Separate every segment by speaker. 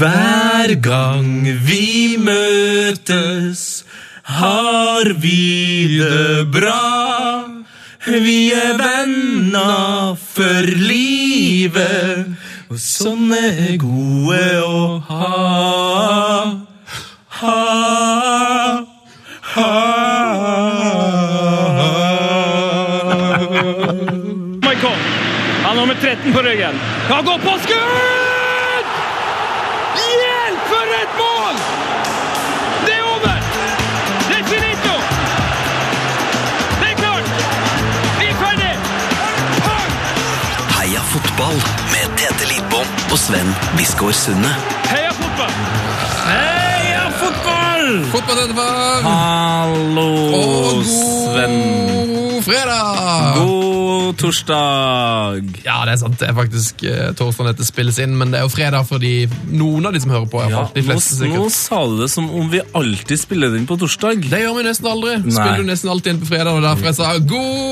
Speaker 1: Hver gang vi møtes, har vi det bra. Vi er venner for livet, og sånne er gode å ha. Ha, ha, ha.
Speaker 2: Michael. Han har med 13 på ryggen. Han går på skudd! Hjelp for et mål! Det er over! Det er finito! Det er klart! Vi er ferdig! Pang!
Speaker 3: Heia fotball med Tete Lidbom og Sven Biskår Sunne.
Speaker 2: Heia fotball!
Speaker 1: Heia fotball!
Speaker 4: Fotball denne var
Speaker 1: Hallo,
Speaker 4: Og
Speaker 1: Sven.
Speaker 4: god fredag!
Speaker 1: God torsdag.
Speaker 4: Ja, det er sant. Det er faktisk eh, torsdag dette spilles inn, men det er jo fredag for de, noen av de som hører på. i hvert
Speaker 1: Ja,
Speaker 4: fall. de
Speaker 1: nå,
Speaker 4: fleste
Speaker 1: nå
Speaker 4: sikkert.
Speaker 1: sa du det som om vi alltid spiller den på torsdag.
Speaker 4: Det gjør vi nesten aldri. Spiller du nesten alltid inn på fredag, og derfor jeg sa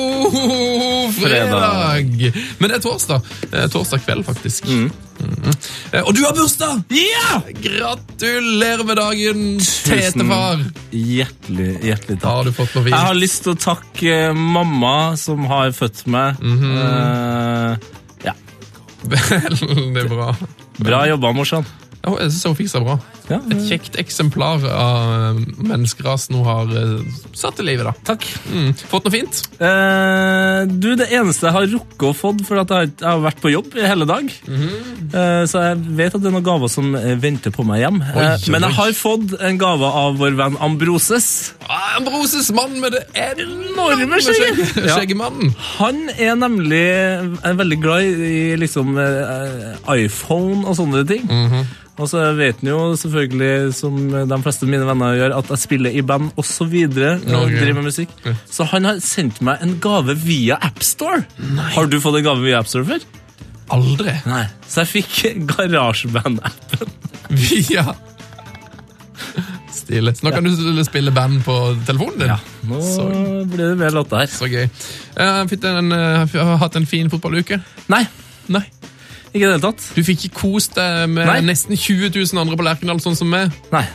Speaker 4: god fredag. Men det er torsdag. Det er torsdag kveld, faktisk.
Speaker 1: Mm.
Speaker 4: Mhm. Eh, Og du har bursdag!
Speaker 1: Ja!
Speaker 4: Gratulerer med dagen,
Speaker 1: Tusen
Speaker 4: tetefar!
Speaker 1: hjertelig, hjertelig takk.
Speaker 4: Har du fått noe
Speaker 1: Jeg har
Speaker 4: fint?
Speaker 1: lyst til å takke eh, mamma som har født meg.
Speaker 4: Mhm.
Speaker 1: Eh, ja.
Speaker 4: Veldig bra.
Speaker 1: Bra jobba, morsan.
Speaker 4: Ja, Jeg syns hun fikk seg bra.
Speaker 1: Ja,
Speaker 4: Et kjekt eksemplar av eh, menneskerasen hun har eh, satt til livet, da.
Speaker 1: takk.
Speaker 4: Mm. Fått noe fint?
Speaker 1: Eh, du, det eneste jeg har rukket å få, for at jeg, har- jeg har vært på jobb i hele dag,
Speaker 4: Mhm.
Speaker 1: Eh, så jeg vet at det er noen gaver som eh, venter på meg hjem.
Speaker 4: Oi,
Speaker 1: Eh, men
Speaker 4: oi.
Speaker 1: jeg har fått en gave av vår venn Ambroses.
Speaker 4: Ah, Ambroses mann med det enorme
Speaker 1: Enorme skjegget.
Speaker 4: skjegget!
Speaker 1: Ja.
Speaker 4: Skjeggemannen.
Speaker 1: Han er nemlig er veldig glad i liksom eh, iPhone og sånne ting. Og så vet han jo selvfølgelig, som de fleste mine venner gjør, at jeg spiller i band osv.
Speaker 4: Norge.
Speaker 1: Driver med musikk. Så han har sendt meg en gave via AppStore. Har du fått en gave via AppStore før?
Speaker 4: Aldri.
Speaker 1: Nei. Så jeg fikk GarageBand-appen.
Speaker 4: Via Stilig. Så nå kan du spille band på telefonen din.
Speaker 1: Nå
Speaker 4: Så,
Speaker 1: blir det mer låter her.
Speaker 4: så gøy. Eh, fikk du en, eh, f- har du hatt en fin fotballuke?
Speaker 1: Nei,
Speaker 4: Nei.
Speaker 1: ikke i det hele tatt.
Speaker 4: Du fikk ikke kost deg med
Speaker 1: Nei.
Speaker 4: nesten 20 000 andre på Lerkendal, sånn som meg?
Speaker 1: Nei.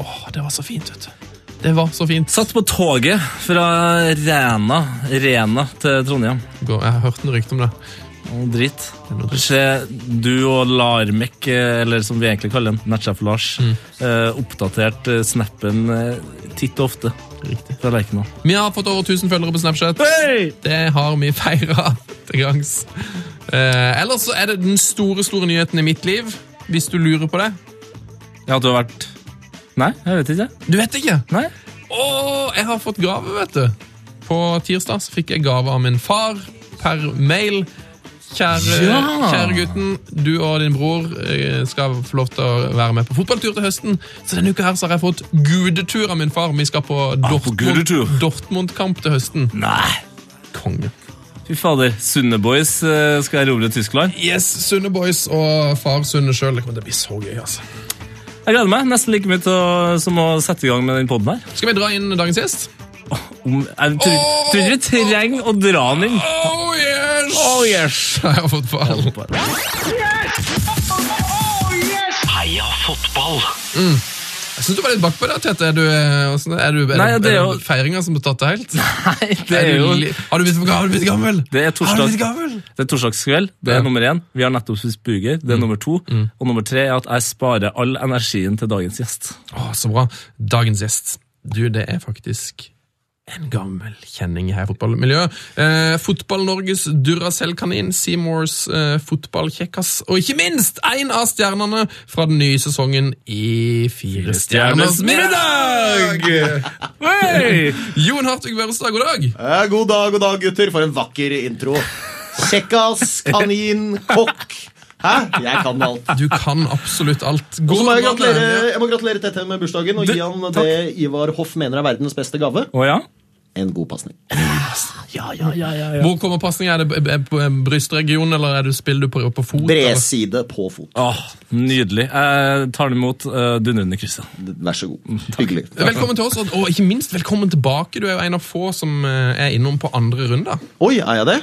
Speaker 4: Åh, det var så fint, vet du. Det var så fint.
Speaker 1: Satt på toget fra Rena, Rena til Trondheim.
Speaker 4: Gå- Jeg har hørt noen rykter om det.
Speaker 1: Å, Drit.
Speaker 4: er noe dritt.
Speaker 1: Se, du og Larmek, eh, eller som vi egentlig kaller den, nettsjef Lars, eh, oppdatert eh, snappen eh, titt og ofte. Riktig. Fra Lerkendal.
Speaker 4: Vi har fått over 1000 følgere på Snapchat. Det har vi feira til gangs. Eh, ellers så er det den store, store nyheten i mitt liv, hvis du lurer på det.
Speaker 1: Ja, du har vært Nei, jeg vet ikke.
Speaker 4: Du vet ikke?
Speaker 1: Nei.
Speaker 4: Åh, jeg har fått gave, vet du. På tirsdag så fikk jeg gave av min far per mail. Kjære,
Speaker 1: Ja.
Speaker 4: kjære gutten, du og din bror eh, skal få lov til å være med på fotballtur til høsten. Så denne uka her så har jeg fått gudetur av min far. Vi skal på Dortmund-
Speaker 1: gudetur.
Speaker 4: Dortmund-kamp til høsten.
Speaker 1: Nei.
Speaker 4: Konge.
Speaker 1: Fy fader. Sunne Boys eh, skal erobre Tyskland.
Speaker 4: Yes, Sunne Boys og far Sunne sjøl. Det kommer til å bli så gøy. altså.
Speaker 1: Jeg gleder meg nesten like mye til å, som å sette i gang med den poden her.
Speaker 4: Skal vi dra inn dagens gjest?
Speaker 1: Om, jeg tror
Speaker 4: Åh!
Speaker 1: tror ikke vi trenger å dra den inn.
Speaker 4: Oh yes!
Speaker 1: Oh, yes.
Speaker 4: Jeg har fått ballen.
Speaker 3: Heia fotball!
Speaker 4: Jeg syns du var litt bakpå der, Tete. Er du, eh, hvordan er du, er
Speaker 1: Nei,
Speaker 4: du,
Speaker 1: det er
Speaker 4: er
Speaker 1: jo-
Speaker 4: du feiringa som har tatt deg helt?
Speaker 1: Nei, det
Speaker 4: Er
Speaker 1: er
Speaker 4: du
Speaker 1: jo
Speaker 4: li- Har du blitt for gammel? Har du blitt gammel?
Speaker 1: Det er torsdag.
Speaker 4: Har du blitt gammel?
Speaker 1: Det er torsdagskveld, det er
Speaker 4: Ja. Mm.
Speaker 1: nummer én. Vi har nettopp spist burger, det er nummer to. Og nummer tre er at jeg sparer all energien til dagens gjest.
Speaker 4: Å, så bra. Dagens gjest. Du, det er faktisk en gammel kjenning her i fotballmiljøet. Eh, Fotball-Norges Duracell-kanin, Seymours eh, fotballkjekkas, og ikke minst en av stjernene fra den nye sesongen i Fire stjerners
Speaker 1: stjerners
Speaker 4: middag!
Speaker 1: Hey!
Speaker 4: Jon Hartvig Børrestad, god dag!
Speaker 5: Eh, God dag, god dag, gutter. For en vakker intro. Kjekkas, kanin, kokk. Hæ? Jeg kan alt.
Speaker 4: Du kan absolutt alt.
Speaker 5: Og så
Speaker 4: God
Speaker 5: må jeg
Speaker 4: morgen.
Speaker 5: gratulere, jeg må gratulere Tete med bursdagen og gi han det Ivar Hoff mener er verdens beste gave.
Speaker 1: Å ja?
Speaker 5: en god pasning. Ja, ja, ja.
Speaker 4: Hvor kommer pasningen? Er det b- b- på brystregionen, eller er du, spiller du på, på fot? eller?
Speaker 5: Bredside på fot.
Speaker 1: Åh, Nydelig. Jeg tar den imot uh, dundrende krysset.
Speaker 5: Vær så god. Hyggelig.
Speaker 4: Velkommen til oss, og, og ikke minst velkommen tilbake. Du er jo en av få som eh, er innom på andre runder.
Speaker 5: Oi, er jeg det?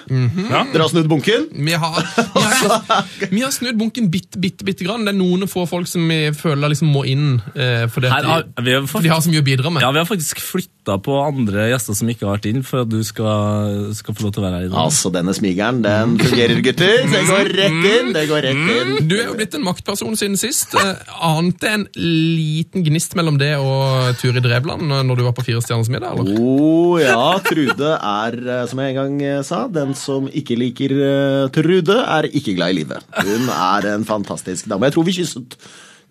Speaker 1: Ja.
Speaker 5: Dere har snudd bunken?
Speaker 4: Vi har, vi har, vi har snudd bunken bitte, bitte, bitte grann. Det er noen få folk som vi føler liksom må inn, eh, fordi
Speaker 1: Her
Speaker 4: at
Speaker 1: har,
Speaker 4: de,
Speaker 1: vi, har
Speaker 4: for de
Speaker 1: faktisk,
Speaker 4: har så mye å bidra med.
Speaker 1: ja, vi har faktisk flytta på andre gjester som ikke har vært inn, for at du skal, skal få lov til å være her i dag.
Speaker 5: Altså, denne smigeren, den fungerer, gutter. Det går rett inn. Det går rett inn.
Speaker 4: Du er jo blitt en maktperson siden sist. Eh, Ante en liten gnist mellom det og Turi Drevland eh, når du var på Fire stjerners middag?
Speaker 5: Å
Speaker 4: eller?
Speaker 5: ja, Trude er, eh, som jeg en gang eh, sa, den som ikke liker eh, Trude, er ikke glad i livet. Hun er en fantastisk dame. Jeg tror vi kysset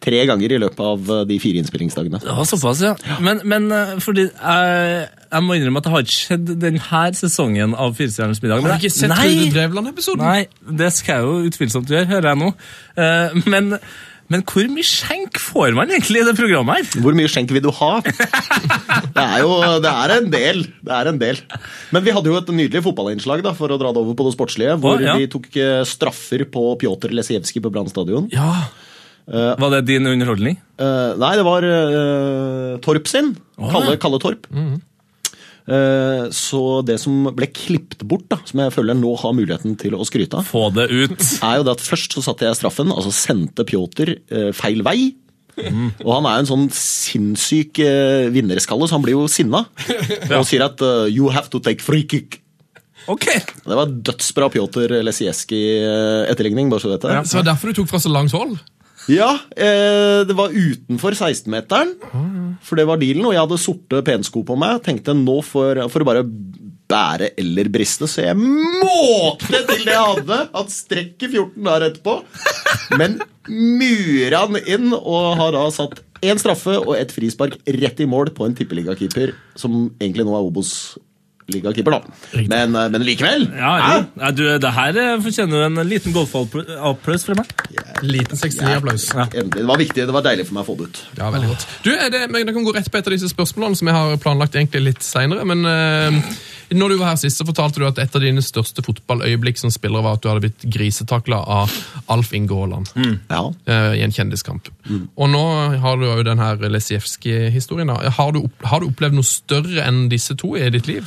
Speaker 5: tre ganger i løpet av eh, de fire innspillingsdagene.
Speaker 1: Det var såpass, ja. Men, men eh, fordi jeg, jeg må innrømme at det har ikke skjedd denne sesongen av Firestjerners middag.
Speaker 4: Har du ikke sett Trude Drevland-episoden?
Speaker 1: Nei, det skal jeg jo utvilsomt gjøre, hører jeg nå. Eh, Men, men hvor mye skjenk får man egentlig i det programmet her?
Speaker 5: Hvor mye skjenk vil du ha? Det er jo det er en del. Det er en del. Men vi hadde jo et nydelig fotballinnslag da, for å dra det over på det sportslige, hvor
Speaker 1: Å, ja.
Speaker 5: vi tok eh, straffer på Pjotr Lesijevskij på Brann stadion.
Speaker 4: Ja.
Speaker 1: Var det din underholdning?
Speaker 5: Eh, nei, det var eh, Torp sin. Kalle, Kalle Torp. Eh, så det som ble klippet bort, da, som jeg føler nå har muligheten til å skryte av,
Speaker 1: Få det ut!
Speaker 5: er jo det at først så satte jeg straffen, altså sendte Pjotr eh, feil vei. Og han er jo en sånn sinnssyk eh, vinnerskalle, så han blir jo sinna. Og sier at eh, 'you have to take free kick'.
Speaker 1: Ok!
Speaker 5: Det var dødsbra Pjotr Lesijevskij-etterligning, bare så du vet det.
Speaker 4: Så det var derfor du tok fra så langt hold?
Speaker 5: Ja, eh, det var utenfor 16-meteren, for det var dealen. Og jeg hadde sorte pensko på meg. Tenkte nå for, for å bare bære eller briste, så jeg måkte til det jeg hadde. Han strekker 14 der etterpå. Men murer han inn og har da satt én straffe og et frispark rett i mål på en tippeligakeeper, som egentlig nå er Obos-ligakeeper, da. Men, eh, men likevel.
Speaker 1: Ja, jo. Ja, du, det her eh, fortjener jo en liten golfapplaus fra meg.
Speaker 4: Liten 69-applaus.
Speaker 5: Hæ? Endelig. Det var viktig. Det var deilig for meg å få det ut.
Speaker 4: Ja, veldig godt. Du, er det, men Det kan gå rett på et av disse spørsmålene som jeg har planlagt egentlig litt senere, men eh, når du var her sist, så fortalte du at et av dine største fotballøyeblikk som spiller var at du hadde blitt grisetakla av Alf Inge Haaland
Speaker 5: Ja.
Speaker 4: eh, i en kjendiskamp. Og nå har du jo den her Lesijevskij-historien. da. Har, du opp- har du opplevd noe større enn disse to i ditt liv?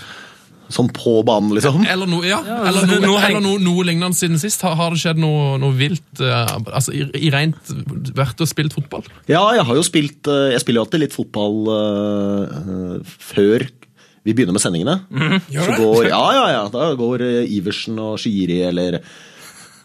Speaker 5: Sånn på banen, liksom.
Speaker 4: Eller noe, ja, eller noe,
Speaker 1: altså, det- nå
Speaker 4: eller
Speaker 1: heng-
Speaker 4: noe, noe lignende siden sist? Har, har det skjedd noe, noe vilt? eh, altså, i, I rent vært og spilt fotball?
Speaker 5: Ja, jeg har jo spilt eh, Jeg spiller jo alltid litt fotball eh, eh, før vi begynner med sendingene.
Speaker 4: Mhm. Gjør
Speaker 5: Så
Speaker 4: det?
Speaker 5: går, ja, ja, ja, da går eh, Iversen og Shiri eller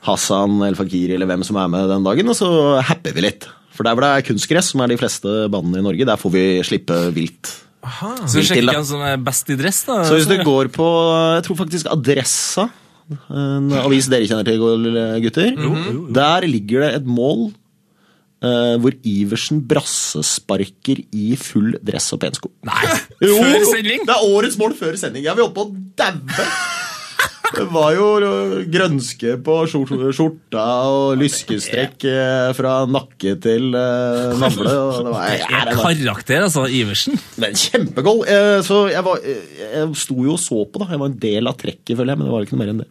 Speaker 5: Hassan eller Fakiri eller hvem som er med den dagen, og så happer vi litt. For der hvor det er kunstgress, som er de fleste banene i Norge, der får vi slippe vilt.
Speaker 1: Så
Speaker 5: Vil til,
Speaker 1: sjekk
Speaker 5: da.
Speaker 1: hvem som er best i dress, da.
Speaker 5: Så hvis du går på Jeg tror faktisk Adressa, en avis dere kjenner til, gutter. Der ligger det et mål eh, hvor Iversen brassesparker i full dress og pensko.
Speaker 1: Nei!
Speaker 5: Jo,
Speaker 1: Før sending?
Speaker 5: Det er årets mål før sending. Jeg vil oppe og daue. Det var jo eh, grønske på skjort- skjorta og lyskestrekk eh, fra nakke til eh, navle. og Det var, ja, det var
Speaker 1: Karakter, altså. Iversen.
Speaker 5: men kjempegål! Eh, Så jeg, var, eh, jeg sto jo og så på, da. Jeg var en del av trekket, føler jeg. Men det var ikke noe mer enn det.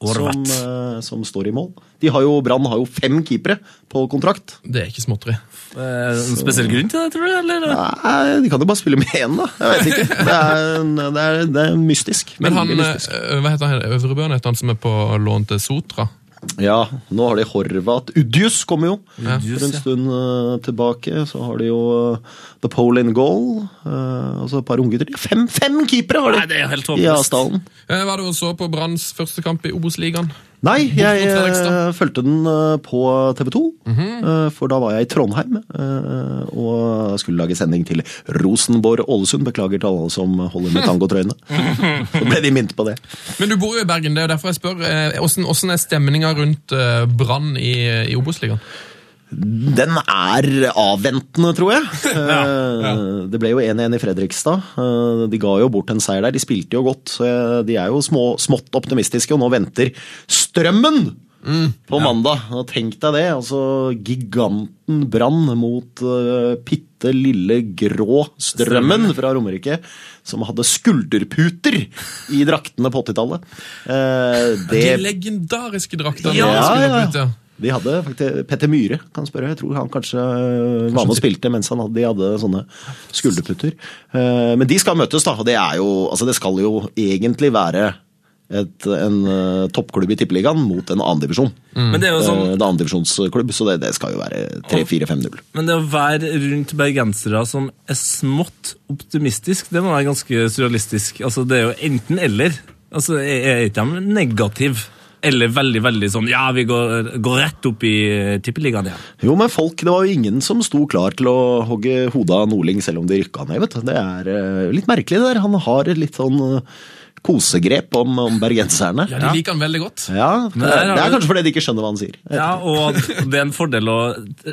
Speaker 5: som,
Speaker 1: Orvat.
Speaker 5: eh, som står i mål. De har jo, Brann har jo fem keepere på kontrakt.
Speaker 4: Det er ikke småtteri.
Speaker 1: Eh, En spesiell grunn til det, tror du? Eller?
Speaker 5: Nei, de kan jo bare spille med én, da. Jeg vet ikke. Det er, det er, det er mystisk.
Speaker 4: Men han,
Speaker 5: Veldig
Speaker 4: eh,
Speaker 5: mystisk.
Speaker 4: hva heter han, Øvrebøen heter han som er på lån til Sotra?
Speaker 5: Ja, nå har de Horvat. Udjus kommer jo
Speaker 1: Udjus,
Speaker 5: for en
Speaker 1: ja.
Speaker 5: stund eh, tilbake. Så har de jo eh, The Pole in Goal. eh, og så et par unggutter. De har Fem, fem keepere har de!
Speaker 1: Nei, det er helt
Speaker 5: I
Speaker 1: håpløst.
Speaker 5: Asdalen.
Speaker 4: Eh, Hva er det du så på Branns første kamp i Obos-ligaen?
Speaker 5: Nei, jeg
Speaker 4: mot
Speaker 5: eh,
Speaker 4: Fredrikstad. Mhm.
Speaker 5: fulgte den eh, på TV 2. eh, For da var jeg i Trondheim eh, og skulle lage sending til Rosenborg-Ålesund. Beklager til alle som holder med tangotrøyene. Så ble de minnet på det.
Speaker 4: Men du bor jo i Bergen, det er jo derfor jeg spør. eh, Hvordan, hvordan er stemninga rundt eh, Brann i, i Obos-ligaen?
Speaker 5: Den er avventende, tror jeg. Eh, Det ble jo 1-1 i Fredrikstad. Eh, De ga jo bort en seier der. De spilte jo godt. så jeg- De er jo små, smått optimistiske, og nå venter strømmen på mandag. Og tenk deg det. altså Giganten Brann mot eh, bitte lille grå strømmen fra Romerike. Som hadde skulderputer i draktene på 80-tallet. Eh,
Speaker 4: De
Speaker 5: Det
Speaker 4: legendariske draktene!
Speaker 5: Ja,
Speaker 4: som skulle
Speaker 5: ja, ja.
Speaker 4: opp ut, ja.
Speaker 5: de hadde faktisk Petter Myhre, kan jeg spørre. Jeg tror han kanskje, øh, var med og spilte mens han hadde, de hadde sånne skulderputter. Eh, Men de skal møtes, da. Og det er jo Altså, det skal jo egentlig være et, en eh, toppklubb i Tippeligaen mot en annendivisjon. Mm.
Speaker 1: Men det er jo sånn
Speaker 5: En annendivisjonsklubb, så det, det skal jo være 3-4-5-0.
Speaker 1: Men det å være rundt bergensere som er smått optimistisk, det må være ganske surrealistisk. Altså, det er jo enten eller. Altså, er er ikke de negative? Eller veldig, veldig sånn Ja, vi går, går rett opp i eh, tippeligaen igjen.
Speaker 5: Jo, men folk, det var jo ingen som sto klar til å hogge hodet av Nordling selv om de rykka ned, vet du. Det er eh, litt merkelig det der. Han har et litt sånn eh, kosegrep om, om bergenserne.
Speaker 4: ja, de liker han veldig godt.
Speaker 5: Ja, det,
Speaker 1: der har
Speaker 5: det er
Speaker 1: du-
Speaker 5: kanskje fordi de ikke skjønner hva han sier.
Speaker 1: Ja, og at det er en fordel å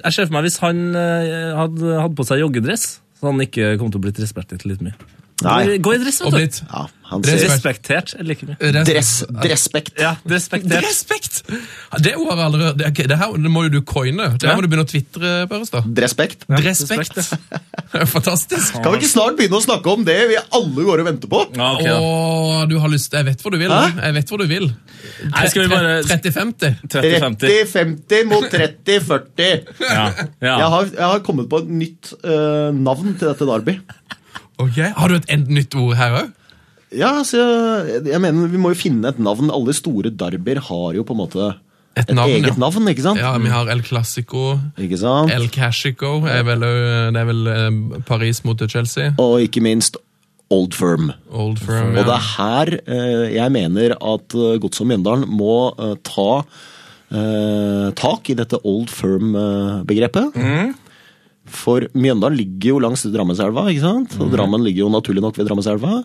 Speaker 1: Jeg ser for meg hvis han eh, hadde, hadde på seg joggedress, så han ikke kom til å bli respektert litt mye.
Speaker 5: Nei.
Speaker 1: Gå i dress, vet
Speaker 4: Og
Speaker 1: du.
Speaker 4: blitt eh,
Speaker 5: Ja, han
Speaker 4: Det er
Speaker 5: sier
Speaker 4: respekt.
Speaker 1: Respektert er like mye.
Speaker 4: Res-
Speaker 5: dress, dresspekt.
Speaker 1: Ja, respektert.
Speaker 4: Respekt! Det ordet har jeg aldri hørt. Det, ok, det her det må jo du coine. Det her må du begynne å tvitre, Børrestad.
Speaker 5: Dresspekt.
Speaker 4: Respekt. Fantastisk.
Speaker 5: Kan vi ikke snart begynne å snakke om det vi alle går og venter på?
Speaker 1: Ja, ok, da.
Speaker 4: Åh, du har lyst Jeg vet hvor du vil.
Speaker 5: Hæ?
Speaker 4: Jeg vet hvor du vil.
Speaker 1: Nei, skal vi bare
Speaker 4: 30-50.
Speaker 1: 30-50.
Speaker 5: 30-50 mot 30-40.
Speaker 1: Ja,
Speaker 5: Jeg,
Speaker 1: ja.
Speaker 5: har- jeg har kommet på et nytt eh, navn til dette Derby.
Speaker 4: Ok, Har du et en- nytt ord her òg?
Speaker 5: Ja, så jeg, jeg mener Vi må jo finne et navn. Alle store derbyer har jo på en måte
Speaker 4: Et
Speaker 5: et,
Speaker 4: navn, ja.
Speaker 5: eget navn, ikke sant?
Speaker 4: Ja, vi har El Clásico.
Speaker 5: Ikke sant?
Speaker 4: El Cashico. Er vel, ø, det er vel ø, Paris mot Chelsea.
Speaker 5: Og ikke minst Old Firm.
Speaker 4: Old Firm.
Speaker 5: Og det
Speaker 4: Ja.
Speaker 5: er her eh, jeg mener at eh, Godset og Mjøndalen må eh, ta eh, tak i dette old firm-begrepet.
Speaker 4: Mm.
Speaker 5: For Mjøndalen ligger jo langs Drammenselva, ikke sant?
Speaker 4: Mm.
Speaker 5: Og Drammen ligger jo naturlig nok ved Drammenselva.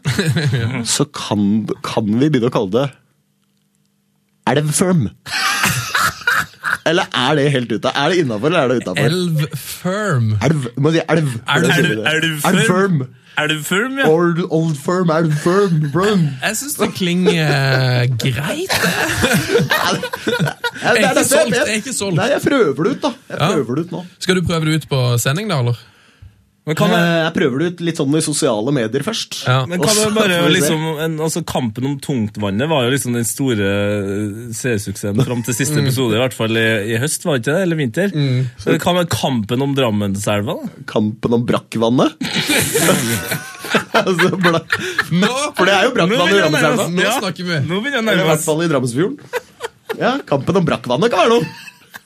Speaker 5: Så kan, kan vi begynne å kalle det Elv Firm. eller er det helt ute? Er det innafor, eller er det utafor?
Speaker 4: Elv Firm.
Speaker 5: Elv, må si elv. for
Speaker 4: Elv-
Speaker 5: det sier vi det.
Speaker 1: elv-
Speaker 5: Elv
Speaker 1: firm.
Speaker 5: Firm.
Speaker 1: Er du firm, ja?
Speaker 5: Old, old firm, elv firm, firm.
Speaker 4: Jeg syns det klinger eh, greit. det.
Speaker 5: Ja,
Speaker 4: Jeg er
Speaker 5: det
Speaker 4: ikke
Speaker 5: dette
Speaker 4: solgt.
Speaker 5: vet.
Speaker 4: Jeg er ikke solgt.
Speaker 5: Nei, jeg prøver det ut, da. Jeg
Speaker 4: Ja.
Speaker 5: prøver det ut nå.
Speaker 4: Skal du prøve det ut på sending, da? eller?
Speaker 1: Men kan jeg,
Speaker 5: Eh, Jeg prøver det ut litt sånn i sosiale medier først.
Speaker 4: Ja.
Speaker 1: Men kan
Speaker 5: Og så
Speaker 1: vi bare
Speaker 5: får vi se.
Speaker 1: liksom en, altså Kampen om tungtvannet var jo liksom den store eh, seriesuksessen fram til
Speaker 5: Mm.
Speaker 1: siste episode, i hvert fall i, i høst, var det ikke det? Eller vinter? Så Hva med kampen om Drammenselva? da?
Speaker 5: Kampen om brakkvannet. altså, bla-
Speaker 4: Nå,
Speaker 5: For det er jo
Speaker 1: Nå
Speaker 5: brakkvann i
Speaker 1: begynner jeg å
Speaker 5: Rammeselva.
Speaker 1: nærme- ja,
Speaker 4: Nå snakker vi.
Speaker 1: Nå begynner jeg å
Speaker 5: Eller i
Speaker 1: nærme meg.
Speaker 5: hvert fall i Drammensfjorden. Ja, Kampen om brakkvannet kan være noe.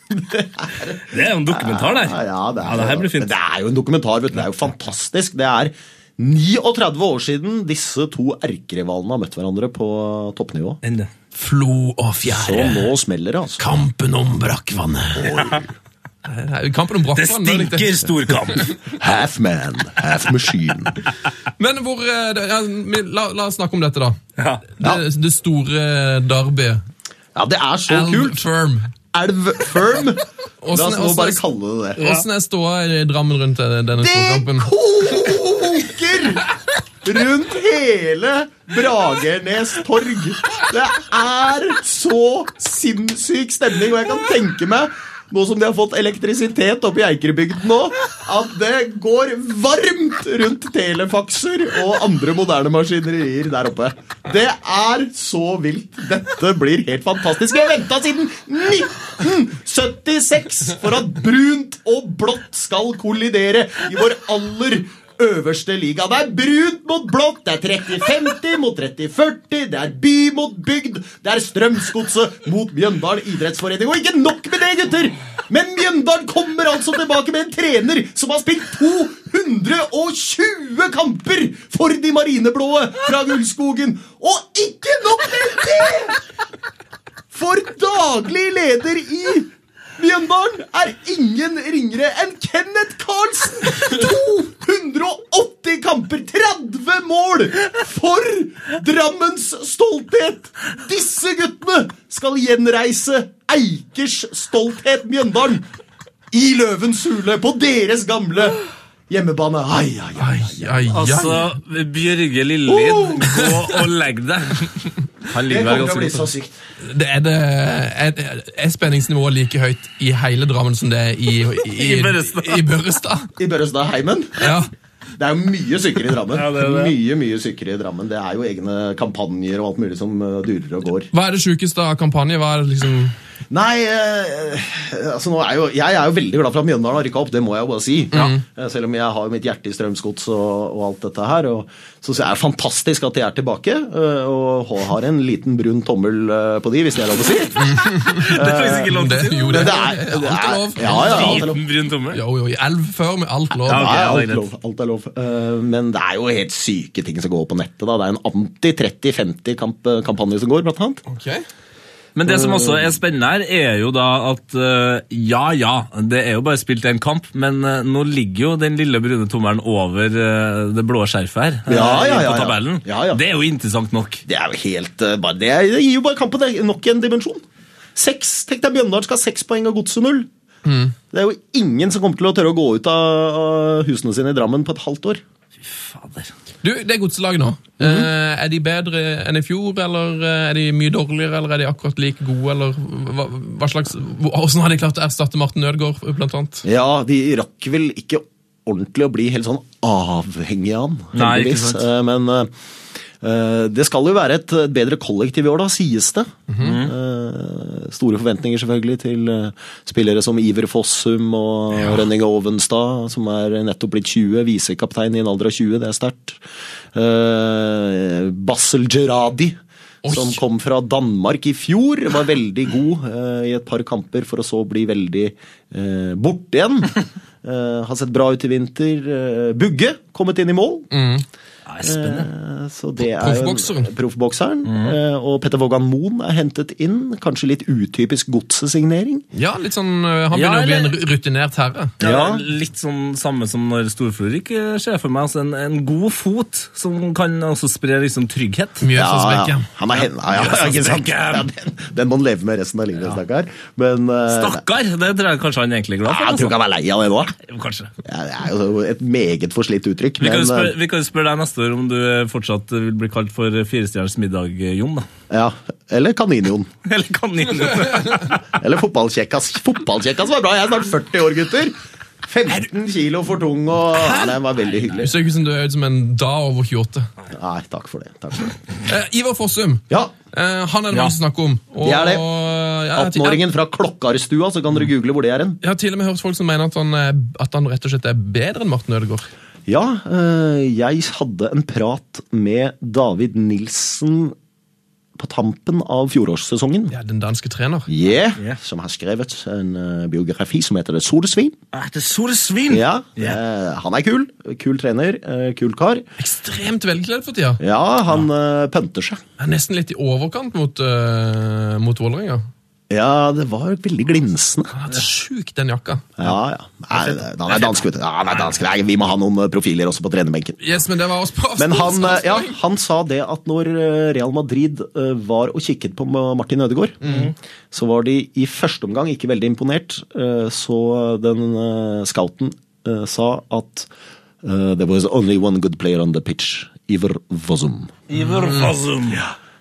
Speaker 1: Det er jo en dokumentar, der.
Speaker 5: Ja, ja, det, er,
Speaker 1: ja, det her blir
Speaker 5: Men
Speaker 1: fint.
Speaker 5: det er jo en dokumentar, vet du. Det er jo fantastisk. Det er 39 år siden disse to erkerivalene har møtt hverandre på toppnivå.
Speaker 1: Enda.
Speaker 4: Flo og
Speaker 5: Så
Speaker 4: fjære.
Speaker 5: nå smeller det, altså.
Speaker 4: Kampen om brakkvannet. Nei, Kampen om
Speaker 1: Det
Speaker 4: brakkvann. var litt-
Speaker 1: stinker storkamp!
Speaker 5: Half man, half machine.
Speaker 4: Men hvor eh, det- ja, vi- la, la oss snakke om dette, da.
Speaker 1: Ja.
Speaker 4: Det, det store derbyet.
Speaker 5: Ja, det er så
Speaker 4: Elv
Speaker 5: kult!
Speaker 4: Firm.
Speaker 5: Elv Firm.
Speaker 4: Åssen-
Speaker 5: La oss nå
Speaker 4: åssen-
Speaker 5: bare kalle det det.
Speaker 4: Åssen er ståa i Drammen rundt denne denne storkampen?
Speaker 5: Det koker rundt hele Bragernes torg. Det er så sinnssyk stemning, og jeg kan tenke meg Nå som de har fått elektrisitet oppe i Eikerbygden nå, at det går varmt rundt telefakser og andre moderne maskinerier der oppe. Det er så vilt. Dette blir helt fantastisk. Vi har venta siden 1976 for at brunt og blått skal kollidere i vår aller øverste liga. Det er brunt mot blått, det er 30-50 mot 30-40, det er by mot bygd, det er Strømsgodset mot Mjøndalen idrettsforening. Og ikke nok med det, gutter! Men Mjøndalen kommer altså tilbake med en trener som har spilt 220 kamper for de marineblåe fra Gullskogen. Og ikke nok med det! For daglig leder i Mjøndalen er ingen ringere enn Kenneth Karlsen! 280 kamper, 30 mål for Drammens stolthet! Disse guttene skal gjenreise Eikers stolthet Mjøndalen i Løvens hule, på deres gamle hjemmebane. Ai, ai, ai.
Speaker 4: Ai, ai, ai.
Speaker 1: Altså, Bjørge Lillelid, gå og legg deg. Oh! Han
Speaker 5: Det
Speaker 1: ligger vel
Speaker 5: kommer
Speaker 1: ganske
Speaker 5: til å bli
Speaker 1: godt
Speaker 5: så
Speaker 1: an.
Speaker 5: sykt.
Speaker 4: Det er, det, er, er spenningsnivået like høyt i hele Drammen som det er i, i, i,
Speaker 1: I Børrestad.
Speaker 4: i Børrestad?
Speaker 5: I Børrestadheimen.
Speaker 4: Ja.
Speaker 5: Det er jo mye sykere i Drammen.
Speaker 1: Ja, det er det.
Speaker 5: Mye, mye sykere i Drammen. Det er jo egne kampanjer og alt mulig som eh, durer og går.
Speaker 4: Hva er det sjukeste av kampanje? Hva er det liksom...
Speaker 5: Nei, eh, altså nå er jo, jeg er jo veldig glad for at Mjøndalen har rykka opp, det må jeg jo bare si. Eh, Selv om jeg har mitt hjerte i Strømsgods og, og alt dette her. Og, så synes jeg det er fantastisk at de er tilbake, eh, og ha- har en liten brun tommel eh, på de, hvis det er lov å si.
Speaker 1: Det er faktisk ikke lov
Speaker 4: Det,
Speaker 1: til å si.
Speaker 4: jo, det,
Speaker 5: Men
Speaker 4: er alt er lov.
Speaker 5: Ja, ja, alt er lov.
Speaker 1: Liten brun tommel.
Speaker 4: Jo, jo, i elv før med alt lov.
Speaker 1: Ja, ok. det
Speaker 5: Nei,
Speaker 1: er
Speaker 5: alt,
Speaker 1: greit.
Speaker 5: er lov, alt er lov. Eh, Men det er jo helt syke ting som går på nettet. da. Det er en anti-30-50-kampanje som går, blant annet.
Speaker 4: Ok.
Speaker 1: Men
Speaker 5: Mm.
Speaker 1: det som også er spennende her, er jo da at eh, ja, ja, det er jo bare spilt en kamp, men eh, nå ligger jo den lille brune tommelen over eh, det blå skjerfet her. eh,
Speaker 5: Ja, ja, ja,
Speaker 1: På
Speaker 5: ja.
Speaker 1: tabellen.
Speaker 5: Ja, ja.
Speaker 1: Det er jo interessant nok.
Speaker 5: Det er jo helt eh, bare, det, er- det gir jo bare kampen det er nok en dimensjon. Seks, Tenk deg Bjøndalen skal ha seks poeng og Godset null.
Speaker 1: Mm.
Speaker 5: Det er jo ingen som kommer til å tørre å gå ut av, av husene sine i Drammen på et halvt år.
Speaker 1: Fader.
Speaker 4: Du, det er godselaget nå.
Speaker 5: Mhm.
Speaker 4: Eh, Er de bedre enn i fjor, eller eh, er de mye dårligere, eller er de akkurat like gode, eller hva, hva slags... hvor- Hvordan har de klart å erstatte Martin Ødegaard, blant annet?
Speaker 5: Ja, de rakk vel ikke ordentlig å bli helt sånn avhengig av han,
Speaker 1: Nei, ikke
Speaker 5: heldigvis.
Speaker 1: sant.
Speaker 5: Eh, Men eh, eh, det skal jo være et eh, bedre kollektiv i år, da, sies det. Eh, Store forventninger selvfølgelig til eh, spillere som Iver Fossum og Rønning Ovenstad, som er nettopp blitt 20, visekaptein i en alder av 20, det er sterkt. Eh, Basel Gerradi.
Speaker 4: Oi.
Speaker 5: Som kom fra Danmark i fjor. Var veldig god eh, i et par kamper, for å så bli veldig eh, borte igjen. Eh, har sett bra ut i vinter. Eh, Bugge kommet inn i mål.
Speaker 1: Nei, spennende.
Speaker 5: Eh, så det er jo en-
Speaker 4: Proffbokseren.
Speaker 5: Proffbokseren. Eh, og Petter Vågan Moen er hentet inn. Kanskje litt utypisk godssesignering.
Speaker 4: Ja, litt sånn... eh, Han
Speaker 1: Ja,
Speaker 4: begynner å
Speaker 1: eller-
Speaker 4: bli en rutinert herre.
Speaker 1: Det er
Speaker 5: Ja.
Speaker 1: Litt sånn samme som når Storflorik eh, ser for meg. Altså en, en god fot som kan også spre liksom trygghet.
Speaker 4: Mjøsas Bekke.
Speaker 5: Han er hen, ja, ja, ja, ikke sant? Ja, den, den må han leve med resten av livet, stakkar. Men eh,
Speaker 1: Stakkar! Det tror jeg kanskje han egentlig er glad
Speaker 5: nei, jeg tror
Speaker 1: for.
Speaker 5: ikke han er lei av det nå.
Speaker 1: Altså. Jo, Kanskje.
Speaker 5: Ja, Det er jo et meget forslitt uttrykk.
Speaker 1: Vi kan, jo
Speaker 5: men, eh,
Speaker 1: spørre, vi kan jo spørre deg neste år om du eh, fortsatt vil bli kalt for Firestjerners middag, eh, Jon. da.
Speaker 5: eh, ja, eller Kaninjon.
Speaker 1: Eller kaninen.
Speaker 5: Eller fotballkjekkas. Fotballkjekkas var bra. Jeg er snart 40 år, gutter. 15 kilo for tung og Nei, Den var veldig
Speaker 4: Du
Speaker 5: hyggelig.
Speaker 4: ser ikke ut som du er ut som en da over 28.
Speaker 5: Nei, takk for det. Takk for det.
Speaker 4: Eh, Ivar Fossum.
Speaker 5: Ja,
Speaker 4: Eh, han er det
Speaker 1: Ja.
Speaker 4: mange som snakker om. Og,
Speaker 5: Det er det.
Speaker 4: og- ja, jeg-
Speaker 5: 18-åringen fra Klokkarstua, så kan dere google hvor det er hen.
Speaker 4: Jeg har til og med hørt folk som mener at han, eh, at han rett og slett er bedre enn Martin Ødegaard.
Speaker 5: Ja, eh, jeg hadde en prat med David Nilsen på tampen av fjorårssesongen.
Speaker 4: Ja, den danske trener.
Speaker 5: Yeah,
Speaker 1: Ja.
Speaker 5: som har skrevet en eh, biografi som heter Det solsvin.
Speaker 1: Det er solsvin!
Speaker 5: Ja, eh, han er kul. Kul trener, eh, kul kar.
Speaker 4: Ekstremt velkledd for tida.
Speaker 5: Ja, han eh, pønter seg.
Speaker 4: Er nesten litt i overkant mot, uh, mot Vålerenga.
Speaker 5: Ja, det var veldig glinsende.
Speaker 4: Han er sjuk, den jakka.
Speaker 5: Ja, ja. Nei, det- han er dansk, vet du. Ja, han er dansk. Nei, vi må ha noen eh, profiler også på trenerbenken.
Speaker 4: Yes, men det var oss på
Speaker 5: Men han, eh,
Speaker 4: avstand-
Speaker 5: ja, han sa det at når eh, Real Madrid eh, var og kikket på Ma- Martin Ødegaard, så var de i første omgang ikke veldig imponert. eh, Så den eh, scouten eh, sa at eh, There was only one good player on the pitch. Iver Vozum.
Speaker 1: Iver Fossum.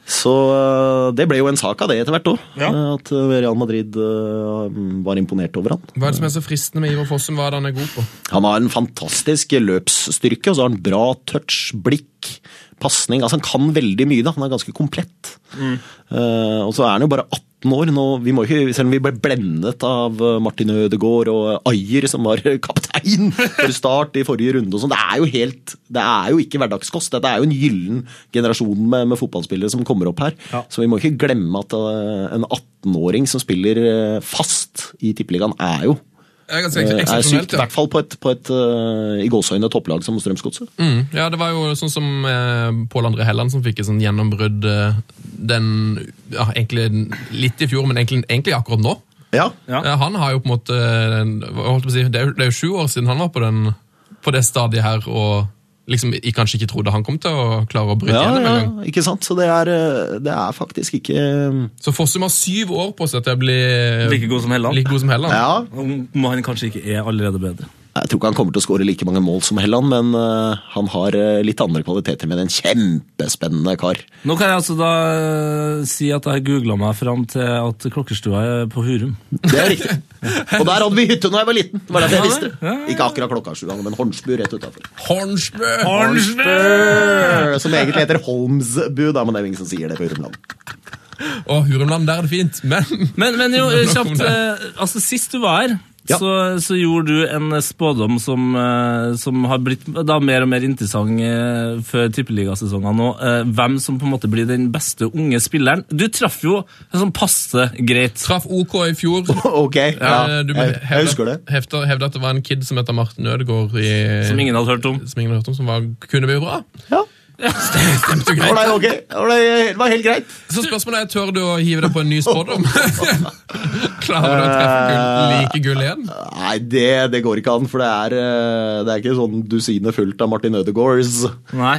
Speaker 5: Så eh, det ble jo en sak av det etter hvert òg. At eh, Real Madrid eh, var imponert over han.
Speaker 4: Hva er det som er så fristende med Ivar Fossum? Hva er det han er god på?
Speaker 5: Han har en fantastisk løpsstyrke, og så har han bra touch, blikk, pasning. Altså, han kan veldig mye, da. Han er ganske komplett. Eh, og så er han jo bare 18 år. Nå, vi må ikke, selv om vi ble blendet av eh, Martin Ødegaard og eh, Ayer, som var kaptein for start i forrige runde og sånn. Det er jo helt Det er jo ikke hverdagskost. Dette er jo en gyllen generasjon med, med fotballspillere som kommer opp her. Så vi må ikke glemme at eh, en 18-åring som spiller eh, fast i Tippeligaen, er jo
Speaker 4: Det er ganske
Speaker 5: Eh, er sykt,
Speaker 4: eksepsjonelt,
Speaker 5: i
Speaker 4: ja.
Speaker 5: hvert fall på et, på et eh, i gåseøyne topplag som Strømsgodset.
Speaker 4: Mm. ja. Det var jo sånn som eh, Pål André Helland som fikk et sånn gjennombrudd eh, den ja, egentlig litt i fjor, men egentlig, egentlig akkurat nå.
Speaker 5: Ja.
Speaker 1: Ja.
Speaker 4: Eh, han har jo på en måte eh, hva holdt jeg på å si, det, er, jo- det er jo sju år siden han var på, den, på det stadiet her og liksom i- kanskje ikke trodde han kom til å klare å bryte
Speaker 5: Ja,
Speaker 4: gjennom en gang.
Speaker 5: ikke sant? Så det er, eh, det er faktisk ikke eh,
Speaker 4: Så Fossum har syv år på seg til å bli
Speaker 1: Like god som Helland.
Speaker 4: like god som Helland.
Speaker 5: Ja,
Speaker 1: Om han kanskje ikke er allerede bedre.
Speaker 5: jeg tror ikke han kommer til å skåre like mange mål som Helland, men eh, han har eh, litt andre kvaliteter med en kjempespennende kar.
Speaker 1: Nå kan jeg altså da eh, si at jeg googla meg fram til at klokkestua er på Hurum.
Speaker 5: Det er riktig. Og der hadde vi hytte da jeg var liten. Det var derfor jeg visste. Ikke akkurat Klokkasjua, men Hornsbu rett utafor.
Speaker 4: Hornsbø!
Speaker 5: Eh, Som egentlig heter Holmsbu, da, men det er jo ingen som sier det på Hurumland.
Speaker 4: Og Hurumland, der er det fint, men
Speaker 1: Men, men jo,
Speaker 4: Nå kom
Speaker 1: kjapt
Speaker 4: det.
Speaker 1: eh, altså Sist du var her,
Speaker 5: Ja.
Speaker 1: så, så gjorde du en spådom som, eh, som har blitt da mer og mer interessant eh, før tippeligasesongen nå. eh, Hvem som på en måte blir den beste unge spilleren. Du traff jo sånn passe greit.
Speaker 4: traff OK i fjor.
Speaker 5: Ok, ja,
Speaker 4: Eh, du
Speaker 5: jeg, jeg husker det.
Speaker 4: Hevde, hevde at det var en kid som heter Martin Ødegaard i
Speaker 1: Som ingen hadde hørt om.
Speaker 4: som ingen hadde hørt om, som var, kunne bli bra.
Speaker 5: Ja.
Speaker 4: Stemte jo
Speaker 5: Det var
Speaker 4: greit.
Speaker 5: det ok. Det var det- det var helt greit.
Speaker 4: Så spørsmålet er, tør du å hive deg på en ny spådom? Klarer du å treffe
Speaker 5: Eh,
Speaker 4: gull, like gull igjen?
Speaker 5: Nei, det, det går ikke an, for det er, eh, det er ikke sånn dusinet fullt av Martin Ødegaards.
Speaker 1: Nei.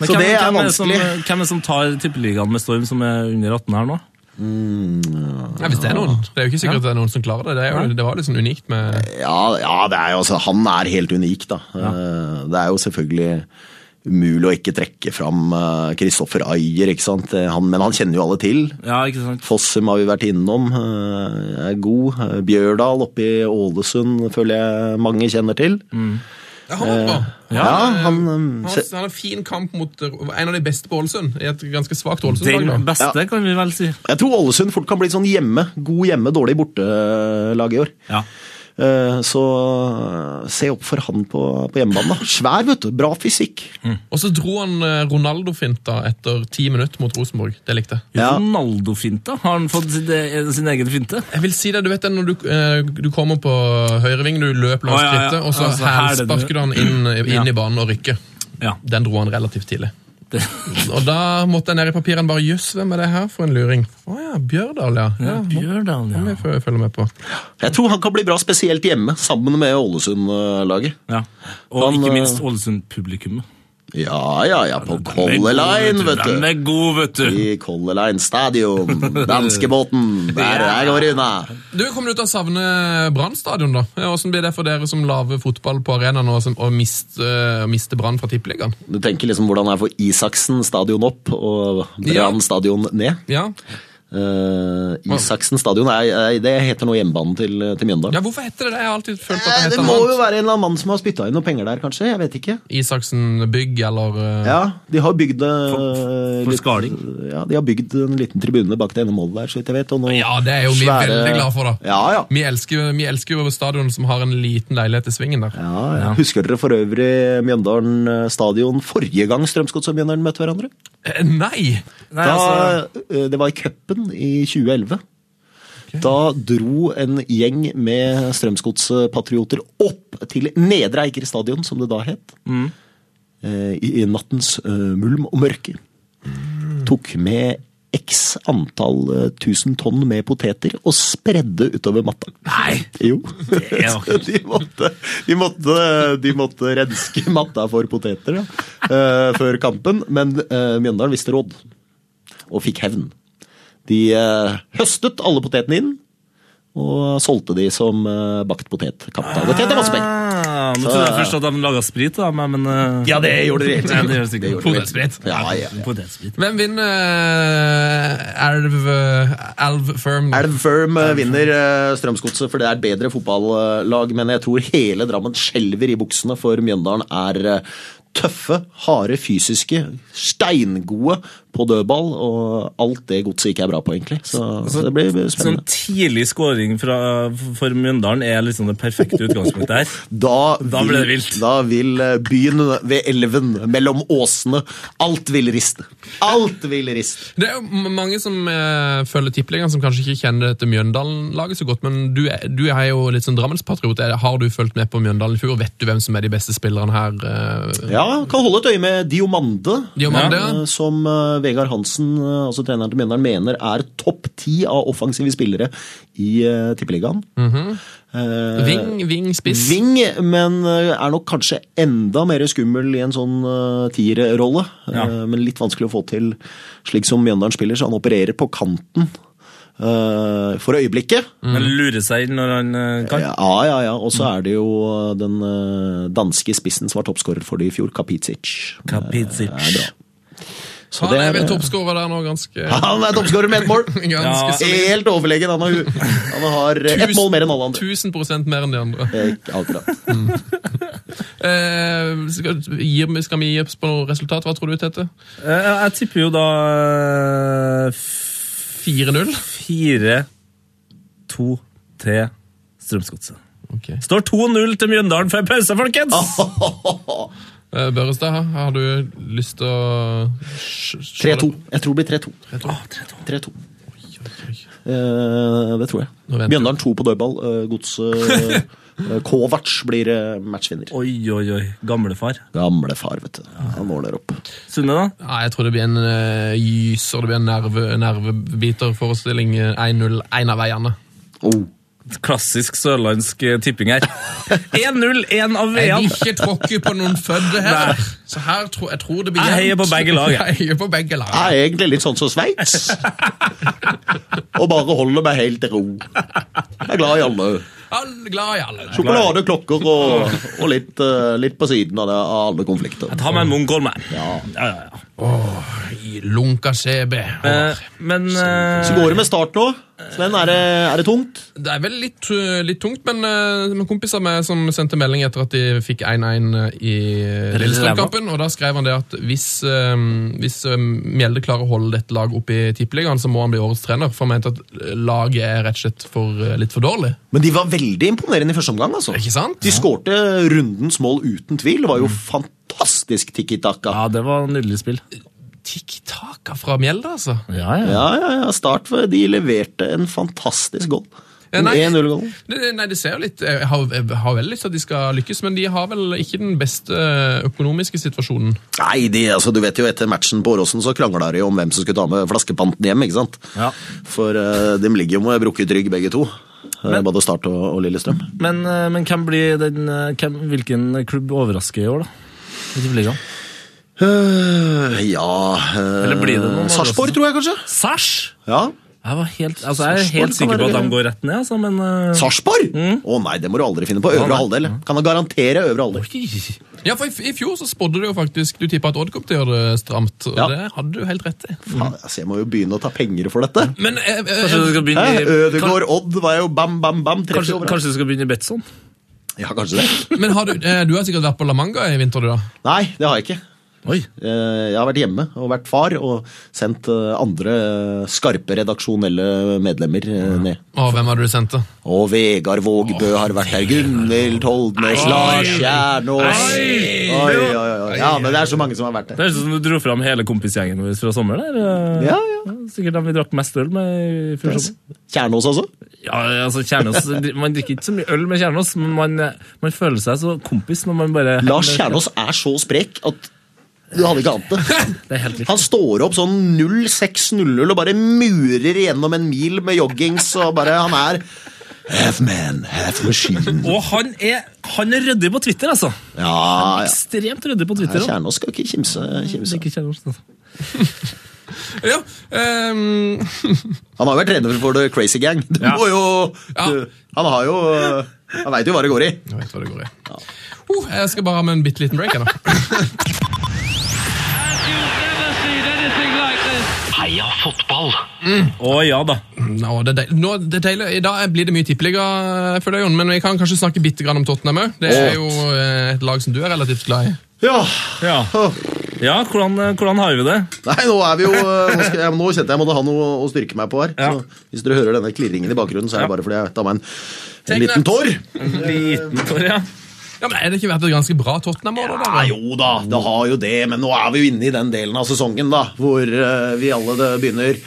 Speaker 1: Men
Speaker 5: Så
Speaker 1: hvem,
Speaker 5: det er
Speaker 1: hvem som,
Speaker 5: vanskelig.
Speaker 1: hvem er det som tar tippeligaen med Storm, som er under 18 her nå?
Speaker 5: Mm.
Speaker 4: Nei, hvis det er noen. Det er jo ikke sikkert det er noen som klarer det. Det, er jo, det var litt sånn unikt med
Speaker 5: Ja, ja det er jo, altså, han er helt unik, da. Eh, Det er jo selvfølgelig umulig å ikke trekke fram eh, Christoffer Ayer, ikke sant. Eh, Han, men han kjenner jo alle til.
Speaker 1: Ja, ikke sant?
Speaker 5: Fossum har vi vært innom, eh, er god. Eh, Bjørdal oppe i Ålesund føler jeg mange kjenner til.
Speaker 4: Ja, han var bra.
Speaker 5: Mm. Ja, han,
Speaker 4: Han
Speaker 5: eh, se-
Speaker 4: har- han har en fin kamp mot eh, en av de beste på Ålesund, i et ganske svakt Ålesund-lag.
Speaker 1: Den
Speaker 4: da.
Speaker 1: beste, kan vi vel si.
Speaker 5: Jeg tror Ålesund fort kan bli sånn hjemme. God hjemme, dårlig bortelag i år.
Speaker 1: Ja.
Speaker 5: Eh, Så eh, se opp for han på, på hjemmebane. da. Svær, vet du. Bra fysikk.
Speaker 4: Og så dro han eh, Ronaldo-finta etter ti minutter mot Rosenborg. Det likte jeg.
Speaker 5: Ja.
Speaker 1: Ronaldo-finta? Har han fått sin, eh, sin egen finte?
Speaker 4: Jeg vil si det, du vet det, Når du, eh, du kommer på høyrevingen, du løper
Speaker 1: Å,
Speaker 4: langs
Speaker 1: ja, ja.
Speaker 4: skrittet, og så
Speaker 1: Altså, her er det
Speaker 4: hælsparker du han inn, inn i banen og rykker.
Speaker 1: Ja.
Speaker 4: Den dro han relativt tidlig.
Speaker 1: Det,
Speaker 4: Og da måtte jeg ned i papirene bare Jøss, hvem er det her for en luring? Å ja, Bjørdal, ja. ja, må-
Speaker 1: Bjørdal,
Speaker 4: må
Speaker 1: Mhm. ja.
Speaker 4: jeg fø- følge med på.
Speaker 5: Jeg tror han kan bli bra spesielt hjemme, sammen med Ålesund-laget.
Speaker 1: ja. Og
Speaker 5: Han,
Speaker 1: ikke
Speaker 5: eh,
Speaker 1: minst Ålesund-publikummet.
Speaker 5: Ja, ja, ja. På Color Line, vet
Speaker 1: Den
Speaker 5: du.
Speaker 1: er god, vet du.
Speaker 5: I Color Line Stadion. Danskebåten. Der, der går det unna.
Speaker 4: Du kommer du til å savne Brann stadion, da? Eh, Hvordan blir det for dere som lager fotball på arenaen og, som, og miste, eh, miste Brann fra Tippeligaen?
Speaker 5: Du tenker liksom hvordan det er for Isaksen stadion opp og Brann stadion ned.
Speaker 4: Ja.
Speaker 5: Eh, Isaksen stadion, er, er, det heter nå hjemmebanen til, til Mjøndalen.
Speaker 4: ja, hvorfor heter det det? Jeg har alltid følt at
Speaker 5: Eh,
Speaker 4: det
Speaker 5: Det
Speaker 4: heter
Speaker 5: må
Speaker 4: noe
Speaker 5: jo
Speaker 4: annet.
Speaker 5: være en eller annen mann som har spytta inn noen penger der, kanskje. Jeg vet ikke.
Speaker 4: Isaksen Bygg eller eh,
Speaker 5: Ja, de har bygd eh,
Speaker 1: for
Speaker 5: litt-
Speaker 1: skaling.
Speaker 5: Ja, de har bygd en liten tribune bak det ene målet der, så vidt jeg vet. Og noen
Speaker 4: Ja, det er jo vi
Speaker 5: svære-
Speaker 4: veldig glad for, da.
Speaker 5: Ja, ja.
Speaker 4: Vi elsker, vi elsker jo stadion som har en liten leilighet i svingen der.
Speaker 5: Ja, ja. Husker dere for øvrig Mjøndalen eh, stadion forrige gang Strømsgodset og Mjøndalen møtte hverandre?
Speaker 4: Eh, Nei!
Speaker 1: Nei,
Speaker 5: da,
Speaker 1: altså,
Speaker 5: eh, det var i cupen i 2011. Da dro en gjeng med Strømsgodspatrioter opp til Nedre Eiker stadion, som det da het.
Speaker 1: Mm.
Speaker 5: eh, I, I nattens eh, mulm og mørke.
Speaker 1: Mm.
Speaker 5: Tok med x antall eh, tusen tonn med poteter og spredde utover matta. Nei! Jo.
Speaker 1: er
Speaker 5: Så de, måtte, de, måtte, de måtte renske matta for poteter da, eh, før kampen, men eh, Mjøndalen visste råd og fikk hevn. De eh, høstet alle potetene inn Og solgte de som eh, bakt potetkapp. Da. Det tjente masse penger.
Speaker 1: Ah, nå trodde jeg først at de laga sprit, da, men, men eh,
Speaker 5: Ja, det gjorde de helt
Speaker 1: ja, det gjør det sikkert.
Speaker 4: Potetsprit.
Speaker 5: Ja, ja.
Speaker 1: Potetsprit.
Speaker 4: Hvem vinner eh, Elv, elv Firm?
Speaker 5: Elv Firm eh, vinner eh, Strømsgodset, for det er et bedre fotballag. Men jeg tror hele Drammen skjelver i buksene, for Mjøndalen er eh, tøffe, harde, fysiske, steingode på dødball. Og alt det godset ikke er bra på, egentlig. Så, så det blir
Speaker 1: Sånn
Speaker 5: spennende.
Speaker 1: tidlig scoring fra, for Mjøndalen er liksom det perfekte utgangspunktet her.
Speaker 5: Da,
Speaker 1: Da blir det vilt.
Speaker 5: Da vil eh, byen ved elven, mellom åsene Alt vil riste. Alt vil riste.
Speaker 4: Det er jo m- mange som eh, følger tippeligaen, som kanskje ikke kjenner dette Mjøndalen-laget så godt, men du er, du er jo litt sånn Drammenspatriot. Er det- Har du fulgt med på Mjøndalen i fjor? Vet du hvem som er de beste spillerne her? eh?
Speaker 5: Ja, kan holde et øye med Diomande.
Speaker 4: Diomande?
Speaker 5: Eh, Som eh, Vegard Hansen, eh, altså treneren til Mjøndalen, mener er topp ti av offensive spillere i uh, Tippeligaen.
Speaker 4: Mhm.
Speaker 5: Eh,
Speaker 4: Ving, ving, spiss?
Speaker 5: Ving, men eh, er nok kanskje enda mer skummel i en sånn uh, tierrolle. Eh,
Speaker 1: Ja.
Speaker 5: men litt vanskelig å få til slik som Mjøndalen spiller, så han opererer på kanten eh, for øyeblikket.
Speaker 4: Mm.
Speaker 1: Men lurer seg inn når han eh, kan.
Speaker 5: Ja, ja, ja. Og så er det jo eh, den eh, danske spissen som var toppskårer for det i fjor, Kapizic.
Speaker 1: Kapizic.
Speaker 5: Det er bra. Så
Speaker 4: Han er
Speaker 5: det er-
Speaker 4: vel toppskårer der nå, ganske,
Speaker 5: Han er toppskårer med ett mål!
Speaker 1: Ja.
Speaker 4: ganske solid.
Speaker 5: Helt overlegen. Han har, han har eh, ett mål mer enn alle andre.
Speaker 4: 1000 prosent mer enn de andre.
Speaker 5: Eh, Akkurat.
Speaker 4: Eh, skal, gir, vi- skal vi gi oss på noe resultat? Hva tror du, Tete?
Speaker 1: Eh, Jeg, jeg tipper jo da eh, f-
Speaker 4: 4-0?
Speaker 1: fire, to, tre Strømsgodset.
Speaker 4: Ok.
Speaker 1: Står 2-0 til Mjøndalen før pause, folkens!
Speaker 4: Eh, Børrestad, har- har du lyst til å sj- sj-
Speaker 5: 3-2. Jeg tror det blir 3-2.
Speaker 1: Åh, 3-2.
Speaker 5: 3-2.
Speaker 4: Oi, oi.
Speaker 5: Eh, det tror jeg.
Speaker 4: Nå venter
Speaker 5: Mjøndalen 2 på dødball. Eh, Godset eh, Kovac blir eh, matchvinner.
Speaker 1: Oi, oi, oi. Gamlefar.
Speaker 5: Gamle far, vet du. Han ordner opp.
Speaker 1: Sunne, da?
Speaker 4: Nei, jeg tror det blir en eh, gyser, det blir en nerve, nervebiterforestilling. eh, 1-0, én av veiene.
Speaker 5: Oh.
Speaker 1: Klassisk sørlandsk eh, tipping her. 1-0, én av
Speaker 4: Jeg vil
Speaker 1: veiene.
Speaker 4: ikke tråkke på noen fødde her,
Speaker 1: Nei.
Speaker 4: så her tror, jeg tror det blir
Speaker 1: Jeg heier på begge lag, jeg.
Speaker 4: Jeg heier på begge lag.
Speaker 5: Jeg er egentlig litt sånn som Sveits. Og bare holder meg helt i ro. Jeg er glad i alle.
Speaker 4: Alle glad i alle.
Speaker 5: Sjokolade, klokker og, og litt, eh, litt på siden av, det, av alle konflikter.
Speaker 1: Ta meg en mongol, mann.
Speaker 5: Ja.
Speaker 1: Ja, ja, ja.
Speaker 4: I Lunka CB.
Speaker 1: Eh, Men eh,
Speaker 5: Så går det med start nå. Sven, er det, er det tungt?
Speaker 4: Det er vel litt, eh, litt tungt, men eh, men kompiser av meg som sendte melding etter at de fikk 1-1 i eh, Lillestrøm-kampen, og da skrev han det at hvis, eh, hvis eh, Mjelde klarer å holde dette laget oppe i tippeligaen, så må han bli årets trener, for han mente at laget er rett og slett for, eh, litt for dårlig.
Speaker 5: Men de var veldig imponerende i første omgang. altså.
Speaker 4: Ikke sant?
Speaker 5: De skårte rundens mål uten tvil. Det var jo fantastisk tiki-taka.
Speaker 1: Ja, det var nydelig spill.
Speaker 4: Tikk-taka fra Mjelde, altså.
Speaker 1: Ja, ja.
Speaker 5: Ja, ja, ja, start for De leverte en fantastisk goal.
Speaker 4: Eh,
Speaker 5: En
Speaker 4: nei.
Speaker 5: 1-0-goal.
Speaker 4: Det, det- nei, det ser jo litt Jeg har, jeg har veldig lyst til at de skal lykkes, men de har vel ikke den beste eh, økonomiske situasjonen.
Speaker 5: Nei, de, altså, du vet jo etter matchen på Åråsen så krangla de om hvem som skulle ta med flaskepanten hjem. ikke sant?
Speaker 1: Ja.
Speaker 5: For eh, de ligger jo med brukket rygg begge to. eh, både Start og, og Lillestrøm.
Speaker 1: Men, eh, men hvem blir den, eh, hvem, hvilken klubb overrasker i år, da? I tippeligaen?
Speaker 5: Eh, ja eh,
Speaker 1: Eller blir det noen
Speaker 5: Sarpsborg,
Speaker 1: Åråsen?
Speaker 5: tror jeg kanskje.
Speaker 1: Sæsj!
Speaker 5: Ja.
Speaker 1: Jeg, var helt, altså, jeg er
Speaker 5: Sarpsborg
Speaker 1: helt sikker
Speaker 5: kan
Speaker 1: på at
Speaker 5: være-
Speaker 1: de går rett ned, altså, men eh,
Speaker 5: Sarpsborg? Å nei, det må du aldri finne på. Øvre
Speaker 1: nei.
Speaker 5: halvdel. Kan jeg garantere øvre halvdel.
Speaker 4: Ja, for i, f- i fjor så spådde du jo faktisk Du tippa at Odd kom til å gjøre det stramt, og
Speaker 5: Ja.
Speaker 4: det hadde du helt rett i.
Speaker 5: Faen, altså, jeg må jo begynne å ta penger for dette.
Speaker 4: Men eh, eh,
Speaker 1: Kanskje du skal
Speaker 5: Hæ?
Speaker 1: begynne i kan-
Speaker 5: Ødegård, Odd var jo bam, bam, bam. 30
Speaker 1: Kanskje,
Speaker 5: over.
Speaker 1: kanskje du skal begynne i Betson?
Speaker 5: Ja, kanskje det.
Speaker 4: men har du, eh, du har sikkert vært på La Manga i vinter, du, da?
Speaker 5: Nei, det har jeg ikke.
Speaker 1: Oi.
Speaker 5: Eh, Jeg har vært hjemme og vært far og sendt eh, andre eh, skarpe redaksjonelle medlemmer eh, ned.
Speaker 4: Og hvem hadde du sendt, da?
Speaker 5: Og Vegard Vågbø har vært der. Gunhild Toldnes, Lars Kjernås Oi, oi, oi, oi. Ja, men det er så mange som har vært
Speaker 1: Det
Speaker 5: der.
Speaker 1: høres ut som du dro fram hele kompisgjengen vår fra sommer. der.
Speaker 5: Ja, ja.
Speaker 1: Sikkert dem vi drakk mest øl med i fjor sommer.
Speaker 5: Kjernås også?
Speaker 1: Ja, altså Kjernås, Man drikker ikke så mye øl med Kjernås, men man, man føler seg så kompis når man bare
Speaker 5: Lars Kjernås er så sprek at du hadde ikke ant det.
Speaker 1: Det er helt vilt.
Speaker 5: Han står opp sånn 06.00 og bare murer gjennom en mil med joggings og bare Han er half man, half machine.
Speaker 1: Og han er, han er ryddig på Twitter, altså.
Speaker 5: Ja, ja.
Speaker 1: Ekstremt ryddig på Twitter.
Speaker 5: Kjernås skal ikke kimse. kimse.
Speaker 1: Ikke Kjernås, altså.
Speaker 4: Ja, ehm,
Speaker 5: Han har jo vært trener for The Crazy Gang. Du
Speaker 1: Ja.
Speaker 5: må jo
Speaker 4: Ja.
Speaker 5: du, Han har jo Han veit jo hva det går i.
Speaker 4: jeg vet hva det går i. Uh, jeg skal bare ha med en bitte liten break. jeg, nå.
Speaker 2: You've never seen anything like this.
Speaker 3: Heia fotball!
Speaker 1: Å ja da.
Speaker 4: Nå, det er deil- nå, det er deilig. I dag blir det mye tippeliga, eh, føler jeg, Jon, men vi kan kanskje snakke bitte grann om Tottenham òg. Det er jo eh, et lag som du er relativt glad i.
Speaker 5: Ja.
Speaker 1: Ja,
Speaker 5: Åh.
Speaker 1: ja hvordan, hvordan har vi det?
Speaker 5: Nei, nå er vi jo Nå, skal jeg, nå kjente jeg måtte ha noe å styrke meg på her.
Speaker 1: Ja.
Speaker 5: Så hvis dere hører denne klirringen i bakgrunnen, så er det bare fordi jeg tar meg en,
Speaker 4: Take
Speaker 5: en liten
Speaker 4: that.
Speaker 5: tår.
Speaker 1: En liten tår, ja.
Speaker 4: Ja, men Er det ikke vært et ganske bra Tottenham-år? da, da?
Speaker 5: Ja, jo da, det har jo det, men nå er vi jo inne i den delen av sesongen da, hvor eh, vi alle det begynner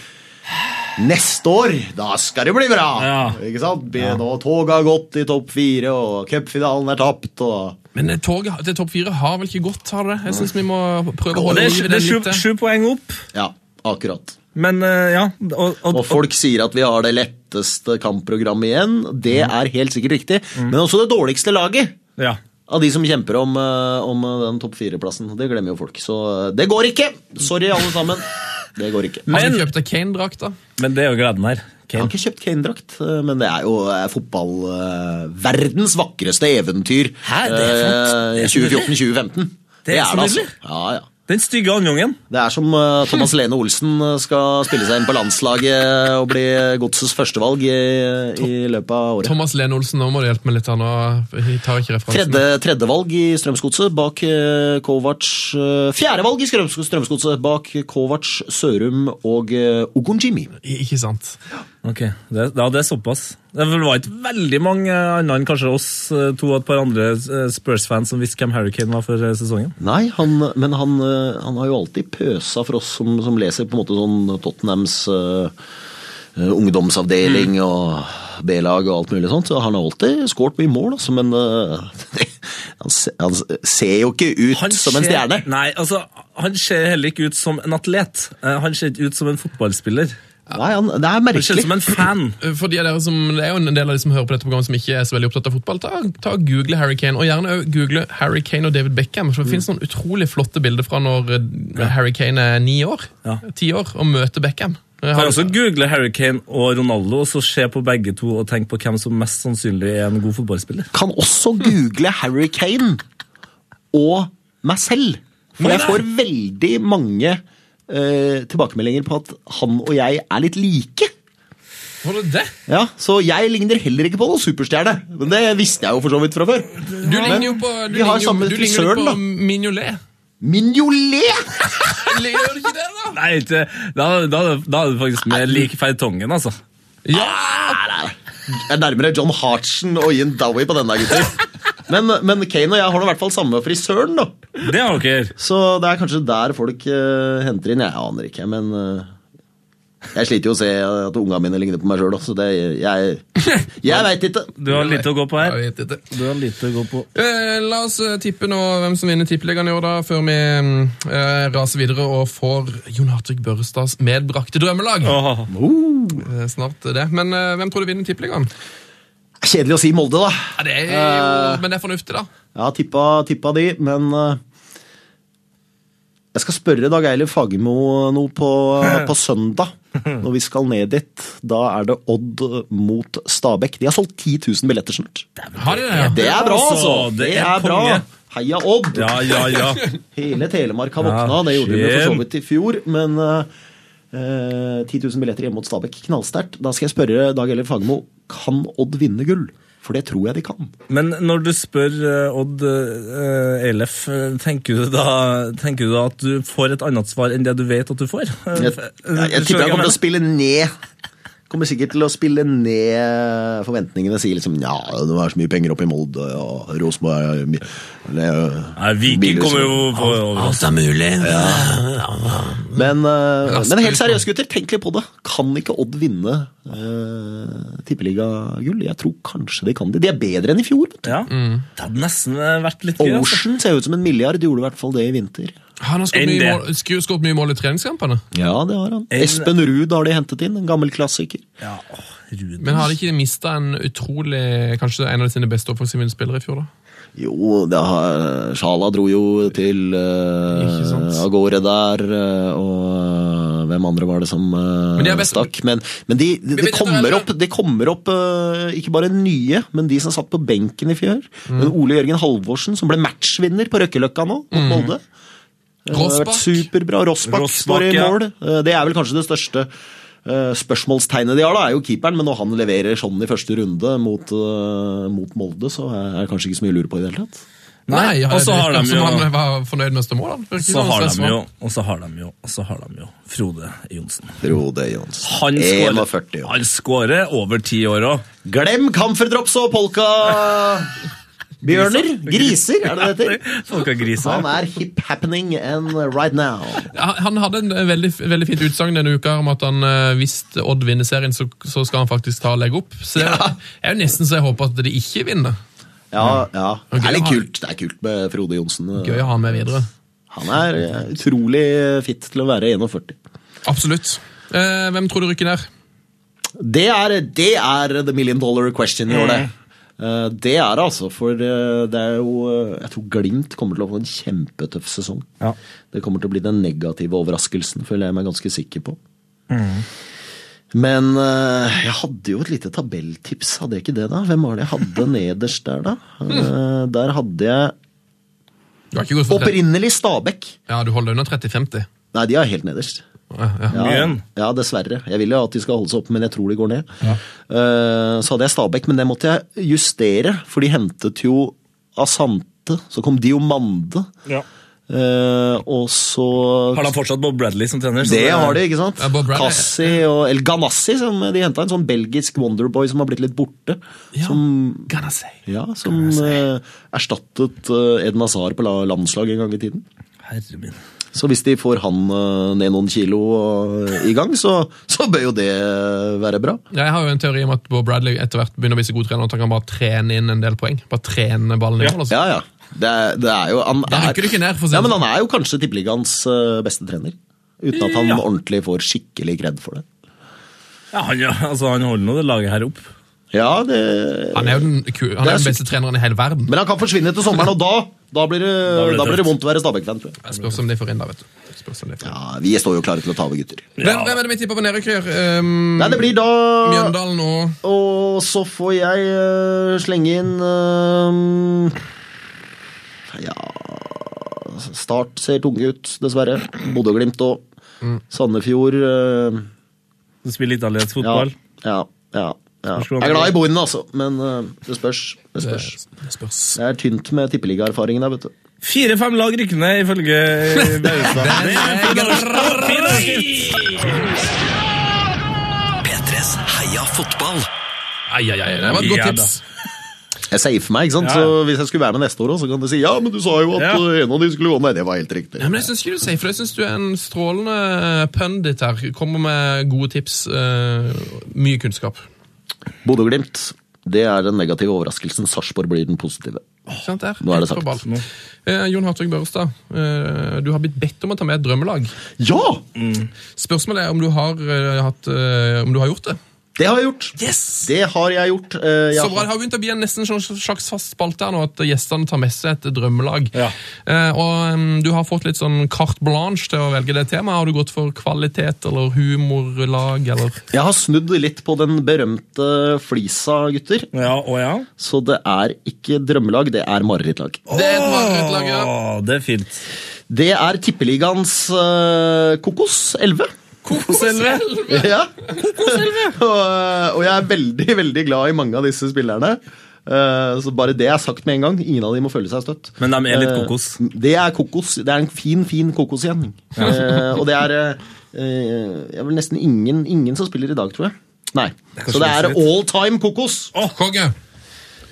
Speaker 5: Neste år, da skal det bli bra!
Speaker 1: Ja.
Speaker 5: Ikke sant? Be- Nå toget har gått i topp fire, og cupfinalen er tapt, og
Speaker 4: Men eh, toget til topp fire har vel ikke gått, har det? Jeg syns vi må prøve å
Speaker 1: Og
Speaker 4: holde
Speaker 1: det er,
Speaker 4: liv
Speaker 1: sju-
Speaker 4: i
Speaker 1: det
Speaker 4: det
Speaker 1: er
Speaker 4: litt.
Speaker 1: sju,
Speaker 4: eh.
Speaker 1: sju poeng opp,
Speaker 5: Ja, akkurat.
Speaker 1: men eh, ja. Og, og,
Speaker 5: Og folk sier at vi har det letteste kampprogrammet igjen. Det
Speaker 1: Mm.
Speaker 5: er helt sikkert riktig, men også det dårligste laget.
Speaker 1: ja.
Speaker 5: Av de som kjemper om, eh, om den topp fire-plassen. Det glemmer jo folk. Så eh, det går ikke! Sorry, alle sammen. Det går ikke.
Speaker 4: Har
Speaker 1: Men-
Speaker 4: du kjøpt deg Kane-drakt, da?
Speaker 1: Men det er jo gleden her.
Speaker 5: Jeg
Speaker 1: Kane.
Speaker 5: har ikke kjøpt Kane-drakt, eh, men det er jo eh, fotball eh, verdens vakreste eventyr
Speaker 1: Hæ, det er flott.
Speaker 5: eh,
Speaker 1: Det er så
Speaker 5: 2014-2015.
Speaker 1: Det er så nydelig.
Speaker 5: altså.
Speaker 1: Hmm.
Speaker 5: Ja, ja.
Speaker 1: Den stygge andungen.
Speaker 5: Det er som eh, Thomas Lene Olsen eh, skal spille seg inn på landslaget og bli godsets førstevalg i, i løpet av året.
Speaker 4: Thomas Lene Olsen, nå må du hjelpe meg litt. her nå. Jeg tar ikke referansen.
Speaker 5: Tredje, tredjevalg i Strømsgodset bak eh, Kovac eh, Fjerdevalg i Strøms- Strømsgodset bak Kovac, Sørum og eh, Ogunjimi.
Speaker 4: I- Ikke sant.
Speaker 1: Ok, det, ja, det er såpass. Det var ikke veldig mange andre enn kanskje oss eh, to og et par andre eh, Spurs-fans som visste hvem Harry Kane var for eh, sesongen.
Speaker 5: Nei, han, men han, eh, han har jo alltid pøsa for oss som, som leser på en måte sånn Tottenhams eh, eh, ungdomsavdeling
Speaker 1: Mm.
Speaker 5: og B-lag og alt mulig sånt. Så han har alltid skåret mye mål, altså, men eh, han, se, han ser jo ikke ut som en
Speaker 1: ser-
Speaker 5: stjerne.
Speaker 1: Nei, altså, han ser heller ikke ut som en atlet. Eh, Han ser ikke ut som en fotballspiller.
Speaker 5: Nei, han, det er
Speaker 1: Han ser ut
Speaker 5: merkelig.
Speaker 1: som en fan.
Speaker 4: For de av dere som, Det er jo en del av de som hører på dette programmet som ikke er så veldig opptatt av fotball. Ta, ta og Google Harry Kane, og gjerne også google Harry Kane og David Beckham.
Speaker 1: Mm.
Speaker 4: for Det finnes noen utrolig flotte bilder fra når eh, Harry Kane er ni år,
Speaker 1: Ja.
Speaker 4: ti år, og møter Beckham. Eh,
Speaker 1: Kan
Speaker 4: han-
Speaker 1: også google Harry Kane og Ronaldo og så se på begge to og tenke på hvem som mest sannsynlig er en god fotballspiller.
Speaker 5: Kan også google Harry Kane og meg selv. For jeg får veldig mange eh, tilbakemeldinger på at han og jeg er litt like.
Speaker 4: Var det det?
Speaker 5: Ja, Så jeg ligner heller ikke på noen superstjerne. Men det visste jeg jo for så vidt fra før.
Speaker 4: Du ligner jo på, du
Speaker 5: vi
Speaker 4: ligner,
Speaker 5: har
Speaker 4: jo-
Speaker 5: samme
Speaker 4: du ligner
Speaker 5: frisøren,
Speaker 4: jo
Speaker 5: da.
Speaker 4: på Mignolet.
Speaker 5: Mignolet!
Speaker 4: Gjør du ikke det, da?
Speaker 1: Nei, ikke, da, da, da er det faktisk med like feitongen, altså.
Speaker 5: Jeg er nærmere John Hartsen og Ian Dowie på denne, gutter. Men, men Kane og jeg har nå i hvert fall samme frisøren, da.
Speaker 1: Det har dere.
Speaker 5: Så det er kanskje der folk eh, henter inn. Jeg aner ikke, men eh, Jeg sliter jo å se at unga mine ligner på meg sjøl, så det Jeg, jeg veit ikke.
Speaker 1: Du har lite å gå på her.
Speaker 4: Jeg vet ikke.
Speaker 1: Du har lite å gå på.
Speaker 4: Eh, La oss eh, tippe nå hvem som vinner tippeligaen i år, da, før vi mm, eh, raser videre og får Jon Hartvig Børrestads medbrakte drømmelag.
Speaker 1: Åh.
Speaker 4: Eh, Snart det. Men eh, hvem tror du vinner tippeligaen?
Speaker 5: Kjedelig å si Molde, da.
Speaker 4: Ja, det er jo,
Speaker 1: Eh,
Speaker 4: men det er fornuftig, da.
Speaker 5: Jeg har tippa, tippa de, men eh, jeg skal spørre Dag Eilif Fagermo noe på, på søndag, når vi skal ned dit. Da er det Odd mot Stabæk. De har solgt 10 000 billetter snart.
Speaker 4: Har de det? Ja?
Speaker 5: Det er bra, altså! Det er bra.
Speaker 1: konge.
Speaker 5: Heia Odd!
Speaker 1: Ja, ja, ja.
Speaker 5: Hele Telemark har våkna.
Speaker 1: Ja,
Speaker 5: Det gjorde de jo for så
Speaker 1: skjem.
Speaker 5: vidt i fjor, men eh, eh, 10 000 billetter hjemme mot Stabæk. Knallsterkt. Da skal jeg spørre Dag Eilif Fagermo kan Odd vinne gull. For det tror jeg de kan.
Speaker 1: Men når du spør eh, Odd eh, Eilef, eh, tenker du, da, tenker du da at du får et annet svar enn det du vet at du får? Eh,
Speaker 5: Jeg, jeg, jeg tipper jeg kommer til å spille ned Kommer sikkert til å spille ned forventningene. Si liksom ja, det er så mye penger oppe i Molde og Rosenborg er mye- eller,
Speaker 1: Nei, Viking kommer jo på
Speaker 3: Alt er mulig.
Speaker 5: Men, eh,
Speaker 4: Rasper
Speaker 5: men helt
Speaker 4: litt,
Speaker 5: seriøst, gutter, tenk litt på det. Kan ikke Odd vinne uh, tippeligagull? Jeg tror kanskje de kan det. De er bedre enn i fjor. vet du.
Speaker 1: Ja. Det hadde nesten vært litt gøy. altså.
Speaker 5: Ocean ser ut som en milliard, gjorde i hvert fall det i vinter.
Speaker 4: Han har skåret
Speaker 1: Enn
Speaker 4: mye,
Speaker 1: det.
Speaker 4: mål- skru- skåret mye mål i treningskampene.
Speaker 5: Ja, det har han.
Speaker 1: En-
Speaker 5: Espen Ruud har de hentet inn, en gammel klassiker.
Speaker 1: Ja, åh, Rudi.
Speaker 4: Men har de ikke mista en utrolig Kanskje en av sine beste offensive spillere i fjor, da?
Speaker 5: Jo, det har, Sjala dro jo til eh,
Speaker 4: Ikke sant.
Speaker 5: av gårde der, eh, og hvem andre var det som eh,
Speaker 4: Men de er best-
Speaker 5: stakk. Men, men de, de, de
Speaker 4: vet dette
Speaker 5: kommer
Speaker 4: er-
Speaker 5: opp, de kommer opp eh, ikke bare nye, men de som satt på benken i fjor.
Speaker 4: Mm.
Speaker 5: Men Ole Jørgen Halvorsen, som ble matchvinner på Røkkeløkka nå, mot Molde. Eh, det har vært
Speaker 4: Mm. Rossbakk.
Speaker 5: Superbra. Rossbakk
Speaker 1: Rossbakk,
Speaker 5: står i
Speaker 1: ja.
Speaker 5: mål. Eh, Det er vel kanskje det største eh, spørsmålstegnet de har, da, er jo keeperen. Men når han leverer sånn i første runde mot, eh, mot Molde, så er det kanskje ikke så mye å lure på i det hele tatt.
Speaker 1: Nei, og så har de
Speaker 4: Som han
Speaker 1: jo
Speaker 4: var fornøyd med å stå mål, han. Virker
Speaker 1: så
Speaker 4: som
Speaker 1: har
Speaker 4: han
Speaker 1: de
Speaker 4: var-
Speaker 1: jo, og så har de jo, og så har de jo Frode Johnsen.
Speaker 5: Frode Johnsen.
Speaker 1: Han skårer,
Speaker 5: 41 år.
Speaker 1: han skårer over ti år òg.
Speaker 5: Glem kamferdrops og polka... Bjørner? Griser, er det det heter? Han
Speaker 1: Folkagriser.
Speaker 5: er hip happening and right now.
Speaker 4: Han han hadde en eh, veldig, veldig fint utsagn denne uka om at han, eh, hvis Odd vinner serien, så, så skal han faktisk ta og legge opp. Så det er jo nesten så jeg håper at de ikke vinner.
Speaker 5: Ja, ja.
Speaker 4: Ok,
Speaker 5: Det er litt
Speaker 4: han-
Speaker 5: kult. Det er kult med Frode Johnsen.
Speaker 4: Gøy å ha han med videre.
Speaker 5: Han er eh, utrolig fit til å være 41.
Speaker 4: Absolutt. Eh, hvem tror du rykker ned?
Speaker 5: Det er, det er the million dollar question i år, det. Eh, Det er det altså, for eh, det er jo eh, Jeg tror Glimt kommer til å få en kjempetøff sesong.
Speaker 1: Ja.
Speaker 5: Det kommer til å bli den negative overraskelsen, føler jeg meg ganske sikker på. Men eh, jeg hadde jo et lite tabelltips, hadde jeg ikke det, da? Hvem var det jeg hadde nederst der, da? Eh, Der hadde jeg
Speaker 4: Du har ikke gått for tre-
Speaker 5: opprinnelig Stabæk.
Speaker 4: Ja, du holder under 30-50.
Speaker 5: Nei, de er helt nederst.
Speaker 4: Ja, ja.
Speaker 5: Ja,
Speaker 1: Mjøen.
Speaker 5: ja, dessverre. Jeg vil jo at de skal holde seg oppe, men jeg tror de går ned. Eh, Så hadde jeg Stabæk, men det måtte jeg justere, for de hentet jo Asante, så kom Diomande,
Speaker 1: Ja.
Speaker 5: eh, og så
Speaker 1: Har de fortsatt Bob Bradley som trener? så
Speaker 5: det har de, ikke sant?
Speaker 4: Ja, Bob Bradley.
Speaker 5: Kassi og El Ganassi, som de henta en sånn belgisk wonderboy som har blitt litt borte. Som,
Speaker 4: Gonna say.
Speaker 5: ja, som eh, erstattet eh, Eden Hazar på la- landslag en gang i tiden.
Speaker 1: Herre min.
Speaker 5: Så hvis de får han eh, ned noen kilo eh, i gang, så, så bør jo det være bra.
Speaker 4: Jeg har jo en teori om at Bob Bradley etter hvert begynner å bli så god trener at han kan bare trene inn en del poeng. Bare trene ballen i mål. altså.
Speaker 5: Ja, ja. Det er, det er jo han
Speaker 4: Da rykker du ikke ned, for å si
Speaker 5: ja,
Speaker 4: det
Speaker 5: men
Speaker 4: sånn.
Speaker 5: han er jo kanskje tippeligaens eh, beste trener. Uten at han ordentlig får skikkelig kred for det.
Speaker 1: Ja, han, ja, altså, han holder nå det laget her opp.
Speaker 5: Ja, det
Speaker 4: Han er jo den, ku- han
Speaker 5: Det
Speaker 4: er
Speaker 5: er
Speaker 4: den beste treneren i hele verden.
Speaker 5: Men han kan forsvinne til sommeren, og da, da, blir, det, da,
Speaker 1: blir det
Speaker 5: blir, det
Speaker 1: tøft.
Speaker 5: vondt å være Stabæk-fan, tror jeg.
Speaker 4: Jeg spørs om de får inn da, vet du. Jeg Spørs om de får inn.
Speaker 5: Ja, vi står jo klare til å ta over, gutter.
Speaker 4: Hvem, hvem er det vi tipper på nedrykker? Um,
Speaker 5: Nei, det blir da
Speaker 4: Mjøndalen og
Speaker 5: Og så får jeg eh, slenge inn eh, Ja Start ser tunge ut, dessverre. Bodø-Glimt og
Speaker 1: Mm.
Speaker 5: Sandefjord. eh,
Speaker 1: Du spiller
Speaker 5: ja,
Speaker 1: italiensk fotball.
Speaker 5: ja, ja, ja.
Speaker 1: Spørs hvordan
Speaker 5: Jeg er
Speaker 1: det
Speaker 5: glad i
Speaker 1: blir.
Speaker 5: Bohinen, altså, men eh, det spørs. Det spørs.
Speaker 4: Det spørs.
Speaker 5: Det er tynt med tippeligaerfaringen her, vet du.
Speaker 1: Fire-fem lag rykker ned, ifølge Baustad. Det er fin overskrift.
Speaker 3: P3s Heia fotball.
Speaker 4: Ai, ai, ai, det var et godt
Speaker 1: Ja,
Speaker 4: tips.
Speaker 5: Jeg safer meg, ikke sant?
Speaker 1: Ja, ja.
Speaker 5: Så hvis jeg skulle være med neste år òg, så kan du si ja, men du sa jo at
Speaker 1: Ja.
Speaker 5: eh, en av de skulle gå Nei, det var helt riktig.
Speaker 4: Nei, men jeg synes ikke du sier, for jeg synes du er en strålende pundit her. Kommer med gode tips, eh, mye kunnskap.
Speaker 5: Bodø-Glimt, det er den negative overraskelsen. Sarpsborg blir den positive.
Speaker 4: Ikke sant der?
Speaker 5: Nå er det
Speaker 4: Rett på
Speaker 5: sagt.
Speaker 4: ball. Eh, Jon Hartvig Børstad, eh, du har blitt bedt om å ta med et drømmelag.
Speaker 5: Ja!
Speaker 4: Spørsmålet er om du har, eh, hatt, eh, om du har gjort det.
Speaker 5: Det har jeg gjort.
Speaker 4: Yes!
Speaker 5: Det har jeg gjort. eh, jeg
Speaker 4: Så bra,
Speaker 5: har-
Speaker 4: Det har begynt å bli en nesten sånn slags fast spalte her nå, at gjestene tar med seg et drømmelag.
Speaker 1: Ja.
Speaker 4: Eh, og mm, Du har fått litt sånn carte blanche til å velge det temaet. Har du gått for kvalitet eller humorlag? eller...
Speaker 5: Jeg har snudd litt på den berømte flisa, gutter.
Speaker 1: Ja, å ja.
Speaker 5: Så det er ikke drømmelag, det er marerittlag.
Speaker 4: Det er et marerittlag, ja.
Speaker 1: Å, det er fint.
Speaker 5: Det er tippeligaens eh, kokos 11.
Speaker 4: Kokoshelvete!
Speaker 5: Ja. og, eh, og jeg er veldig, veldig glad i mange av disse spillerne. Eh, så bare det er sagt med en gang. Ingen av de må føle seg støtt.
Speaker 1: Men de er litt
Speaker 5: Eh,
Speaker 1: kokos.
Speaker 5: det er kokos. Det er en fin, fin kokosgjerning. Eh, og det er eh, eh, Jeg vil nesten ingen, ingen som spiller i dag, tror jeg. Nei. Så det er
Speaker 1: litt
Speaker 5: all time kokos.
Speaker 4: Konge,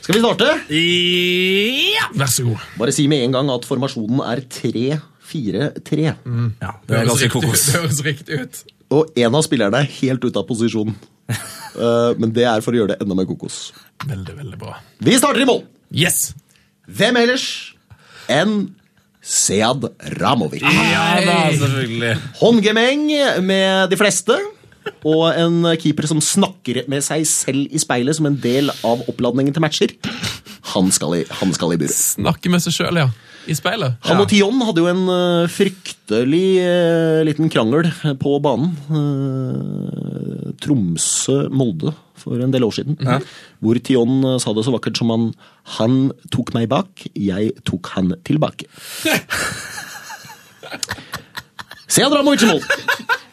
Speaker 5: Skal vi starte?
Speaker 1: Ja,
Speaker 4: vær så god.
Speaker 5: Bare si med en gang at formasjonen er 3-4-3.
Speaker 1: ja det er ganske
Speaker 4: riktig ut.
Speaker 1: kokos.
Speaker 4: Det høres riktig ut.
Speaker 5: Og en av spillerne er helt ute av posisjon. Eh, men det er for å gjøre det enda mer kokos.
Speaker 4: Veldig, veldig bra.
Speaker 5: Vi starter i mål!
Speaker 4: Yes!
Speaker 5: Hvem ellers enn Sead Ramovic?
Speaker 4: Ah.
Speaker 1: Ja da, selvfølgelig.
Speaker 5: Håndgemeng med de fleste. Og en keeper som snakker med seg selv i speilet som en del av oppladningen til matcher. Han skal i, han skal i buret.
Speaker 4: Snakke med seg sjøl, ja. I speilet.
Speaker 5: Han og
Speaker 4: ja.
Speaker 5: Tion hadde jo en eh, fryktelig eh, liten krangel på banen. eh, Tromsø-Molde for en del år siden. Hvor Tion eh, sa det så vakkert som han Han tok meg bak, jeg tok han tilbake. Sead Ramovic i mål.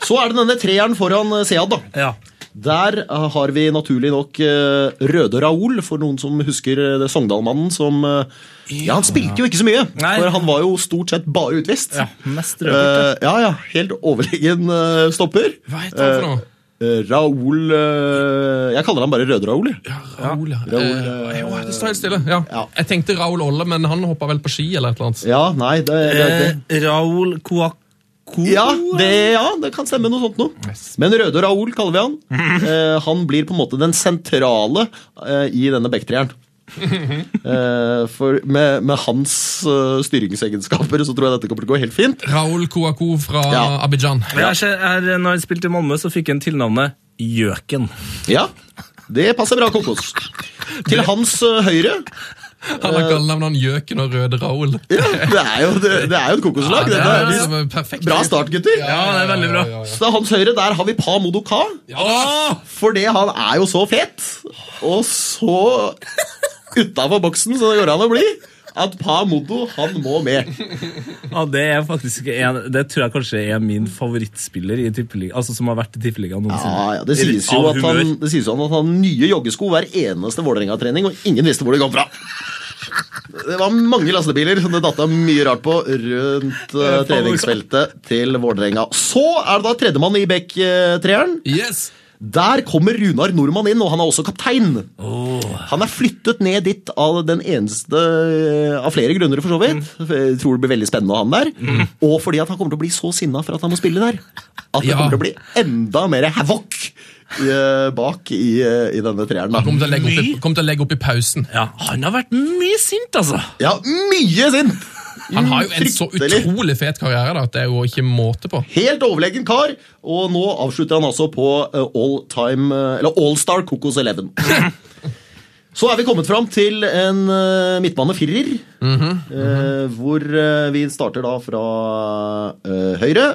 Speaker 5: Så er det denne treeren foran eh, Sead, da.
Speaker 1: Ja.
Speaker 5: Der eh, har vi naturlig nok eh, Røde Raoul, for noen som husker eh, det Sogndal-mannen som eh, Ja, han spilte jo ikke så mye,
Speaker 1: Nei.
Speaker 5: for han var jo stort sett bare utvist.
Speaker 1: Ja, mest
Speaker 5: Eh,
Speaker 1: rødkort,
Speaker 5: ja, ja, helt overlegen eh, stopper.
Speaker 4: Hva heter han for noe?
Speaker 5: Eh, Raoul eh, Jeg kaller han bare Røde Raoul. jeg.
Speaker 4: Ja, Raoul, ja.
Speaker 5: Raoul,
Speaker 4: Eh, jo, det står helt stille. Ja.
Speaker 5: Ja.
Speaker 4: Jeg tenkte Raoul Olle, men han hoppa vel på ski eller et eller annet.
Speaker 5: Ja, nei, det, det, det.
Speaker 1: Eh, Raoul Kouakou
Speaker 5: Ja, det, ja, det kan stemme noe sånt noe. Men Røde Raoul kaller vi han. Eh, han blir på en måte den sentrale eh, i denne bekktreeren. Eh, for med, med hans eh, styringsegenskaper så tror jeg dette kommer til å gå helt fint.
Speaker 4: Raoul Kouakou fra
Speaker 5: Ja.
Speaker 4: Abidjan.
Speaker 1: Men jeg ser her, eh, når jeg spilte i Malmö, så fikk jeg tilnavnet Gjøken.
Speaker 5: Ja, det passer bra, Kokos. Til hans eh, høyre
Speaker 4: Han
Speaker 5: Eh.
Speaker 4: har kallenavnet Gjøken og Røde Raoul.
Speaker 5: ja, det, er jo, det, det er jo et kokoslag.
Speaker 4: det
Speaker 5: Dette er
Speaker 4: er
Speaker 5: visst-
Speaker 4: liksom perfekt.
Speaker 5: Bra start, gutter.
Speaker 1: Ja, det er veldig bra.
Speaker 5: Så til hans høyre der har vi Pa Modoka.
Speaker 4: Ja!
Speaker 5: Fordi han er jo så fet og så utafor boksen som det går an å bli, at Pa Modo, han må med.
Speaker 1: Ja, det er faktisk en, det tror jeg kanskje er min favorittspiller i tippeligaen, altså som har vært i tippeligaen noensinne.
Speaker 5: Ja, ja, det sies jo
Speaker 1: Av
Speaker 5: at han,
Speaker 1: humør.
Speaker 5: det sies jo at han hadde nye joggesko hver eneste Vålerenga-trening, og ingen visste hvor de kom fra. Det var mange lastebiler som det datta mye rart på rundt eh, treningsfeltet til Vålerenga. Så er det da tredjemann i Beck-treeren.
Speaker 4: Yes!
Speaker 5: Der kommer Runar Nordmann inn, og han er også kaptein. Han er flyttet ned dit av den eneste eh, av flere grunner, for så vidt.
Speaker 4: Mm.
Speaker 5: Jeg tror det blir veldig spennende å ha han der. Og fordi at han kommer til å bli så sinna for at han må spille der, at det
Speaker 4: Ja.
Speaker 5: kommer til å bli enda mer havoc eh, bak i, eh, i denne treeren.
Speaker 4: Kom
Speaker 5: Da.
Speaker 4: til, å legge opp i, kom til å legge opp i pausen.
Speaker 1: Ja, han har vært mye sint, altså!
Speaker 5: Ja, mye sint!
Speaker 4: Han har jo en så
Speaker 5: Fryktelig.
Speaker 4: utrolig fet karriere da, at det er jo ikke måte på.
Speaker 5: Helt overlegen kar, og nå avslutter han altså på eh, all time, eh, eller All Star Kokos 11. Så er vi kommet fram til en eh, midtbanefirer, eh, hvor eh, vi starter da fra eh, høyre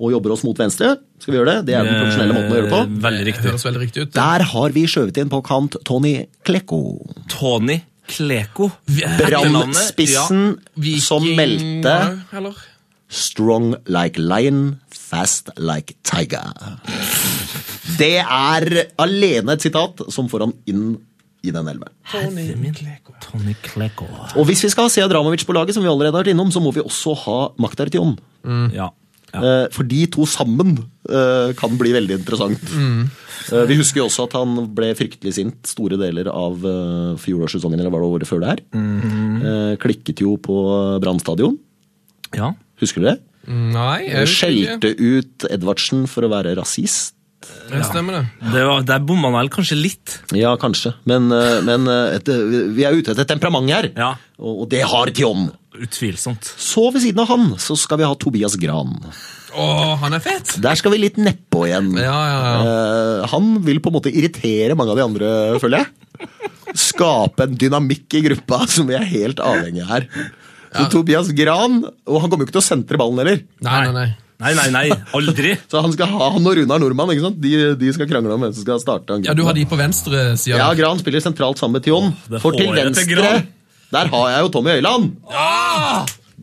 Speaker 5: og jobber oss mot venstre. Skal vi gjøre det? Det er den profesjonelle måten å gjøre det på.
Speaker 1: Eh, Veldig
Speaker 4: Det
Speaker 1: riktig.
Speaker 4: høres veldig riktig ut.
Speaker 5: Der har vi skjøvet inn på kant Tony Klekko.
Speaker 1: Tony Kleko.
Speaker 5: Brannspissen som meldte
Speaker 4: eller?
Speaker 5: Strong like lion, fast like tiger. Det er alene et sitat som får han inn i den elven.
Speaker 1: Tony Kleko. Tony Kleko.
Speaker 5: Og hvis vi skal ha Sead Ramovic på laget, som vi allerede har vært innom, så må vi også ha Maktar Tion.
Speaker 1: Ja. ja.
Speaker 5: Eh, For de to sammen eh, kan bli veldig interessant.
Speaker 4: Mm.
Speaker 5: Eh, Vi husker jo også at han ble fryktelig sint store deler av eh, fjorårssesongen, eller var det året før det her.
Speaker 4: Mm.
Speaker 5: Eh, Klikket jo på Brann stadion.
Speaker 1: ja.
Speaker 5: Husker du det?
Speaker 4: Nei, jeg vet ikke.
Speaker 5: Skjelte ut Edvardsen for å være rasist.
Speaker 4: Det stemmer det.
Speaker 1: Det var, der bomma han vel kanskje litt.
Speaker 5: Ja, kanskje. Men, eh, men eh, et, vi er ute etter et temperament her.
Speaker 1: Ja.
Speaker 5: Og, og det har Tion.
Speaker 1: Utvilsomt.
Speaker 5: Så ved siden av han så skal vi ha Tobias Gran.
Speaker 4: Å, han er fet!
Speaker 5: Der skal vi litt nedpå igjen.
Speaker 4: Ja, ja, ja.
Speaker 5: Eh, han vil på en måte irritere mange av de andre, føler jeg. Skape en dynamikk i gruppa som vi er helt avhengig av her. Så Tobias Gran Og han kommer jo ikke til å sentre ballen heller.
Speaker 4: Nei, nei, nei.
Speaker 1: Nei, nei, nei. Aldri.
Speaker 5: Så han skal ha han og Runar Nordmann ikke sant? De, de skal krangle om hvem som skal starte.
Speaker 4: Ja, Du har de på venstre sida.
Speaker 5: Ja, Gran spiller sentralt sammen med Tion.
Speaker 1: det
Speaker 5: For til
Speaker 1: håret til
Speaker 5: venstre
Speaker 1: Gran. Ah!
Speaker 5: Der har jeg jo Tommy Høiland.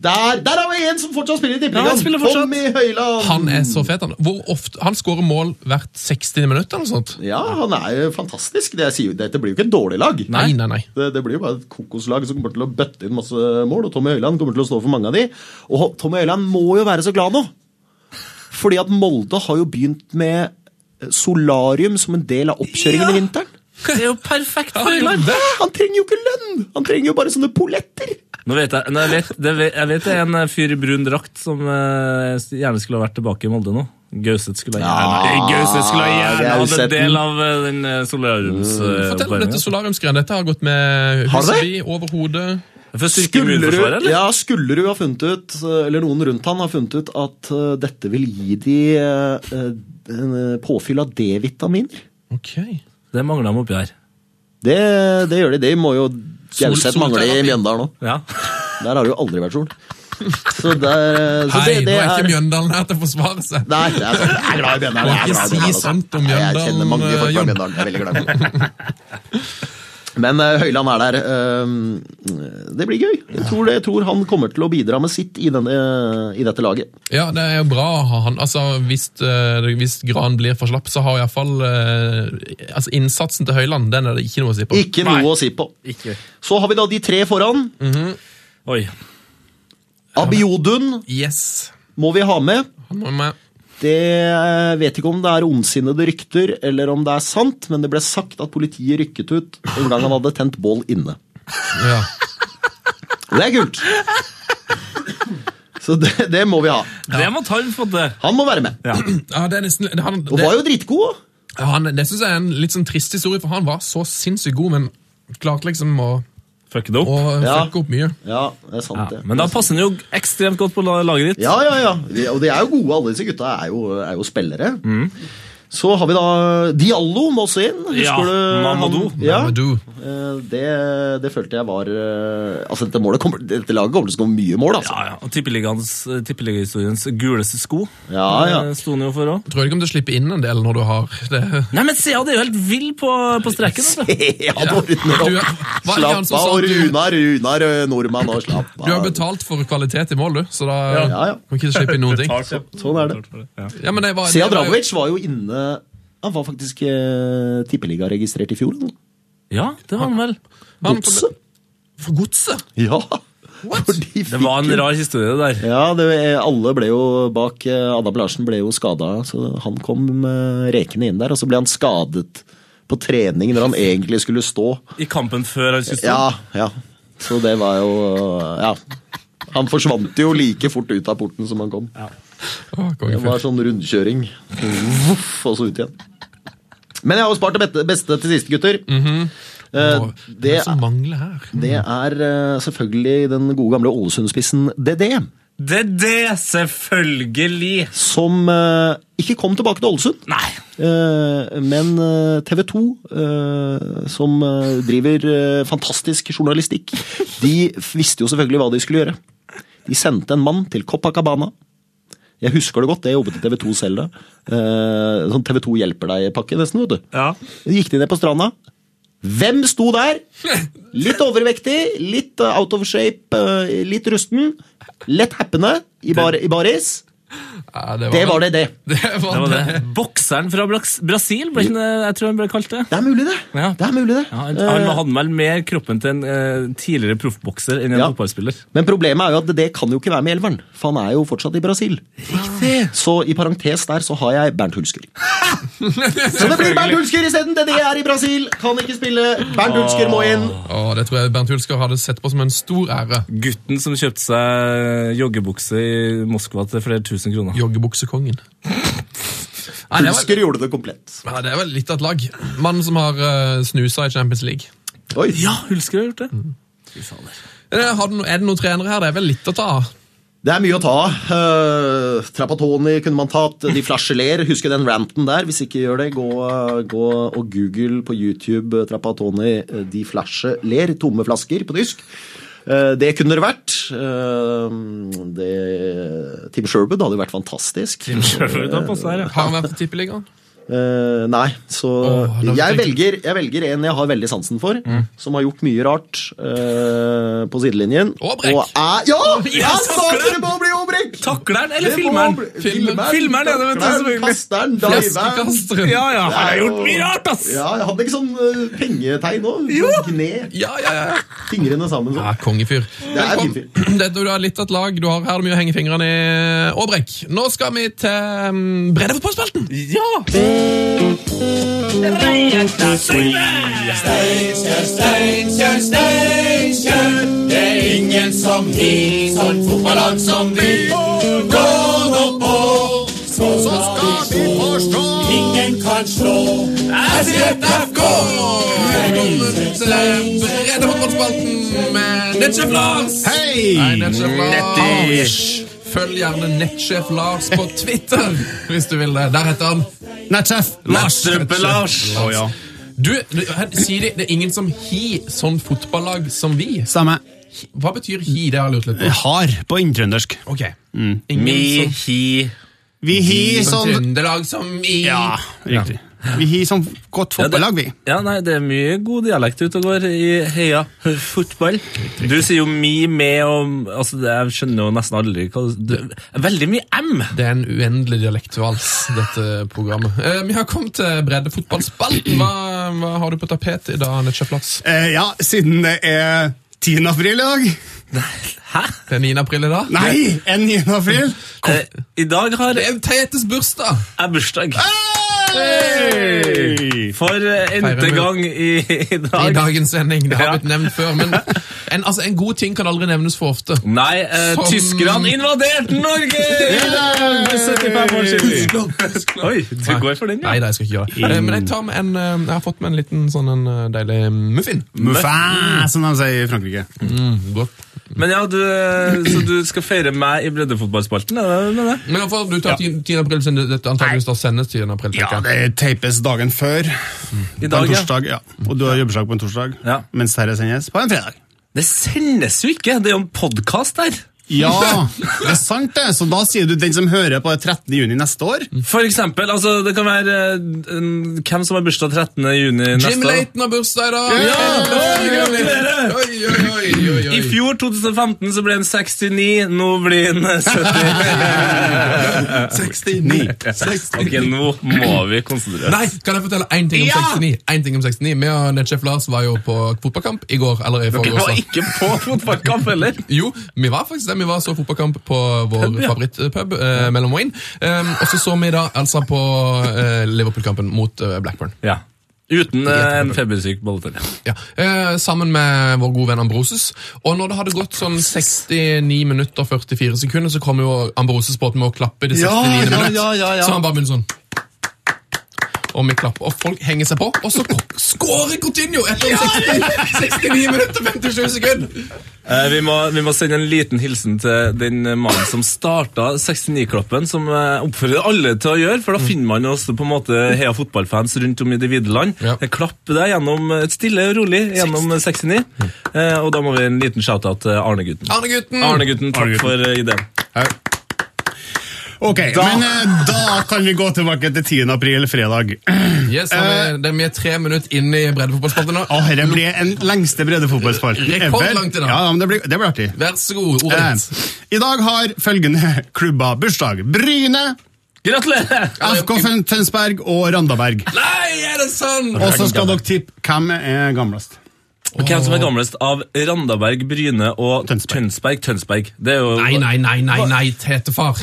Speaker 5: Der, der har vi en som fortsatt spiller i
Speaker 1: Ja, han
Speaker 5: tippeligaen!
Speaker 1: spiller fortsatt.
Speaker 5: Tommy Høiland.
Speaker 4: Han er så fet, han. Hvor ofte, han skårer mål hvert 60 minutt eller noe sånt.
Speaker 5: Ja, han er jo fantastisk. Det jeg sier, jo- dette blir jo ikke et dårlig lag.
Speaker 4: Nei, nei, nei.
Speaker 5: Det, det blir jo bare et kokoslag som kommer til å bøtte inn masse mål, og Tommy Høiland kommer til å stå for mange av de. Og Tommy Høiland må jo være så glad nå! Fordi at Molde har jo begynt med eh, solarium som en del av oppkjøringen i vinteren.
Speaker 1: Det er jo perfekt for
Speaker 4: Ja,
Speaker 1: Høyland.
Speaker 5: Han trenger jo ikke lønn! Han trenger jo bare sånne poletter!
Speaker 1: Nå vet jeg, nå, jeg, vet, det, vet- jeg vet det er en eh, fyr i brun drakt som eh, gjerne skulle ha vært tilbake i Molde nå. Gauseth skulle ha gjerne,
Speaker 5: Ja,
Speaker 1: Gauseth skulle ha
Speaker 5: det
Speaker 1: gjerne
Speaker 5: har vi
Speaker 1: hatt en
Speaker 5: sett den. Mm.
Speaker 1: del av eh, den eh, solariums... eh,
Speaker 4: Fortell om
Speaker 1: oppvarmingen.
Speaker 4: dette solariumsgreiene. Dette har gått med
Speaker 5: Har
Speaker 4: huset
Speaker 5: det?
Speaker 4: vi over hodet.
Speaker 1: For å styrke immunforsvaret,
Speaker 5: Skullerud,
Speaker 1: eller?
Speaker 5: ja, Skullerud har funnet ut, eller noen rundt han har funnet ut, at eh, dette vil gi de eh, en, eh, påfyll av D-vitaminer.
Speaker 4: Ok.
Speaker 1: Det mangler de oppi her.
Speaker 5: Det, det gjør de. De må jo Gauseth mangler i
Speaker 4: solterapi.
Speaker 5: Mjøndalen òg.
Speaker 1: Ja.
Speaker 5: Der har det jo aldri vært sol. Så,
Speaker 4: Nei,
Speaker 5: der, så det,
Speaker 4: nå
Speaker 5: det
Speaker 4: er
Speaker 5: er
Speaker 4: ikke Mjøndalen her til å forsvare seg.
Speaker 5: Nei, det er sant. Jeg er glad i Bjørndalen. jeg er
Speaker 4: Ikke
Speaker 5: glad i
Speaker 4: si
Speaker 5: Bjørndalen, altså.
Speaker 4: sant om
Speaker 5: Nei, Jeg
Speaker 4: Bjørndalen,
Speaker 5: kjenner mange folk fra
Speaker 4: Jon.
Speaker 5: Bjørndalen. Jeg er veldig glad i Bjørndalen. Men eh, Høyland er der. eh, det blir gøy. Jeg tror, det, jeg tror han kommer til å bidra med sitt i, denne, eh, i dette laget.
Speaker 4: Ja, det er jo bra å ha han. Altså, hvis, eh, hvis Gran blir for slapp, så har iallfall eh, altså, Innsatsen til Høyland den er det ikke noe å si på.
Speaker 5: Ikke noe å si på.
Speaker 1: Ikke.
Speaker 5: Så har vi da de tre foran.
Speaker 1: Oi.
Speaker 5: Abiodun
Speaker 4: Yes.
Speaker 5: må vi ha med.
Speaker 4: Han må med.
Speaker 5: Det eh, vet ikke om det er ondsinnede rykter eller om det er sant, men det ble sagt at politiet rykket ut en gang han hadde tent bål inne.
Speaker 4: Ja.
Speaker 5: Og det er kult! Så det, det må vi ha.
Speaker 1: Det må Tarm få til.
Speaker 5: Han må være med.
Speaker 1: Ja.
Speaker 4: Ja, det er nesten, det, han,
Speaker 5: Og
Speaker 4: det,
Speaker 5: var jo dritgod.
Speaker 4: han, det synes jeg er en litt sånn trist historie, for han var så sinnssykt god, men klarte liksom å,
Speaker 1: Fuck it up.
Speaker 4: å
Speaker 5: Ja.
Speaker 4: fucke opp mye.
Speaker 5: Ja, det er sant,
Speaker 1: Ja,
Speaker 5: det.
Speaker 1: men da passer den jo ekstremt godt på la- laget ditt.
Speaker 5: Ja, ja, ja. Vi- Og de er jo gode, alle disse gutta er jo, er jo spillere.
Speaker 1: Mm.
Speaker 5: Så har vi da Diallo må også inn. Husker
Speaker 1: Ja,
Speaker 5: du han-
Speaker 1: Mamadou.
Speaker 5: Ja.
Speaker 4: Men Du,
Speaker 5: Eh, Det, det følte jeg var eh, Altså, dette, målet kommer, dette laget kommer til å skåre mye mål, altså.
Speaker 1: Ja, ja. Og tippeligaens- tippeligahistoriens guleste sko
Speaker 5: Ja, ja.
Speaker 1: eh, sto han jo for òg.
Speaker 4: tror jeg du kommer til å slippe inn en del når du har det.
Speaker 1: Nei, men Sead er jo helt vill på, på altså. streken. vet du.
Speaker 5: Ja, Dortmund.
Speaker 4: Du er- hva er det han
Speaker 5: Slapp
Speaker 4: som
Speaker 5: av,
Speaker 4: sa
Speaker 5: og
Speaker 4: at du-
Speaker 5: Runar, Runar eh, Nordmann, og slapp av.
Speaker 4: Du har betalt for kvalitet i mål, du, så da
Speaker 5: Ja, ja.
Speaker 4: kan du ikke slippe inn noen ting.
Speaker 5: Sånn er det.
Speaker 1: Ja.
Speaker 4: Ja, men det var, det
Speaker 5: Sead
Speaker 4: var jo-
Speaker 5: Dragovic var jo inne Han var faktisk eh, tippeligaregistrert i fjor. da.
Speaker 1: ja, det var han vel.
Speaker 4: han-
Speaker 5: Godset.
Speaker 4: For godset?
Speaker 5: Ja!
Speaker 4: What?
Speaker 5: For de
Speaker 1: Det var en
Speaker 5: fikk-
Speaker 1: rar historie, det der.
Speaker 5: Ja, det, alle ble jo bak eh, Adam Larsen ble jo skada, så han kom eh, rekende inn der, og så ble han skadet på trening når han egentlig skulle stå.
Speaker 1: I kampen før han skulle stå.
Speaker 5: Ja, ja. Så det var jo eh, Ja. Han forsvant jo like fort ut av porten som han kom.
Speaker 4: Å,
Speaker 5: Det
Speaker 4: kongefyr.
Speaker 5: var sånn rundkjøring. Voff, og så ut igjen. Men jeg har jo spart det beste- beste til siste, gutter. Eh,
Speaker 4: Å, Mhm. Det
Speaker 5: det,
Speaker 4: er som mangler her.
Speaker 5: det er eh, selvfølgelig den gode gamle Ålesund-spissen DD.
Speaker 1: Det er det, selvfølgelig!
Speaker 5: som eh, ikke kom tilbake til Ålesund.
Speaker 1: Nei.
Speaker 5: Eh, men TV 2, som eh, driver eh, fantastisk journalistikk, de f- visste jo selvfølgelig hva de skulle gjøre. De sendte en mann til Copacabana. Jeg husker det godt, jeg jobbet i TV 2 selv da. Eh, sånn TV 2 hjelper deg-pakke, nesten, vet du.
Speaker 1: Ja.
Speaker 5: Gikk de ned på stranda? Hvem sto der? Litt overvektig, litt eh, out of shape, eh, litt rusten. Lett happende i, bar, i baris.
Speaker 4: Ja,
Speaker 5: Det var det, det.
Speaker 4: Det var
Speaker 1: Det var
Speaker 4: det.
Speaker 1: det. Bokseren fra Braks- Brasil, ble ikke det- jeg tror han ble kalt det.
Speaker 5: Det er mulig, det.
Speaker 1: Ja.
Speaker 5: det, er mulig, det.
Speaker 1: Ja, han, han
Speaker 5: Eh,
Speaker 1: hadde vel mer kroppen til en eh, tidligere proffbokser enn en
Speaker 5: Ja.
Speaker 1: fotballspiller.
Speaker 5: Men problemet er jo at det kan jo ikke være med i elveren, for han er jo fortsatt i Brasil. Så i parentes der så har jeg Bernt Hulsker. så det blir Bernt Hulsker isteden! Det er i Brasil, kan ikke spille. Bernt Hulsker må inn.
Speaker 4: Å, det tror jeg Bernt Hulsker hadde sett på som en stor ære.
Speaker 1: Gutten som kjøpte seg joggebukse i Moskva til flere tusen kroner.
Speaker 4: Joggebuksekongen. Nei, det var,
Speaker 5: Hulsker gjorde det komplett.
Speaker 4: ja, det er vel litt av et lag. Mannen som har eh, snusa i Champions League.
Speaker 5: Oi.
Speaker 1: Ja, Hulsker har gjort det.
Speaker 4: Er det, har du, no- er det noen trenere her? Det er vel litt å ta av.
Speaker 5: Det er mye å ta av. Eh, Trapattoni kunne man tatt. De flasjeler. Husker den ranten der? Hvis ikke gjør det, gå, gå og google på YouTube eh, Trapattoni eh, de flasjeler. Tomme flasker på tysk. Eh, Det kunne det vært. Eh, Det, Tim Sherwood hadde jo vært fantastisk.
Speaker 1: Tim Sherwood har passet her, ja.
Speaker 4: Har han vært i Tippeligaen?
Speaker 5: Eh, nei, så
Speaker 4: Åh, da
Speaker 5: jeg,
Speaker 4: tenker-
Speaker 5: velger, jeg velger en jeg har veldig sansen for, som har gjort mye rart eh, på sidelinjen.
Speaker 4: Og Brekk.
Speaker 5: er, ja!
Speaker 1: Ja,
Speaker 5: Jeg sa
Speaker 1: takler
Speaker 5: dere må bli Åbrek!
Speaker 1: Takler han, eller
Speaker 5: Det må
Speaker 1: filmer
Speaker 5: bli-
Speaker 1: han? Filmer han, ja, det vet du
Speaker 5: takleren,
Speaker 1: selvfølgelig.
Speaker 5: Kasteren, diveren.
Speaker 4: Flaskekasteren.
Speaker 1: Ja, ja, han har gjort mye rart, ass!
Speaker 5: Ja, jeg hadde ikke sånn eh, pengetegn òg. Kne
Speaker 4: Ja, ja, ja.
Speaker 5: fingrene sammen sånn.
Speaker 4: Ja, Kongefyr.
Speaker 5: er
Speaker 4: Velkommen.
Speaker 5: fin
Speaker 4: Dette du har litt av et lag. Du har her er det mye å henge fingrene i. Åbrek, nå skal vi til um, breddefotballspalten.
Speaker 1: Ja!
Speaker 4: Breddefotballspalten med Netsjef Lars. Hei! Hei Netsjef Lars. Følg gjerne Nettsjef Lars på Twitter hvis du vil det. Der heter han Nettsjef Lars.
Speaker 1: Lars. Lars. Å, ja.
Speaker 4: Du, du, her, Siri, det er ingen som har sånn fotballag som vi.
Speaker 6: Stemmer.
Speaker 4: Hva betyr hi? Det har jeg lurt litt på.
Speaker 6: Har på inntrøndersk.
Speaker 4: Ok. Ingen
Speaker 1: Mm. Mi, sånn-
Speaker 4: som
Speaker 1: hi
Speaker 6: Vi har sånn
Speaker 4: Trøndelag som i
Speaker 6: Ja, riktig. Vi har sånn godt
Speaker 1: Ja, det-
Speaker 6: fotballag, vi.
Speaker 1: Ja, nei, Det er mye god dialekt ute og går i heia fotball. Du sier jo mi, med og altså, det, Jeg skjønner jo nesten aldri hva du, Veldig mye M!
Speaker 4: Det er en uendelig dialektvals, dette programmet. Eh, vi har kommet til breddefotballspalten. Hva, hva har du på tapetet i dag, Netsja Flats?
Speaker 6: Eh, ja, siden det er 10. april i dag.
Speaker 1: Hæ?
Speaker 4: Det er 9. april i dag.
Speaker 6: Nei, en 9. april!
Speaker 1: Eh, I dag har
Speaker 4: Det
Speaker 1: jeg
Speaker 4: er Tetes bursdag!
Speaker 1: bursdag.
Speaker 6: Hey!
Speaker 1: For eh,
Speaker 4: Feirer
Speaker 1: n-te
Speaker 4: du?
Speaker 1: gang i, i
Speaker 4: I
Speaker 1: dag.
Speaker 4: dagens sending. Det har
Speaker 1: Ja.
Speaker 4: blitt nevnt før. Men en, altså, en god ting kan aldri nevnes for ofte.
Speaker 1: Nei, eh,
Speaker 4: Som-
Speaker 1: tyskerne invaderte Norge! i dag For 75 år siden. Oi, du går for den, ja.
Speaker 4: Nei
Speaker 1: Mm.
Speaker 4: da, jeg skal ikke gjøre det. Eh, Men jeg, tar med en, eh, jeg har fått med en liten sånn en eh, deilig muffin.
Speaker 6: Muffin, som de sier i Frankrike.
Speaker 4: Godt.
Speaker 1: Men ja, du, eh, Så du skal feire meg i breddefotballspalten? Er det med det?
Speaker 4: Men iallfall, du tar 10. april, siden det- dette antakeligvis da sendes 10. april.
Speaker 6: Ja,
Speaker 4: tenker jeg.
Speaker 6: det tapes dagen før.
Speaker 1: I
Speaker 6: På en
Speaker 1: dag, ja.
Speaker 6: torsdag, ja. Og du har jobbeslag på en torsdag,
Speaker 1: Ja.
Speaker 6: mens dette sendes på en fredag.
Speaker 1: Det sendes jo ikke! Det er jo en podkast der.
Speaker 6: Ja, det er sant det. Så da sier du den som hører på det 13. juni neste år.
Speaker 1: For eksempel, altså, det kan være eh, en- hvem som har bursdag 13. juni
Speaker 4: Jim
Speaker 1: neste år.
Speaker 4: Leighton har bursdag i dag!
Speaker 6: Ja!
Speaker 4: Oi,
Speaker 1: Gratulerer!
Speaker 4: Oi, oi, oi, oi, oi.
Speaker 1: I fjor, 2015, så ble han 69, nå blir han eh, 70.
Speaker 6: 69.
Speaker 4: 69.
Speaker 1: ok, nå må vi konsentrere oss.
Speaker 4: Nei, kan jeg fortelle én ting om
Speaker 6: Ja!
Speaker 4: 69? En ting om 69. Vi og Netsjef Lars var jo på fotballkamp i går. Eller i
Speaker 1: Vi var
Speaker 4: forgårs. da.
Speaker 1: ikke på fotballkamp heller.
Speaker 4: Jo, vi var faktisk det. Vi var og så fotballkamp på vår
Speaker 1: ja.
Speaker 4: favorittpub, eh, Mellom og Inn. Um, og så så vi da altså på eh, Liverpool-kampen mot eh, Blackburn.
Speaker 1: Ja. Uten eh, en febersyk bolletenn.
Speaker 4: Ja. Eh, sammen med vår gode venn Ambroses. Og når det hadde gått sånn 69 minutter og 44 sekunder, så kom jo Ambroses på at vi må klappe i det 69.
Speaker 6: Ja, ja,
Speaker 4: minutt.
Speaker 6: ja, ja, ja.
Speaker 4: Så han bare begynte sånn og vi klapper, og folk henger seg på, og så skårer Coutinho etter 60, 69 minutter og 57 sekunder!
Speaker 1: Eh, vi, må, vi må sende en liten hilsen til den eh, mannen som starta 69-klappen, som eh, oppfordrer alle til å gjøre, for da finner man jo også på en måte heia fotballfans rundt om i det vide land.
Speaker 4: Ja.
Speaker 1: Eh, Klapp deg gjennom eh, stille og rolig gjennom eh, 69, eh, og da må vi en liten shout-out til Arne-gutten.
Speaker 4: Arne-gutten!
Speaker 1: Mm. Arne-gutten, takk
Speaker 6: Arne-gutten.
Speaker 1: for eh, ideen.
Speaker 6: Ok, men eh, da kan vi gå tilbake til 10. april, fredag.
Speaker 4: Yes, han
Speaker 6: Eh.
Speaker 4: er, det, vi er tre minutter inn i breddefotballspalten nå.
Speaker 6: Å, dette ble en lengste breddefotballspalt.
Speaker 4: Rekordlangt i dag.
Speaker 6: Ja, men det blir, det blir artig.
Speaker 4: Vær så god, ordet
Speaker 6: Eh,
Speaker 4: ditt.
Speaker 6: I dag har følgende klubber bursdag. Bryne,
Speaker 1: Gratulerer!
Speaker 6: FK Fen- Tønsberg og Randaberg.
Speaker 4: Nei, er det sånn?
Speaker 6: Og så skal dere tippe hvem er gamlest.
Speaker 1: Hvem som er gamlest av Randaberg, Bryne og
Speaker 6: Tønsberg.
Speaker 1: Tønsberg? Tønsberg. Det er jo...
Speaker 4: Nei, nei, nei, nei, nei, tetefar.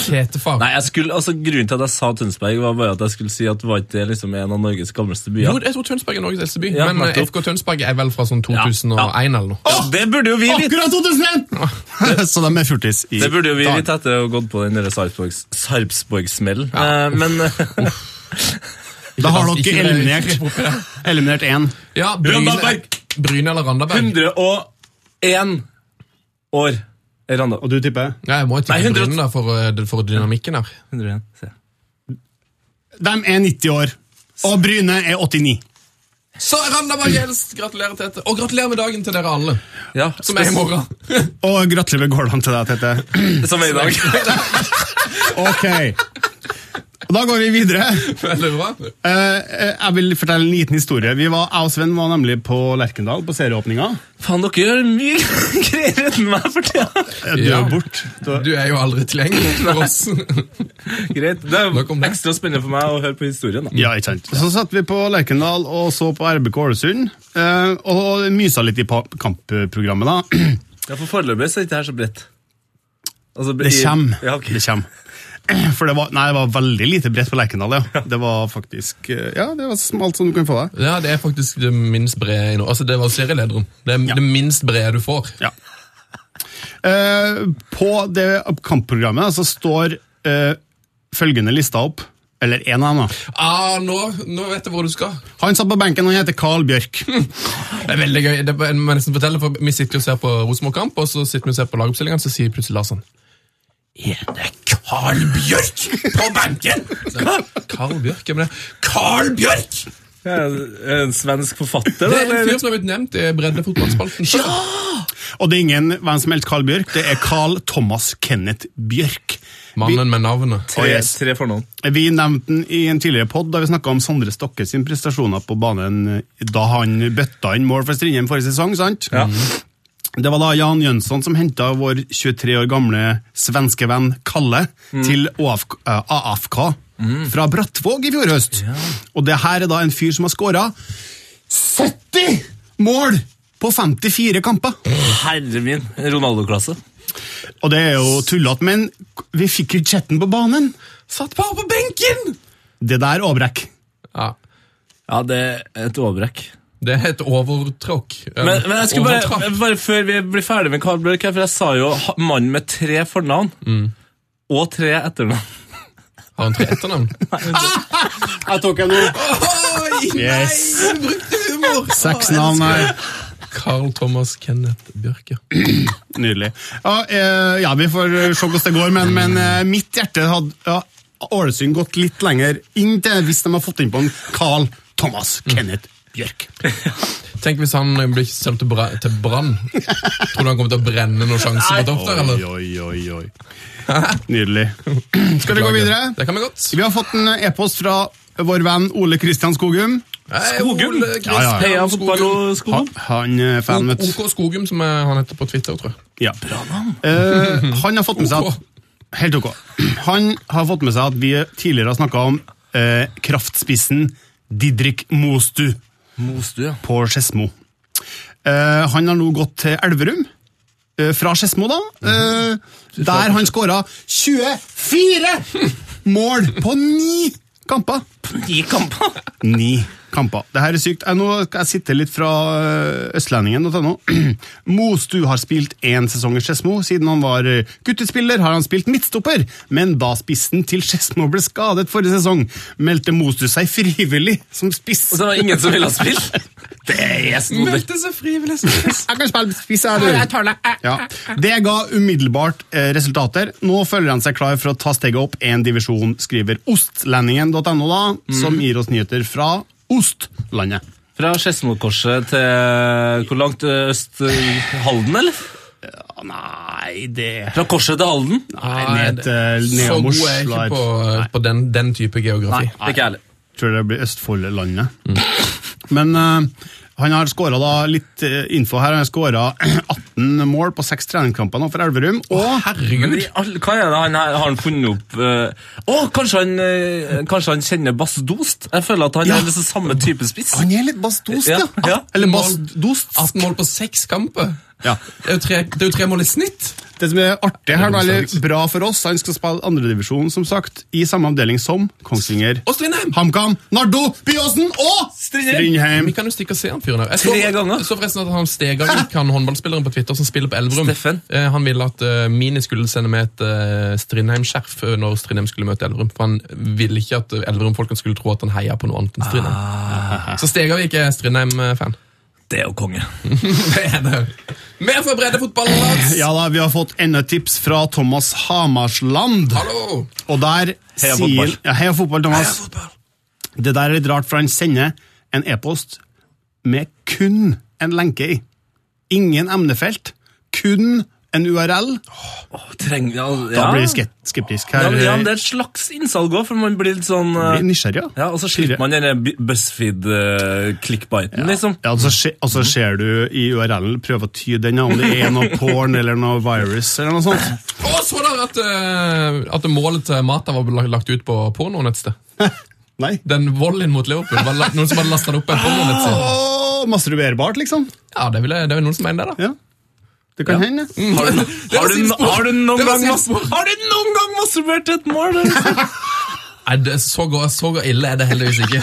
Speaker 4: Tetefar.
Speaker 1: Nei, jeg skulle, altså Grunnen til at jeg sa Tønsberg, var bare at jeg skulle si at var ikke det liksom en av Norges gamleste byer?
Speaker 4: Jo, jeg tror Tønsberg er Norges eldste by,
Speaker 1: Ja,
Speaker 4: men eh,
Speaker 1: nettopp.
Speaker 4: FK Tønsberg er vel fra sånn 2001
Speaker 1: Ja, ja.
Speaker 4: eller noe.
Speaker 1: Ja, det burde jo vi vite!
Speaker 6: Akkurat 2001! Så de er fjortis i
Speaker 1: Det burde jo vi
Speaker 6: dag.
Speaker 1: vite etter å ha gått på den der Sarpsborgs- Sarpsborg-smellen. Eh, men
Speaker 6: Da har
Speaker 4: Altså, Ikke-
Speaker 6: dere
Speaker 4: ikke-
Speaker 6: eliminert Eliminert én.
Speaker 4: Ja, Bryne,
Speaker 1: Randaberg.
Speaker 4: Bryne eller Randaberg?
Speaker 1: 101 år er Randaberg.
Speaker 6: Og du tipper?
Speaker 4: Ja, jeg må jo
Speaker 1: Nei,
Speaker 4: tippe
Speaker 1: 100.
Speaker 4: Bryne da, for, eh, for dynamikken her.
Speaker 1: 101, se.
Speaker 6: De er 90 år. Og Bryne er 89.
Speaker 4: Så er Randaberg
Speaker 6: Mm.
Speaker 4: eldst! Gratulerer, Tete. Og gratulerer med dagen til dere alle,
Speaker 1: Ja,
Speaker 4: som er i morgen.
Speaker 6: Og gratulerer med gårdene til deg, Tete.
Speaker 1: Som er i dag.
Speaker 6: Ok. Og Da går vi videre.
Speaker 4: Eller hva?
Speaker 6: Eh, eh, jeg vil fortelle en liten historie. Vi var, Jeg og Sven var nemlig på Lerkendal på serieåpninga.
Speaker 1: Faen, dere gjør mye greier enn meg for tida.
Speaker 6: Eh, Du
Speaker 4: Ja.
Speaker 6: er bort. Du,
Speaker 4: Du er jo aldri tilgjengelig for oss.
Speaker 1: Greit. Det er
Speaker 4: Nok om det.
Speaker 1: ekstra spennende for meg å høre på historien. da.
Speaker 6: ja, ikke sant. Så satt vi på Lerkendal og så på RBK Ålesund. eh, og mysa litt i pa- kampprogrammet, da.
Speaker 1: Ja, For foreløpig så er ikke det her så bredt. Altså,
Speaker 6: Det
Speaker 1: i-
Speaker 6: kommer.
Speaker 1: Ja, ok.
Speaker 6: Det kommer. For det var, nei, det var veldig lite bredt på Lerkendal, ja. Det var faktisk eh, Ja, det var smalt som du kan få deg.
Speaker 4: Ja, det er faktisk det minst brede i nå. Altså, det var serielederen. Det er det minst brede du får.
Speaker 6: Ja. Eh, på det kampprogrammet da, så står eh, følgende lista opp. Eller en av dem. da.
Speaker 4: Ah, nå, nå vet jeg hvor du skal.
Speaker 6: Han satt på benken, han heter Carl Bjørk.
Speaker 4: Det er veldig gøy. Det er, jeg må nesten fortelle, for vi sitter jo og ser på Rosenborg-kamp, og så sitter vi og ser på lagoppstillingen, så sier plutselig Lars sånn Er det Carl Bjørk på benken? Så jeg, Carl Bjørk? Ja, men det er Carl Bjørk!
Speaker 1: Ja, en svensk forfatter,
Speaker 4: Det er en
Speaker 1: eller?
Speaker 4: fyr som har blitt nevnt i breddefotballspalten. Ja!
Speaker 6: Og det er ingen hvem som helst Carl Bjørk, det er Carl Thomas Kenneth Bjørk.
Speaker 4: Mannen med navnet.
Speaker 1: Tre, tre fornavn.
Speaker 6: Vi nevnte den i en tidligere pod da vi snakka om Sondre Stokke sin prestasjoner på banen eh, da han bøtta inn mål for Strindheim forrige sesong. sant?
Speaker 1: Ja.
Speaker 6: Det var da Jan Jønsson som henta vår 23 år gamle svenske venn Kalle til AFK, eh, AFK fra Brattvåg i fjor høst. Og det her er da en fyr som har skåra 70 mål på 54 kamper!
Speaker 1: Herre min, Ronaldo-klasse.
Speaker 6: Og det er jo tullete, men vi fikk jo ikke sett den på banen!
Speaker 4: Satt bare på benken!
Speaker 6: Det der avbrekk.
Speaker 4: Ja,
Speaker 1: Ja, det er et overbrekk.
Speaker 4: Det er et overtråkk.
Speaker 1: Men, men jeg skulle bare,
Speaker 4: Overtramp.
Speaker 1: bare før vi blir ferdig med Carl Bjørk her, for jeg sa jo ha- mannen med tre fornavn. Og tre etternavn.
Speaker 4: Har han tre etternavn?
Speaker 6: Jeg tok en ord.
Speaker 4: Oi,
Speaker 6: Yes.
Speaker 4: nei, du brukte humor!
Speaker 6: Seks navn her.
Speaker 4: Carl Thomas Kenneth Bjørke.
Speaker 6: Nydelig. Ja, eh, ja, vi får se hvordan det går, men, men eh, mitt hjerte hadde ja, Ålesund gått litt lenger inn til hvis de har fått inn på en Carl Thomas
Speaker 4: Mm.
Speaker 6: Kenneth Bjørk.
Speaker 4: Tenk hvis han blir sendt til Bra- til Brann. Tror du han kommer til å brenne noen sjanser på topp der?
Speaker 6: Oi,
Speaker 4: eller?
Speaker 6: oi, oi, oi. Nydelig. Skal vi gå videre?
Speaker 4: Det kan vi godt.
Speaker 6: Vi har fått en e-post fra vår venn Ole Kristian Skogum.
Speaker 4: Nei,
Speaker 1: Skogum.
Speaker 4: Ole Kristian
Speaker 6: Ja, ja, ja.
Speaker 1: Heia fotball og
Speaker 4: Skogum.
Speaker 6: Han,
Speaker 1: skolen.
Speaker 6: han er fan, vet du.
Speaker 4: OK Skogum, som eh, han heter på Twitter, tror jeg.
Speaker 6: Ja. Eh, han har fått med seg at Helt ok. Han har fått med seg at vi tidligere har snakka om eh, kraftspissen Didrik Mostu
Speaker 1: Mostu, ja.
Speaker 6: på Skedsmo. Eh, han har nå gått til Elverum. eh, fra Skedsmo, da. eh, der han skåra 24 mål på ni kamper!
Speaker 1: I kampen.
Speaker 6: Ni kamper. Det her er sykt. Jeg, nå skal jeg sitte litt fra eh, østlendingen.no. Mostu har spilt én sesong i Skedsmo. Siden han var eh, guttespiller, har han spilt midtstopper, men da spissen til Skedsmo ble skadet forrige sesong, meldte Mostu seg frivillig som spiss.
Speaker 1: Og så var det ingen som ville ha spill. Det er snodig.
Speaker 4: Meldte seg frivillig som gjest.
Speaker 6: Jeg kan spille spiss, jeg, du. Ja. Det ga umiddelbart eh, resultater. Nå føler han seg klar for å ta steget opp én divisjon, skriver ostlendingen.no, da, som gir oss nyheter fra Ostlandet.
Speaker 1: Fra Skedsmokorset til eh, hvor langt øst? eh, Halden, eller?
Speaker 6: Ja, Nei, det
Speaker 1: Fra Korset til Halden?
Speaker 6: Nei,
Speaker 4: Nei,
Speaker 6: ned til
Speaker 4: Så god er jeg
Speaker 6: Neomoslar.
Speaker 4: ikke på, på den, den type geografi.
Speaker 1: Nei, ikke ærlig.
Speaker 6: Tror det blir Østfoldlandet. Men eh, han har skåra litt eh, info her. Han har skåra 18 mål på seks treningskamper nå for Elverum. Og
Speaker 1: Men i
Speaker 4: Herregud.
Speaker 1: all- Hva er det han her har han funnet opp eh, Å, kanskje, han, eh, kanskje han kjenner Bass Dost? Jeg føler at han
Speaker 6: Ja.
Speaker 1: er liksom samme type spiss.
Speaker 6: han er litt bastost, ja.
Speaker 1: Ja, ja.
Speaker 6: Eller bastost.
Speaker 4: 18 mål på seks kamper.
Speaker 6: Ja.
Speaker 4: Det er jo tre, det er jo tre mål i snitt.
Speaker 6: Det som er artig her, da, eller
Speaker 4: Konstant.
Speaker 6: bra for oss, han skal spille andredivisjon, som sagt, i samme avdeling som Kongsvinger,
Speaker 4: Og Strindheim!
Speaker 6: HamKam, Nardo, Byåsen og Strindheim.
Speaker 4: Vi kan jo stikke og se han fyren her. Jeg
Speaker 1: Tre ganger.
Speaker 4: Jeg så forresten at han Stegarvik, han håndballspilleren på Twitter som spiller på Elverum,
Speaker 1: Steffen.
Speaker 4: Eh, han ville at eh, Mini skulle sende med et eh, Strindheim-skjerf eh, når Strindheim skulle møte Elverum. For han ville ikke at eh, Elverum-folkene skulle tro at han heia på noe annet enn Strindheim.
Speaker 1: Ah.
Speaker 4: Så Stegarvik er Strindheim-fan.
Speaker 1: Det er jo konge.
Speaker 4: Det er det. Mer fra breddefotballen, Lars!
Speaker 6: Ja da, vi har fått enda et tips fra Thomas Hamarsland.
Speaker 4: Hallo!
Speaker 6: Og der
Speaker 1: Heia
Speaker 6: sier
Speaker 1: fotball.
Speaker 6: ja, Heia fotball, Thomas. Det der er litt rart, for han sender en e-post med kun en lenke i. Ingen emnefelt. Kun en URL.
Speaker 1: Å, Trenger, ja,
Speaker 6: Da
Speaker 1: ja.
Speaker 6: blir vi skept- skeptisk
Speaker 1: Ja,
Speaker 6: her.
Speaker 1: men- ja, men det er et slags innsalg òg, for man blir litt sånn eh,
Speaker 6: blir nysgjerrig, ja.
Speaker 1: ja, Og så slipper man den BuzzFeed-clickbiten, eh, liksom.
Speaker 6: Ja, altså, skje- altså ser du i URL-en, prøv å tyde den, ja, om det er noe porn eller noe virus eller noe sånt.
Speaker 4: Og så dere at, eh, at målet til Mata var la- lagt ut på pornonettsted?
Speaker 6: Nei.
Speaker 4: Den volleyen mot Liverpool, var la- noen som hadde lastet den opp på en pornonettside?
Speaker 6: Åh, masturberbart, liksom.
Speaker 4: Ja, det, ville, det er jo noen som mener det, da.
Speaker 6: Ja. Det kan hende.
Speaker 1: Har du, har,
Speaker 4: sin
Speaker 1: du,
Speaker 4: spor.
Speaker 1: har, du noen
Speaker 4: Det var
Speaker 1: gang,
Speaker 4: sin
Speaker 1: mas-
Speaker 4: spor.
Speaker 1: har du noen gang masturbert til et mål? eller?
Speaker 4: Nei, det, så, gå, så gå ille er det heldigvis ikke.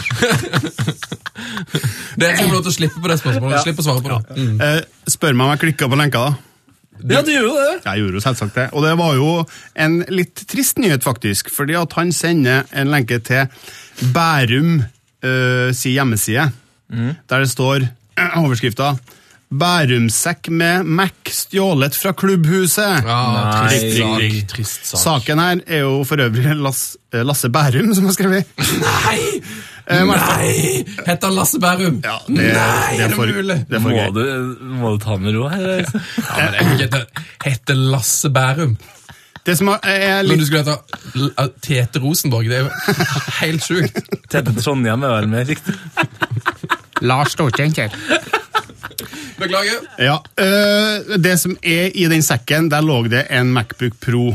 Speaker 4: Dere skal få lov til å slippe på det spørsmålet. Slipp å svare på det. Mm.
Speaker 6: Eh, spør meg om jeg klikka på lenka, da.
Speaker 1: Ja, du gjør jo det.
Speaker 6: Jeg gjorde jo selvsagt det. Og det var jo en litt trist nyhet, faktisk. Fordi at han sender en lenke til Bærum øh, si hjemmeside,
Speaker 4: Mm.
Speaker 6: der det står øh, overskrifta Bærumsekk med Mac stjålet fra klubbhuset.
Speaker 4: Ja,
Speaker 1: Nei.
Speaker 4: trist sak.
Speaker 1: Ring.
Speaker 4: Trist sak.
Speaker 6: Saken her er jo for øvrig Lass, eh, Lasse Bærum som har skrevet. Nei! Eh, men-
Speaker 4: Nei! Heter han Lasse Bærum?
Speaker 6: Ja, det,
Speaker 4: Nei, er
Speaker 6: det er for,
Speaker 4: det mulig?
Speaker 6: det er for
Speaker 1: Må
Speaker 6: gøy.
Speaker 1: du, må du ta med ro her? altså?
Speaker 4: Ja, men det er ikke heter, heter Lasse Bærum.
Speaker 6: Det som er, er
Speaker 4: Men
Speaker 6: litt
Speaker 4: du skulle hete L- uh, Tete Rosenborg. Det er jo helt sjukt.
Speaker 1: Tete Trondheim er vel mer riktig.
Speaker 6: Lars Stortenker.
Speaker 4: Beklager.
Speaker 6: Ja, øh, det som er i den sekken, der lå det en Macbook Pro.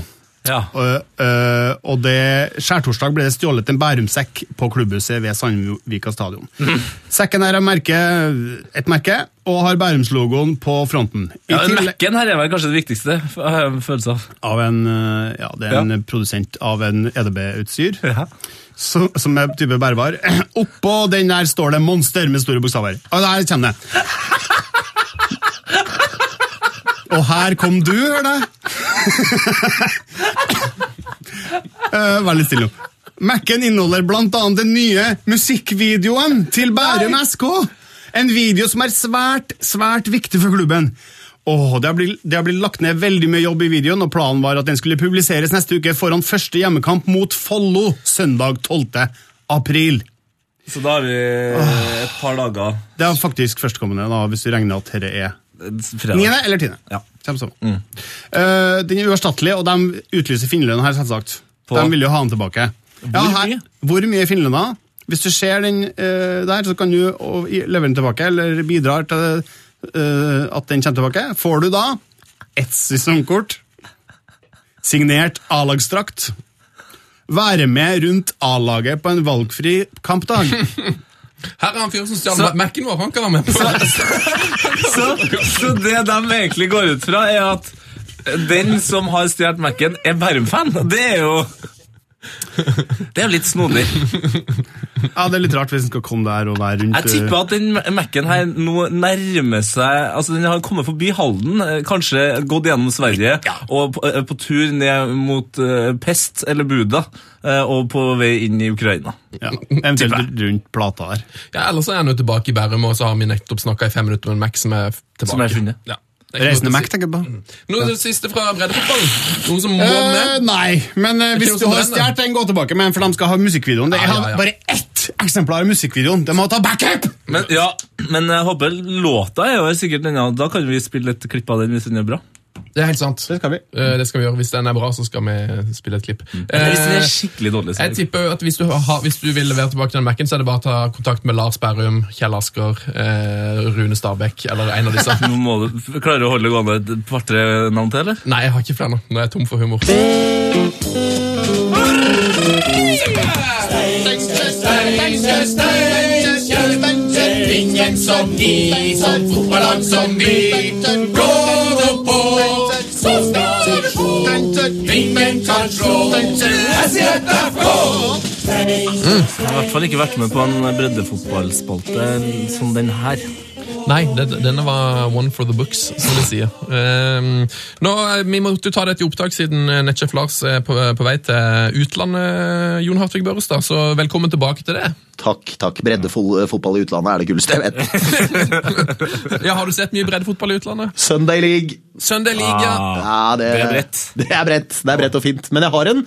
Speaker 1: Ja.
Speaker 6: Øh, øh, og det, skjærtorsdag ble det stjålet en Bærumsekk på klubbhuset ved Sandvika stadion. Sekken her er merke, et merke, og har Bærumslogoen på fronten. I
Speaker 1: Ja,
Speaker 6: tillegg-
Speaker 1: Mac-en her er vel kanskje det viktigste, f- har jeg en følelse av.
Speaker 6: av en, øh, ja, det er en produsent av en E EDB-utstyr,
Speaker 1: Ja.
Speaker 6: som, som er type bærbar. Oppå den der står det Monster med store bokstaver. Og der kommer det. Og her kom du, hører jeg. Eh, Vær litt stille nå. Mac-en inneholder blant annet den nye musikkvideoen til Bærum SK. En video som er svært, svært viktig for klubben. Åh, det, har blitt, det har blitt lagt ned veldig mye jobb i videoen, og planen var at den skulle publiseres neste uke foran første hjemmekamp mot Follo søndag 12. april.
Speaker 1: Så da har vi et par dager
Speaker 6: Det er faktisk førstkommende, da, hvis du regner at dette er
Speaker 1: fredag.
Speaker 6: Niende eller tiende.
Speaker 1: Ja.
Speaker 6: Kjem som.
Speaker 1: Mm.
Speaker 6: Eh, den er uerstattelig, og de utlyser finlønna her, selvsagt.
Speaker 1: På-
Speaker 6: De vil jo ha den tilbake. Hvor
Speaker 1: mye?
Speaker 6: Hvor mye er finlønna? Hvis du ser den eh, der, så kan du og, i- levere den tilbake, eller bidrar til eh, at den kommer tilbake. Får du da ett sesongkort, signert A-lagsdrakt, være med rundt A-laget på en valgfri kampdag.
Speaker 4: Her er han fyren som stjal Mac-en vår. Han kan være med. på
Speaker 1: Så, så det de egentlig går ut fra, er at den som har stjålet Mac-en, er Bærum-fan. Det er jo Det er jo litt snodig.
Speaker 6: Ja, Det er litt rart hvis den skal komme der og være rundt
Speaker 1: Jeg tipper at den Mac-en her nå nærmer seg Altså, den har kommet forbi Halden, eh, kanskje gått gjennom Sverige, og på, eh, på tur ned mot eh, Pest eller Buda, eh, og på vei inn i Ukraina.
Speaker 6: eh, ja, Eventuelt rundt plata der.
Speaker 4: Ja, Ellers er han jo tilbake i Bærum, og så har vi nettopp snakka i fem minutter med en Mac som er f- tilbake.
Speaker 1: Som er funnet.
Speaker 4: Ja. Det er ikke
Speaker 6: Reisende
Speaker 4: noe
Speaker 6: Mac,
Speaker 4: til å si.
Speaker 6: tenker jeg på.
Speaker 4: Noe til det siste fra breddefotballen. Noen som må
Speaker 6: Eh,
Speaker 4: med.
Speaker 6: nei, men eh,
Speaker 4: ikke
Speaker 6: hvis
Speaker 4: noe
Speaker 6: du
Speaker 4: som
Speaker 6: har
Speaker 4: brenner.
Speaker 6: stjålet den, gå tilbake med den, for de skal ha musikkvideoen. Det
Speaker 4: Ja,
Speaker 6: er
Speaker 4: ja, ja.
Speaker 6: bare ett eksemplar av musikkvideoen. De må ta backup!
Speaker 1: Men, ja, men jeg håper låta er jo sikkert denne. Da kan vi spille et klipp av den hvis den er bra.
Speaker 4: Det er helt sant.
Speaker 6: Det skal vi.
Speaker 4: Eh, det skal vi gjøre. Hvis den er bra, så skal vi spille et klipp.
Speaker 1: Eller Mm. hvis den
Speaker 4: Eh,
Speaker 1: er skikkelig dårlig. så-
Speaker 4: jeg tipper jo at hvis du, har, hvis du vil levere tilbake den Mac-en, så er det bare å ta kontakt med Lars Berrum, Kjell Asker, eh, Rune Stabæk eller en av disse.
Speaker 1: Nå må du klare å holde det gående et par-tre navn til, eller?
Speaker 4: Nei, jeg har ikke flere nå. Nå er jeg tom for humor. Ingen som de, som fotballag som vi Går på, så skal vi få Ingen kan slå Jeg sier at det er få
Speaker 1: Jeg har i hvert fall ikke vært med på en breddefotballspalte som den her.
Speaker 4: Nei, det, denne var one for the books, som de sier. Ehm, nå, eh, vi måtte jo ta dette i opptak siden eh, Netchef Lars er på, på vei til utlandet, eh, Jon Hartvig Børrestad, så velkommen tilbake til det.
Speaker 5: Takk, takk. Breddefotball i utlandet er det gulleste jeg vet.
Speaker 4: Ja, Har du sett mye breddefotball i utlandet?
Speaker 5: Sunday League.
Speaker 4: Sunday Liga.
Speaker 1: Ah,
Speaker 5: Ja, det,
Speaker 1: Det er bredt.
Speaker 5: Det er bredt Det er bredt og fint. Men jeg har en,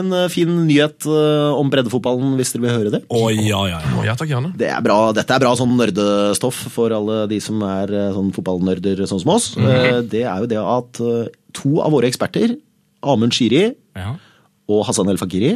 Speaker 5: en eh, fin nyhet eh, om breddefotballen, hvis dere vil høre det.
Speaker 1: Å, ja, ja, ja.
Speaker 5: Ah.
Speaker 4: Å, ja takk, gjerne.
Speaker 5: Det er bra, dette er bra sånn nerdestoff for alle de som er eh, sånn fotballnerder sånn som oss.
Speaker 1: Mhm.
Speaker 5: Eh, Det er jo det at eh, to av våre eksperter, Amund Shiri og Hassan El Fakiri,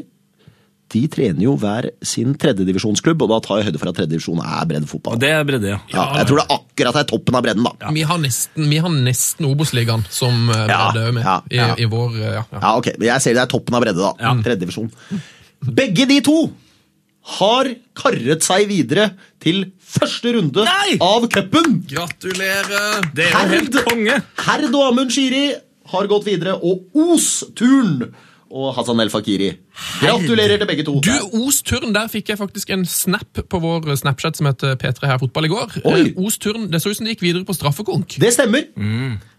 Speaker 5: de trener jo hver sin tredjedivisjonsklubb, og da tar jeg høyde for at tredjedivisjon er breddefotball.
Speaker 1: Og det er bredde, ja.
Speaker 5: Ja, jeg tror det er akkurat det er toppen av bredden, da. Ja.
Speaker 4: Vi har nesten, vi har nesten Obos-ligaen som eh,
Speaker 5: Ja,
Speaker 4: bredde med
Speaker 5: ja, ja.
Speaker 4: I, i vår eh, ja, ja.
Speaker 5: ok, men Jeg ser det er toppen av bredde, da. Tredjedivisjon. Begge de to har karret seg videre til første runde
Speaker 1: Nei!
Speaker 5: av cupen!
Speaker 4: Gratulerer!
Speaker 1: Det er jo helt
Speaker 5: Herregud!
Speaker 1: konge!
Speaker 5: Herd og Amund Shiri har gått videre, og Os-turn og Hassan El Fakiri. Gratulerer til begge to.
Speaker 4: Du, Os-turn, der fikk jeg faktisk en snap på vår Snapchat som heter P3 her fotball i går.
Speaker 5: Oi.
Speaker 4: Eh, Os-turn, det så ut som de gikk videre på straffekonk.
Speaker 5: Det stemmer.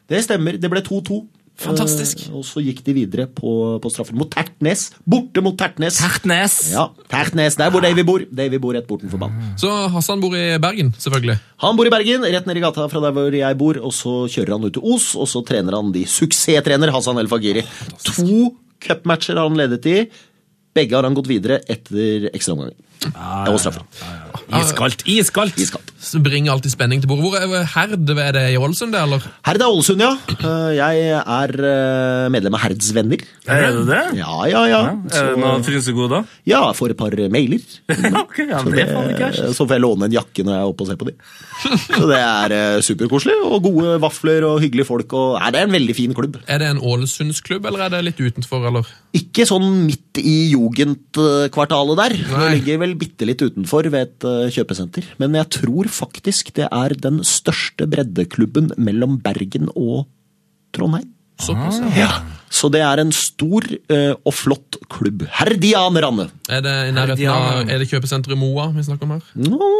Speaker 5: Det stemmer. Det ble 2-2.
Speaker 4: Fantastisk.
Speaker 5: Eh, og så gikk de videre på, på straffen mot Tertnes. Borte mot Tertnes.
Speaker 1: Tertnes!
Speaker 5: Ja, Tertnes, Der hvor Davy bor. Davy bor rett bortenfor banen.
Speaker 4: Så Hassan bor i Bergen, selvfølgelig.
Speaker 5: Han bor i Bergen, rett ned i gata fra der hvor jeg bor. Og så kjører han ut til Os, og så trener han de. Suksesstrener Hassan El Fagiri. To cupmatcher har han ledet i. Begge har han gått videre etter ekstraomganger. Og straffer.
Speaker 1: Iskaldt! Iskaldt!
Speaker 5: Iskaldt.
Speaker 4: Så bringer alltid spenning til bordet. Hvor er Herd? Er det i Ålesund, det, eller?
Speaker 5: Herd er Ålesund, ja. Eh, Jeg er eh, medlem av Herds venner.
Speaker 1: Er det det?
Speaker 5: Ja, ja, ja.
Speaker 1: Er det noen frynsegoder?
Speaker 5: Ja, jeg får et par mailer.
Speaker 1: ok, ja, men det er faen ikke verst.
Speaker 5: Eh, Så får jeg låne en jakke når jeg er oppe og ser på de. Så det er eh, superkoselig. Og gode vafler og hyggelige folk. Og, nei, det er en veldig fin klubb.
Speaker 4: Er det en Ålesundsklubb, eller er det litt utenfor, eller?
Speaker 5: Ikke sånn midt i jugendkvartalet der. Det
Speaker 4: Nei.
Speaker 5: ligger vel bitte litt utenfor ved et eh, kjøpesenter. Men jeg tror faktisk det er den største breddeklubben mellom Bergen og Trondheim.
Speaker 4: Såpass, ja.
Speaker 5: Ja. Så det er en stor eh, og flott klubb. Herdianerne!
Speaker 4: Er det i nærheten
Speaker 1: Herdianer.
Speaker 4: av Er det kjøpesenteret Moa vi snakker om her?
Speaker 5: Nå,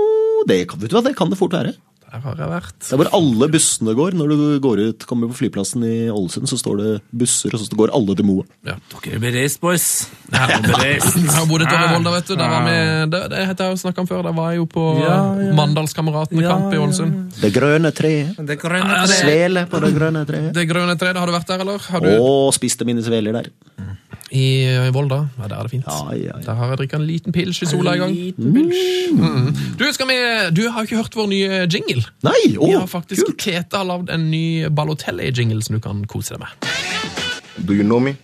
Speaker 5: det kan, vet du hva, det kan det fort være.
Speaker 4: Der har jeg vært.
Speaker 5: Det er hvor alle bussene går. Når du går ut, kommer på flyplassen i Ålesund, så står det busser, og så går alle til Moa.
Speaker 1: Dere er bereist, boys. Dere er bereist.
Speaker 4: Jeg har bodd et år i Volda, vet du. Der var vi, det, det heter jeg jo snakket om før. Der var jeg jo på
Speaker 1: Ja, ja.
Speaker 4: Mandalskameratene-kamp
Speaker 1: Ja,
Speaker 4: i
Speaker 1: ja.
Speaker 4: Ålesund.
Speaker 5: Det grønne treet.
Speaker 1: Ah, Det er grønne
Speaker 4: Ja, det-
Speaker 5: Svele på det grønne treet.
Speaker 4: Det grønne treet, har du vært der, eller? Har du?
Speaker 5: Og spiste mine sveler der.
Speaker 4: I i Volda. Ja, der er det fint.
Speaker 5: Ja, ja, ja.
Speaker 4: Der har jeg drikket en liten pils i sola i gang. Mm. Du, skal vi, du har ikke hørt vår nye jingle?
Speaker 5: Nei! Å,
Speaker 4: Vi har faktisk
Speaker 5: kult!
Speaker 4: Tete har lagd en ny Balotelli-jingle som du kan kose deg med.
Speaker 7: Do you know me?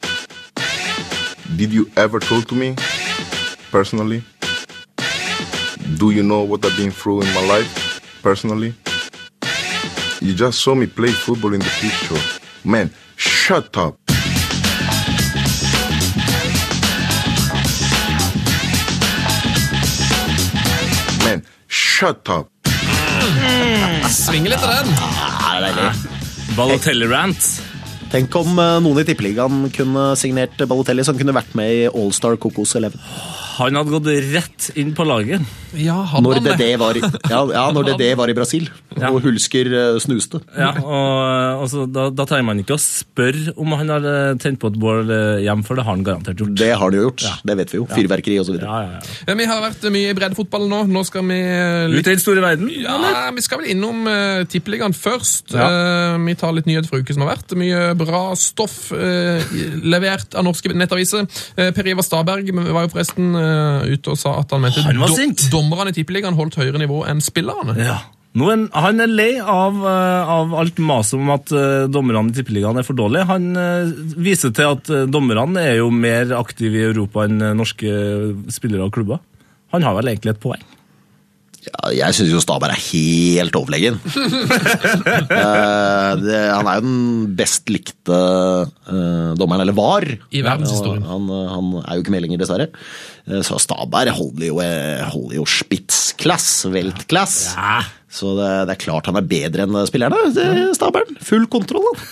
Speaker 7: Did you ever talk to me personally? Do you know what I've been through in my life personally? You just saw me play football in the picture. Man, shut up. Man, shut up.
Speaker 4: Svinge litt av den!
Speaker 5: Nei, det er deilig.
Speaker 1: Balotelli-rant.
Speaker 5: Tenk om eh, noen i tippeligaen kunne signert Balotelli, som kunne vært med i Allstar Kokos 11.
Speaker 1: Han hadde gått rett inn på laget.
Speaker 4: Ja, hadde
Speaker 5: Når
Speaker 4: han
Speaker 5: det, det, var, i- ja, ja, når det, det var i Brasil, og Hulsker eh, snuste.
Speaker 1: Ja, og, og så, da, da trenger man ikke å spørre om han har eh, tent på et bål eh, hjem, for det har han garantert gjort.
Speaker 5: Det har de jo gjort. Det vet vi jo. Fyrverkeri og så videre.
Speaker 1: Ja, ja, ja.
Speaker 4: Vi har vært mye i breddefotballen nå. Nå skal vi
Speaker 1: Ut i den store verden.
Speaker 4: Ja, Vi skal vel innom uh, Tippeligaen først. Eh, vi tar litt nyhet fra uken som har vært. Mye bra stoff eh, levert av norske nettaviser. Eh, per Ivar Staberg var jo forresten eh, ute og sa at han mente
Speaker 1: Han var
Speaker 4: dom-
Speaker 1: sint.
Speaker 4: dommerne i Tippeligaen holdt høyere nivå enn spillerne.
Speaker 1: Ja. Nå er, han- han er lei av, eh, av alt maset om at eh, dommerne i Tippeligaen er for dårlige. Han eh, viser til at eh, dommerne er jo mer aktive i Europa enn eh, norske spillere og klubber. Han har vel egentlig et poeng.
Speaker 5: Ja, jeg syns jo Stabæk er helt overlegen. Eh, det, han er jo den best likte eh, dommeren, eller var.
Speaker 4: I verdenshistorien.
Speaker 5: Han, han er jo ikke med lenger, dessverre. Eh, så Stabæk holder jo, eh, holder jo spitsklass, veltklass. Så det, det er klart han er bedre enn spillerne. det- Stabæk. Full kontroll, han.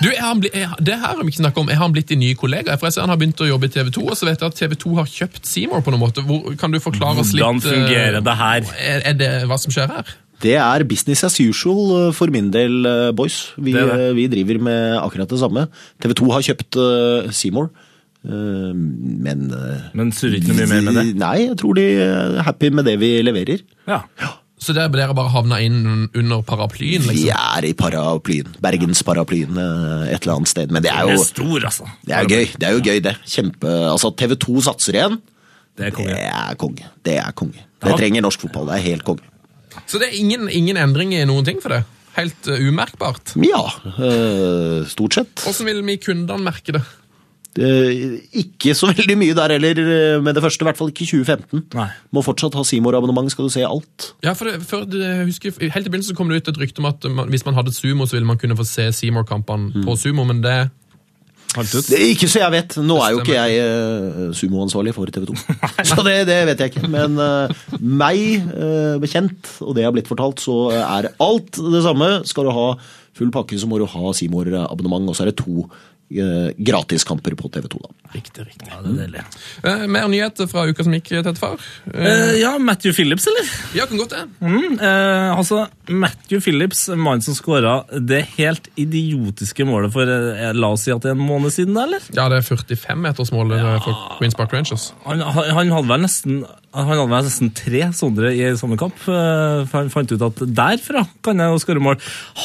Speaker 4: Du, er han bli, er, det her har vi ikke snakket om. Er han blitt din nye kollega? For jeg ser Han har begynt å jobbe i TV 2, og så vet jeg at TV 2 har kjøpt Seymour på noen måte. Hvor, kan du forklare oss litt
Speaker 1: Hvordan fungerer
Speaker 4: eh,
Speaker 1: det her?
Speaker 4: Er, er det hva som skjer her?
Speaker 5: Det er business as usual eh, for min del, eh, boys. Vi,
Speaker 1: Det er det.
Speaker 5: eh, vi driver med akkurat det samme. TV 2 har kjøpt eh, Seymour, eh, men eh,
Speaker 1: Men surrer ikke noe mye mer med det.
Speaker 5: Nei, jeg tror de er happy med det vi leverer.
Speaker 1: Ja.
Speaker 4: Så der dere bare havna inn under paraplyen?
Speaker 5: Vi
Speaker 4: liksom?
Speaker 5: er i paraplyen. Bergensparaplyen eh, et eller annet sted. Men det er
Speaker 1: Det er
Speaker 5: jo,
Speaker 1: stor, altså.
Speaker 5: det er jo gøy. Det er jo gøy, det. Kjempe Altså, TV 2 satser igjen.
Speaker 1: Det er
Speaker 5: Det
Speaker 1: konge.
Speaker 5: er konge. Det er konge. Det
Speaker 1: Ja.
Speaker 5: trenger norsk fotball. Det er helt konge.
Speaker 4: Så det er ingen, ingen endring i noen ting for det? Helt eh, umerkbart?
Speaker 5: Ja, eh, stort sett.
Speaker 4: Hvordan vil vi kundene merke det?
Speaker 5: Eh, ikke så veldig mye der heller eh, med det første, i hvert fall ikke i 2015.
Speaker 1: Nei.
Speaker 5: Må fortsatt ha Simor-abonnement, skal du se alt.
Speaker 4: Ja, for det, før, det- jeg husker, Helt i begynnelsen kom det ut et rykte om at man, hvis man hadde sumo, så ville man kunne få se Seymour-kampene på sumo, men det
Speaker 1: Holdt ut.
Speaker 5: Det, ikke så jeg vet. Nå er jo ikke
Speaker 4: stemmer.
Speaker 5: jeg eh, sumoansvarlig for TV 2. Så det, det vet jeg ikke. Men eh, meg eh, bekjent, og det jeg har blitt fortalt, så er alt det samme. Skal du ha full pakke, så må du ha Simor-abonnement, og så er det to eh, gratiskamper på TV 2, da.
Speaker 4: Riktig, riktig.
Speaker 1: Ja, det er deilig.
Speaker 4: Eh, mer nyheter fra uka som gikk, tett far? Eh,
Speaker 1: Eh, ja, Matthew Phillips, eller?
Speaker 4: ja, kan godt det.
Speaker 1: Mm, eh, altså, Matthew Phillips, mannen som skåra det helt idiotiske målet for eh, la oss si at det er en måned siden, da, eller?
Speaker 4: Ja, det er 45-metersmålet for Queens Park Rangers.
Speaker 1: Han, han, han hadde vel nesten han hadde vel nesten tre sånne i samme kamp. eh, for Han fant ut at derfra kan jeg jo skåre mål.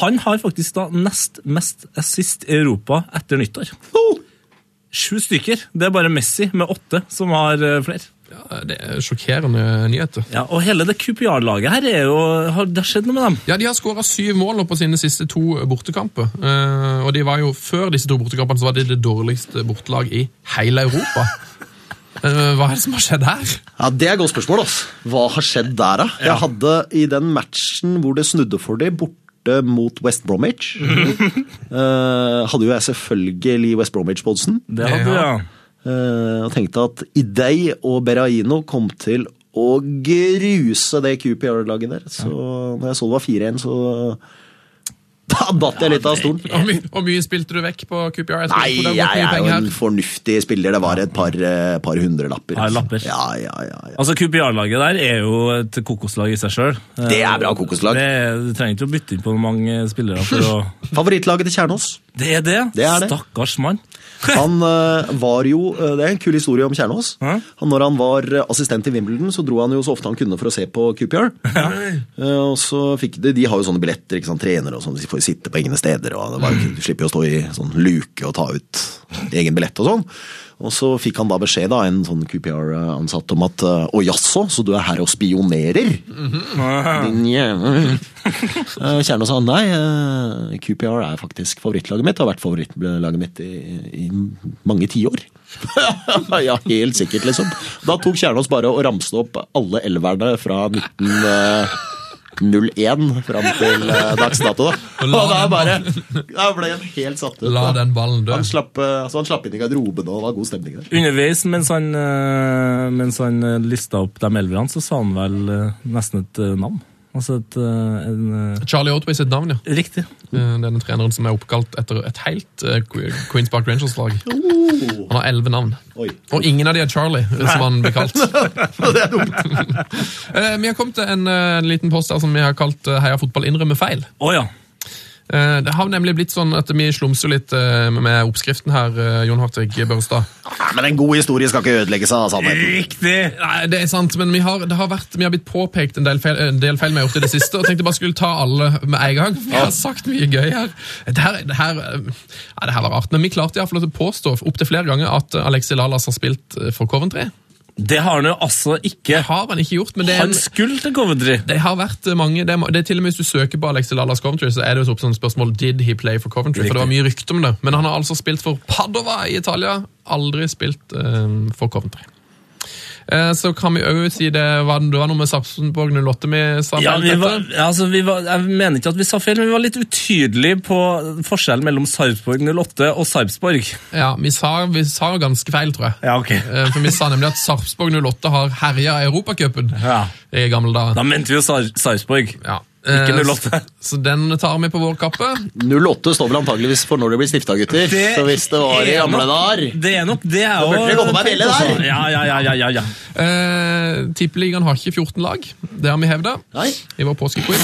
Speaker 1: Han har faktisk da nest mest assist i Europa etter nyttår. Sju stykker. Det er bare Messi med åtte som har eh, flere.
Speaker 4: Ja, det er sjokkerende nyheter.
Speaker 1: Ja, og hele det QPR-laget her er jo, har, det har skjedd noe med dem.
Speaker 4: Ja, De har skåra syv mål på sine siste to bortekamper. Eh, og de var jo, Før disse to bortekampene så var de det dårligste bortelag i hele Europa. Eh, hva er det som har skjedd her?
Speaker 5: Ja, Det er et godt spørsmål. ass. Hva har skjedd der, da? Jeg hadde i den matchen hvor det snudde for dem, borte mot West Bromwich, eh, hadde jo jeg selvfølgelig West Bromwich-podsen.
Speaker 1: Det hadde ja.
Speaker 4: Ja.
Speaker 5: eh, og tenkte at Idei og Berahino kom til å gruse det QPR-laget der. Så når jeg så det var 4-1, så da datt jeg litt av stolen.
Speaker 4: Hvor mye, hvor mye spilte du vekk på QPR? Jeg tror
Speaker 5: Nei,
Speaker 4: ikke det er
Speaker 5: jeg
Speaker 4: mye
Speaker 5: er
Speaker 4: penger
Speaker 5: jo
Speaker 4: her.
Speaker 5: en fornuftig spiller. Det var et par, eh, par hundrelapper.
Speaker 1: Par
Speaker 5: altså.
Speaker 1: lapper.
Speaker 5: Ja, ja, ja, ja.
Speaker 1: Altså, QPR-laget der er jo et kokoslag i seg sjøl.
Speaker 5: Det er bra kokoslag.
Speaker 1: Du trenger ikke å bytte inn på mange spillere for å
Speaker 5: Favorittlaget til Kjernås?
Speaker 1: Det er det!
Speaker 5: Det er det.
Speaker 1: Stakkars mann.
Speaker 5: Han eh, var jo eh, Det er en kul historie om Kjernås.
Speaker 1: Ja.
Speaker 5: Han, når han var eh, assistent i Wimbledon, så dro han jo så ofte han kunne for å se på QPR. Eh, og så fikk de, de har jo sånne billetter, ikke sant, trenere og sånn, de får jo sitte på egne steder. og det var, jo ikke- Du slipper jo å stå i sånn luke og ta ut egen billett og sånn. Og så fikk han da beskjed av en sånn QPR-ansatt om at eh, Å jaså, så du er her og spionerer? Din jævel. Eh, Kjernås sa nei, eh, QPR er faktisk favorittlaget mitt. Har vært favorittlaget mitt i, i mange tiår. ja, helt sikkert, liksom. Da tok Kjernås bare å ramse opp alle elverne fra 1901 fram til eh, dags dato. Da.
Speaker 4: Og la
Speaker 5: Og da
Speaker 4: den
Speaker 5: bare Da ble han helt satt ut.
Speaker 4: La
Speaker 5: da.
Speaker 4: den ballen dø.
Speaker 5: Han slapp, eh, altså, han slapp inn i garderoben, og det var god stemning der.
Speaker 1: Underveis mens han, eh, mens han eh, lista opp de elverne, så sa han vel eh, nesten et eh, navn. Altså et eh, en, eh,
Speaker 4: Charlie Otway sitt navn, ja.
Speaker 1: Riktig.
Speaker 4: Eh, Denne treneren som er oppkalt etter et helt eh, Que- Queens Park Rangers-lag. Han har elleve navn.
Speaker 5: Uh. Oi.
Speaker 4: Og ingen av de er Charlie, eh, som han blir kalt.
Speaker 5: Det er dumt.
Speaker 4: Eh, Vi har kommet til en, eh, en liten post her som vi har kalt eh, Heia fotball innrømmer feil.
Speaker 1: Å ja.
Speaker 4: Eh, Det har nemlig blitt sånn at vi slumser litt eh, med oppskriften her, eh, Jon Hartvig Børstad.
Speaker 5: Nei, men en god historie skal ikke altså, ødelegges av sannheten.
Speaker 1: Riktig!
Speaker 4: Nei, det er sant, men vi har, det har, vært, vi har blitt påpekt en del feil, eh, en del feil vi har gjort i det siste, og tenkte bare skulle ta alle med en gang. Vi har sagt mye gøy her. Det her, det her, eh, ja, det her var rart, men vi klarte i hvert fall å påstå opptil flere ganger at eh, Alexi Lalas har spilt eh, for Coventry.
Speaker 1: Det har han jo altså ikke.
Speaker 4: Det har han ikke gjort, men det er
Speaker 1: Han
Speaker 4: en...
Speaker 1: skulle til Coventry.
Speaker 4: Det har vært eh, mange, det er, ma- det er til og med Hvis du søker på Alexi Lalas Coventry, så er det jo et opp- sånn spørsmål Did he play for Coventry. For det var mye rykte om det. Men han har altså spilt for Padova i Italia. Aldri spilt eh, for Coventry. Eh, så kan vi òg si det var, det var noe med Sarpsborg 08 vi sa
Speaker 1: Ja,
Speaker 4: feil,
Speaker 1: vi
Speaker 4: dette.
Speaker 1: var, altså, vi var, jeg mener ikke at vi sa feil, men vi var litt utydelige på forskjellen mellom Sarpsborg 08 og Sarpsborg.
Speaker 4: ja, vi, sa, vi sa ganske feil, tror jeg.
Speaker 1: Ja, ok.
Speaker 4: Eh, for vi sa nemlig at Sarpsborg 08 har herja i Europacupen
Speaker 1: Ja.
Speaker 4: i gamle dager.
Speaker 1: Da mente vi jo Sar Sarpsborg.
Speaker 4: Ja.
Speaker 1: Ikke
Speaker 4: Eh,
Speaker 1: 08.
Speaker 4: Så, så den tar vi på vår kappe.
Speaker 5: 08 står vel antageligvis for når det blir stifta, gutter. Så hvis det var i
Speaker 1: er
Speaker 5: gamle
Speaker 1: nok-
Speaker 5: dager
Speaker 1: Det er nok det. Da
Speaker 5: burde det komme meg veldig der.
Speaker 1: Ja, ja, ja, ja, ja, ja.
Speaker 4: Eh, Tippeligaen har ikke 14 lag. Det har vi hevda.
Speaker 5: Nei.
Speaker 4: i vår påskequiz.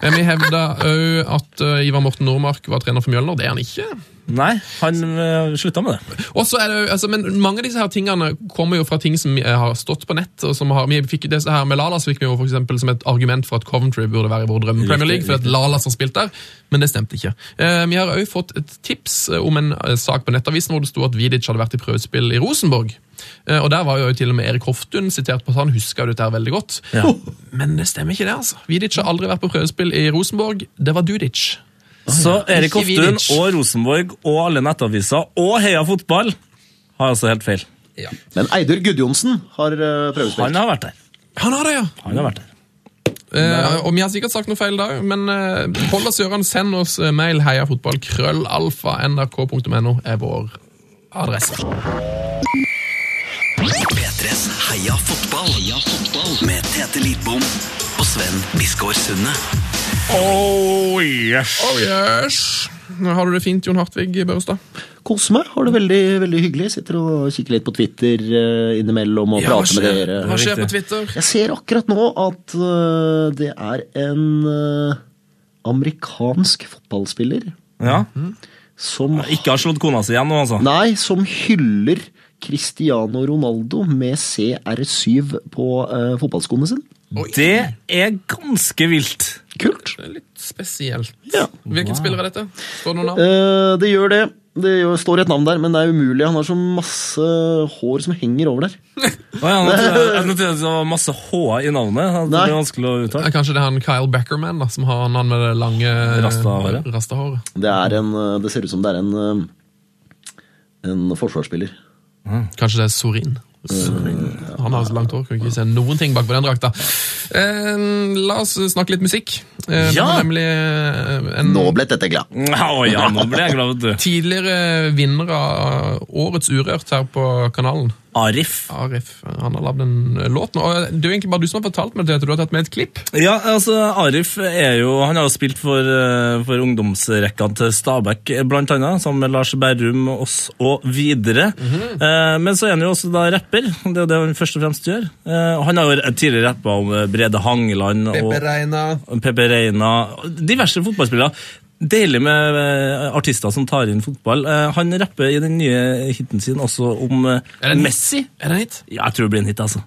Speaker 4: Eh, Vi hevda òg at eh, Ivar Morten Nordmark var trener for Mjølner. Det er han ikke.
Speaker 1: Nei, han øh, slutta med det.
Speaker 4: Og så er det, jo- altså, men Mange av disse her tingene kommer jo fra ting som eh, har stått på nett. og som har, vi fikk det her Med Lalas fikk vi jo for eksempel, som et argument for at Coventry burde være i vår drømme Premier League, fordi at Lalas har spilt der, men det stemte ikke. Eh, Vi har òg fått et tips eh, om en eh, sak på Nettavisen hvor det sto at Vidic hadde vært i prøvespill i Rosenborg. Eh, Og Der var jo til og med Erik Hoftun sitert på at han huska dette her veldig godt. Men det stemmer ikke, det. altså. Vidic har aldri vært på prøvespill i Rosenborg. Det var Dudic.
Speaker 1: Så Erik
Speaker 4: Ikke
Speaker 1: Hoftun
Speaker 4: Vidic.
Speaker 1: og Rosenborg og alle nettaviser og Heia Fotball har altså helt feil.
Speaker 5: Men Eidur Gudjonsen har eh, prøvespilt.
Speaker 1: Han har vært der.
Speaker 4: Han har det, ja!
Speaker 1: Han har vært der.
Speaker 4: Eh, og vi har sikkert sagt noe feil da, men eh, hold oss i ørene. Send oss eh, mail heiafotballkrøllalfa.nrk.no er vår adresse.
Speaker 3: P3s Heia fotball. Heia fotball. Med Tete Lidbom og Sven Biskår Sunde.
Speaker 1: Oh, yes.
Speaker 4: Oh, yes. Nå Har du det fint, Jon Hartvig Børstad?
Speaker 5: Kos meg. Har det veldig, veldig hyggelig. Sitter og kikker litt på Twitter eh, innimellom og prater med
Speaker 4: Hva
Speaker 5: dere.
Speaker 4: skjer på
Speaker 1: riktig.
Speaker 4: Twitter?
Speaker 5: Jeg ser akkurat nå at eh, det er en eh, amerikansk fotballspiller
Speaker 1: Ja.
Speaker 5: som
Speaker 1: Ikke har slått kona si igjen nå, altså.
Speaker 5: Nei, som hyller Cristiano Ronaldo med CR7 på eh, fotballskoene sine.
Speaker 4: Oi, det
Speaker 1: Det er ganske vilt.
Speaker 5: Kult.
Speaker 4: er litt spesielt.
Speaker 5: Ja.
Speaker 4: Hvilken spiller er dette? Står det noen navn?
Speaker 5: Eh, det gjør det. Det jo- står et navn der, men det er umulig. Han har så masse hår som henger over der.
Speaker 1: Å ja, nå trodde jeg- jeg trodde det var masse H-er i navnet. Det
Speaker 5: Nei.
Speaker 1: blir vanskelig å
Speaker 4: Det er
Speaker 1: uttale.
Speaker 4: Eh, kanskje det er han Kyle Beckerman da, som har han med det lange
Speaker 1: Rastahåret.
Speaker 4: rastahåret.
Speaker 5: Det, er en, eh, det ser ut som det er en, eh, en forsvarsspiller.
Speaker 4: Kanskje det er Sorin. Han har så langt hår, kan ikke se noen ting bak på den drakta. Eh, la oss snakke litt musikk. Eh, det
Speaker 1: Ja!
Speaker 4: var Nemlig eh, en
Speaker 5: Nå ble dette glad.
Speaker 1: Å ja, nå ble jeg glad, vet du.
Speaker 4: tidligere vinner av Årets Urørt her på kanalen.
Speaker 1: Arif.
Speaker 4: Arif han har lagd en låt nå. og eh, Det er jo egentlig bare du som har fortalt meg det, at du har tatt med et klipp.
Speaker 1: Ja, altså Arif er jo, han har jo spilt for, eh, for ungdomsrekka til Stabæk, eh, blant annet, sammen med Lars Berrum, oss og videre.
Speaker 4: Mhm.
Speaker 1: Eh, Men så er han jo også da rapper, det er jo det han først og fremst gjør. Eh, Og han har jo tidligere rappa om eh, Brede Hangeland og Pepe Reina, diverse fotballspillere. Deilig med eh, artister som tar inn fotball. Eh, Han rapper i den nye hiten sin også om eh,
Speaker 4: Er det-
Speaker 1: Messi.
Speaker 4: Er det en hit?
Speaker 1: Ja, jeg tror det blir en hit, altså.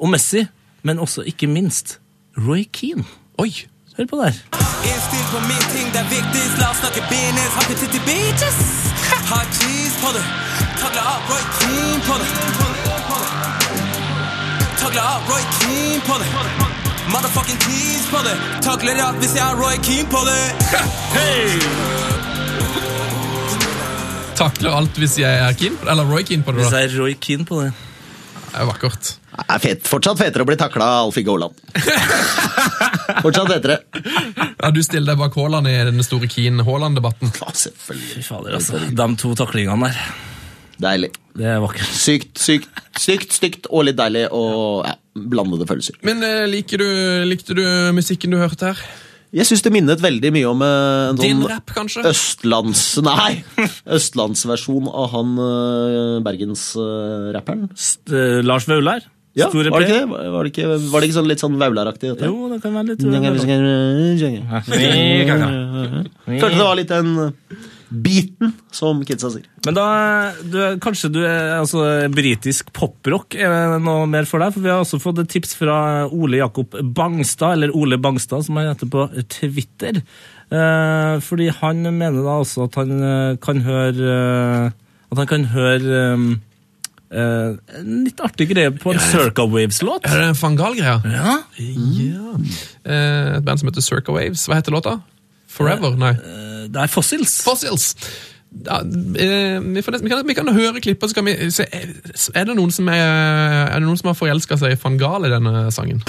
Speaker 1: Og Messi, men også ikke minst Roy Keane.
Speaker 4: Oi!
Speaker 1: Hør på der.
Speaker 8: Innstill på min ting, det er viktigst. La oss snakke business. Har ikke tid til bitches. Har cheese på det. Tagla av Roy Keane på det. Tagla av Roy Keane på det. Motherfucking cheese på det. Tagler av hvis jeg har Roy Keane på det.
Speaker 4: Takler alt hvis jeg er keen på det. Eller Roy keen på det.
Speaker 1: Hvis
Speaker 4: da.
Speaker 1: jeg er Roy Keane på det.
Speaker 4: Det er vakkert.
Speaker 5: Det er fet, fortsatt fetere å bli takla av Alf Inge Haaland. fortsatt fetere.
Speaker 4: Ja, Du stiller deg bak Haaland i den store Keen-Haaland-debatten.
Speaker 5: Ja, selvfølgelig.
Speaker 1: Fy fader, altså. De to taklingene der.
Speaker 5: Deilig.
Speaker 1: Det er vakkert.
Speaker 5: Sykt, sykt, sykt, stygt og litt deilig og ja, blandede følelser.
Speaker 4: Men eh, liker du, likte du musikken du hørte her?
Speaker 5: Jeg syns det minnet veldig mye om eh, en
Speaker 4: Din
Speaker 5: sånn
Speaker 4: rap, kanskje?
Speaker 5: østlands... Nei! Østlandsversjon av han eh, bergensrapperen.
Speaker 1: St eh, Lars Vaular.
Speaker 5: Ja, var
Speaker 1: Store
Speaker 5: det,
Speaker 1: P.
Speaker 5: ikke det? var det ikke Var det ikke sånn litt sånn Vaular-aktig? dette?
Speaker 1: Jo, det kan være litt eh,
Speaker 5: Følte det var litt den beaten, som kidsa sier.
Speaker 1: Men da du, er- Kanskje du er altså, britisk poprock? Er det noe mer for deg? For vi har også fått et tips fra Ole Jakob Bangstad, eller Ole Bangstad, som han heter på Twitter. Eh, fordi han mener da også at han eh, kan høre eh, At han kan høre eh, eh, en litt artig greie på en Circa Waves-låt.
Speaker 4: Er det en Fangal-greia?
Speaker 1: Ja.
Speaker 4: Ja. Eh, Et band som heter Circa Waves. Hva heter låta? Forever? Nei.
Speaker 1: Eh, Det er Fossils.
Speaker 4: Fossils! Ja, eh, vi, får nesten, vi, kan, vi kan høre klippet, så kan vi se Er er det noen som, er, er det noen som har forelska seg i van Gaal i denne sangen?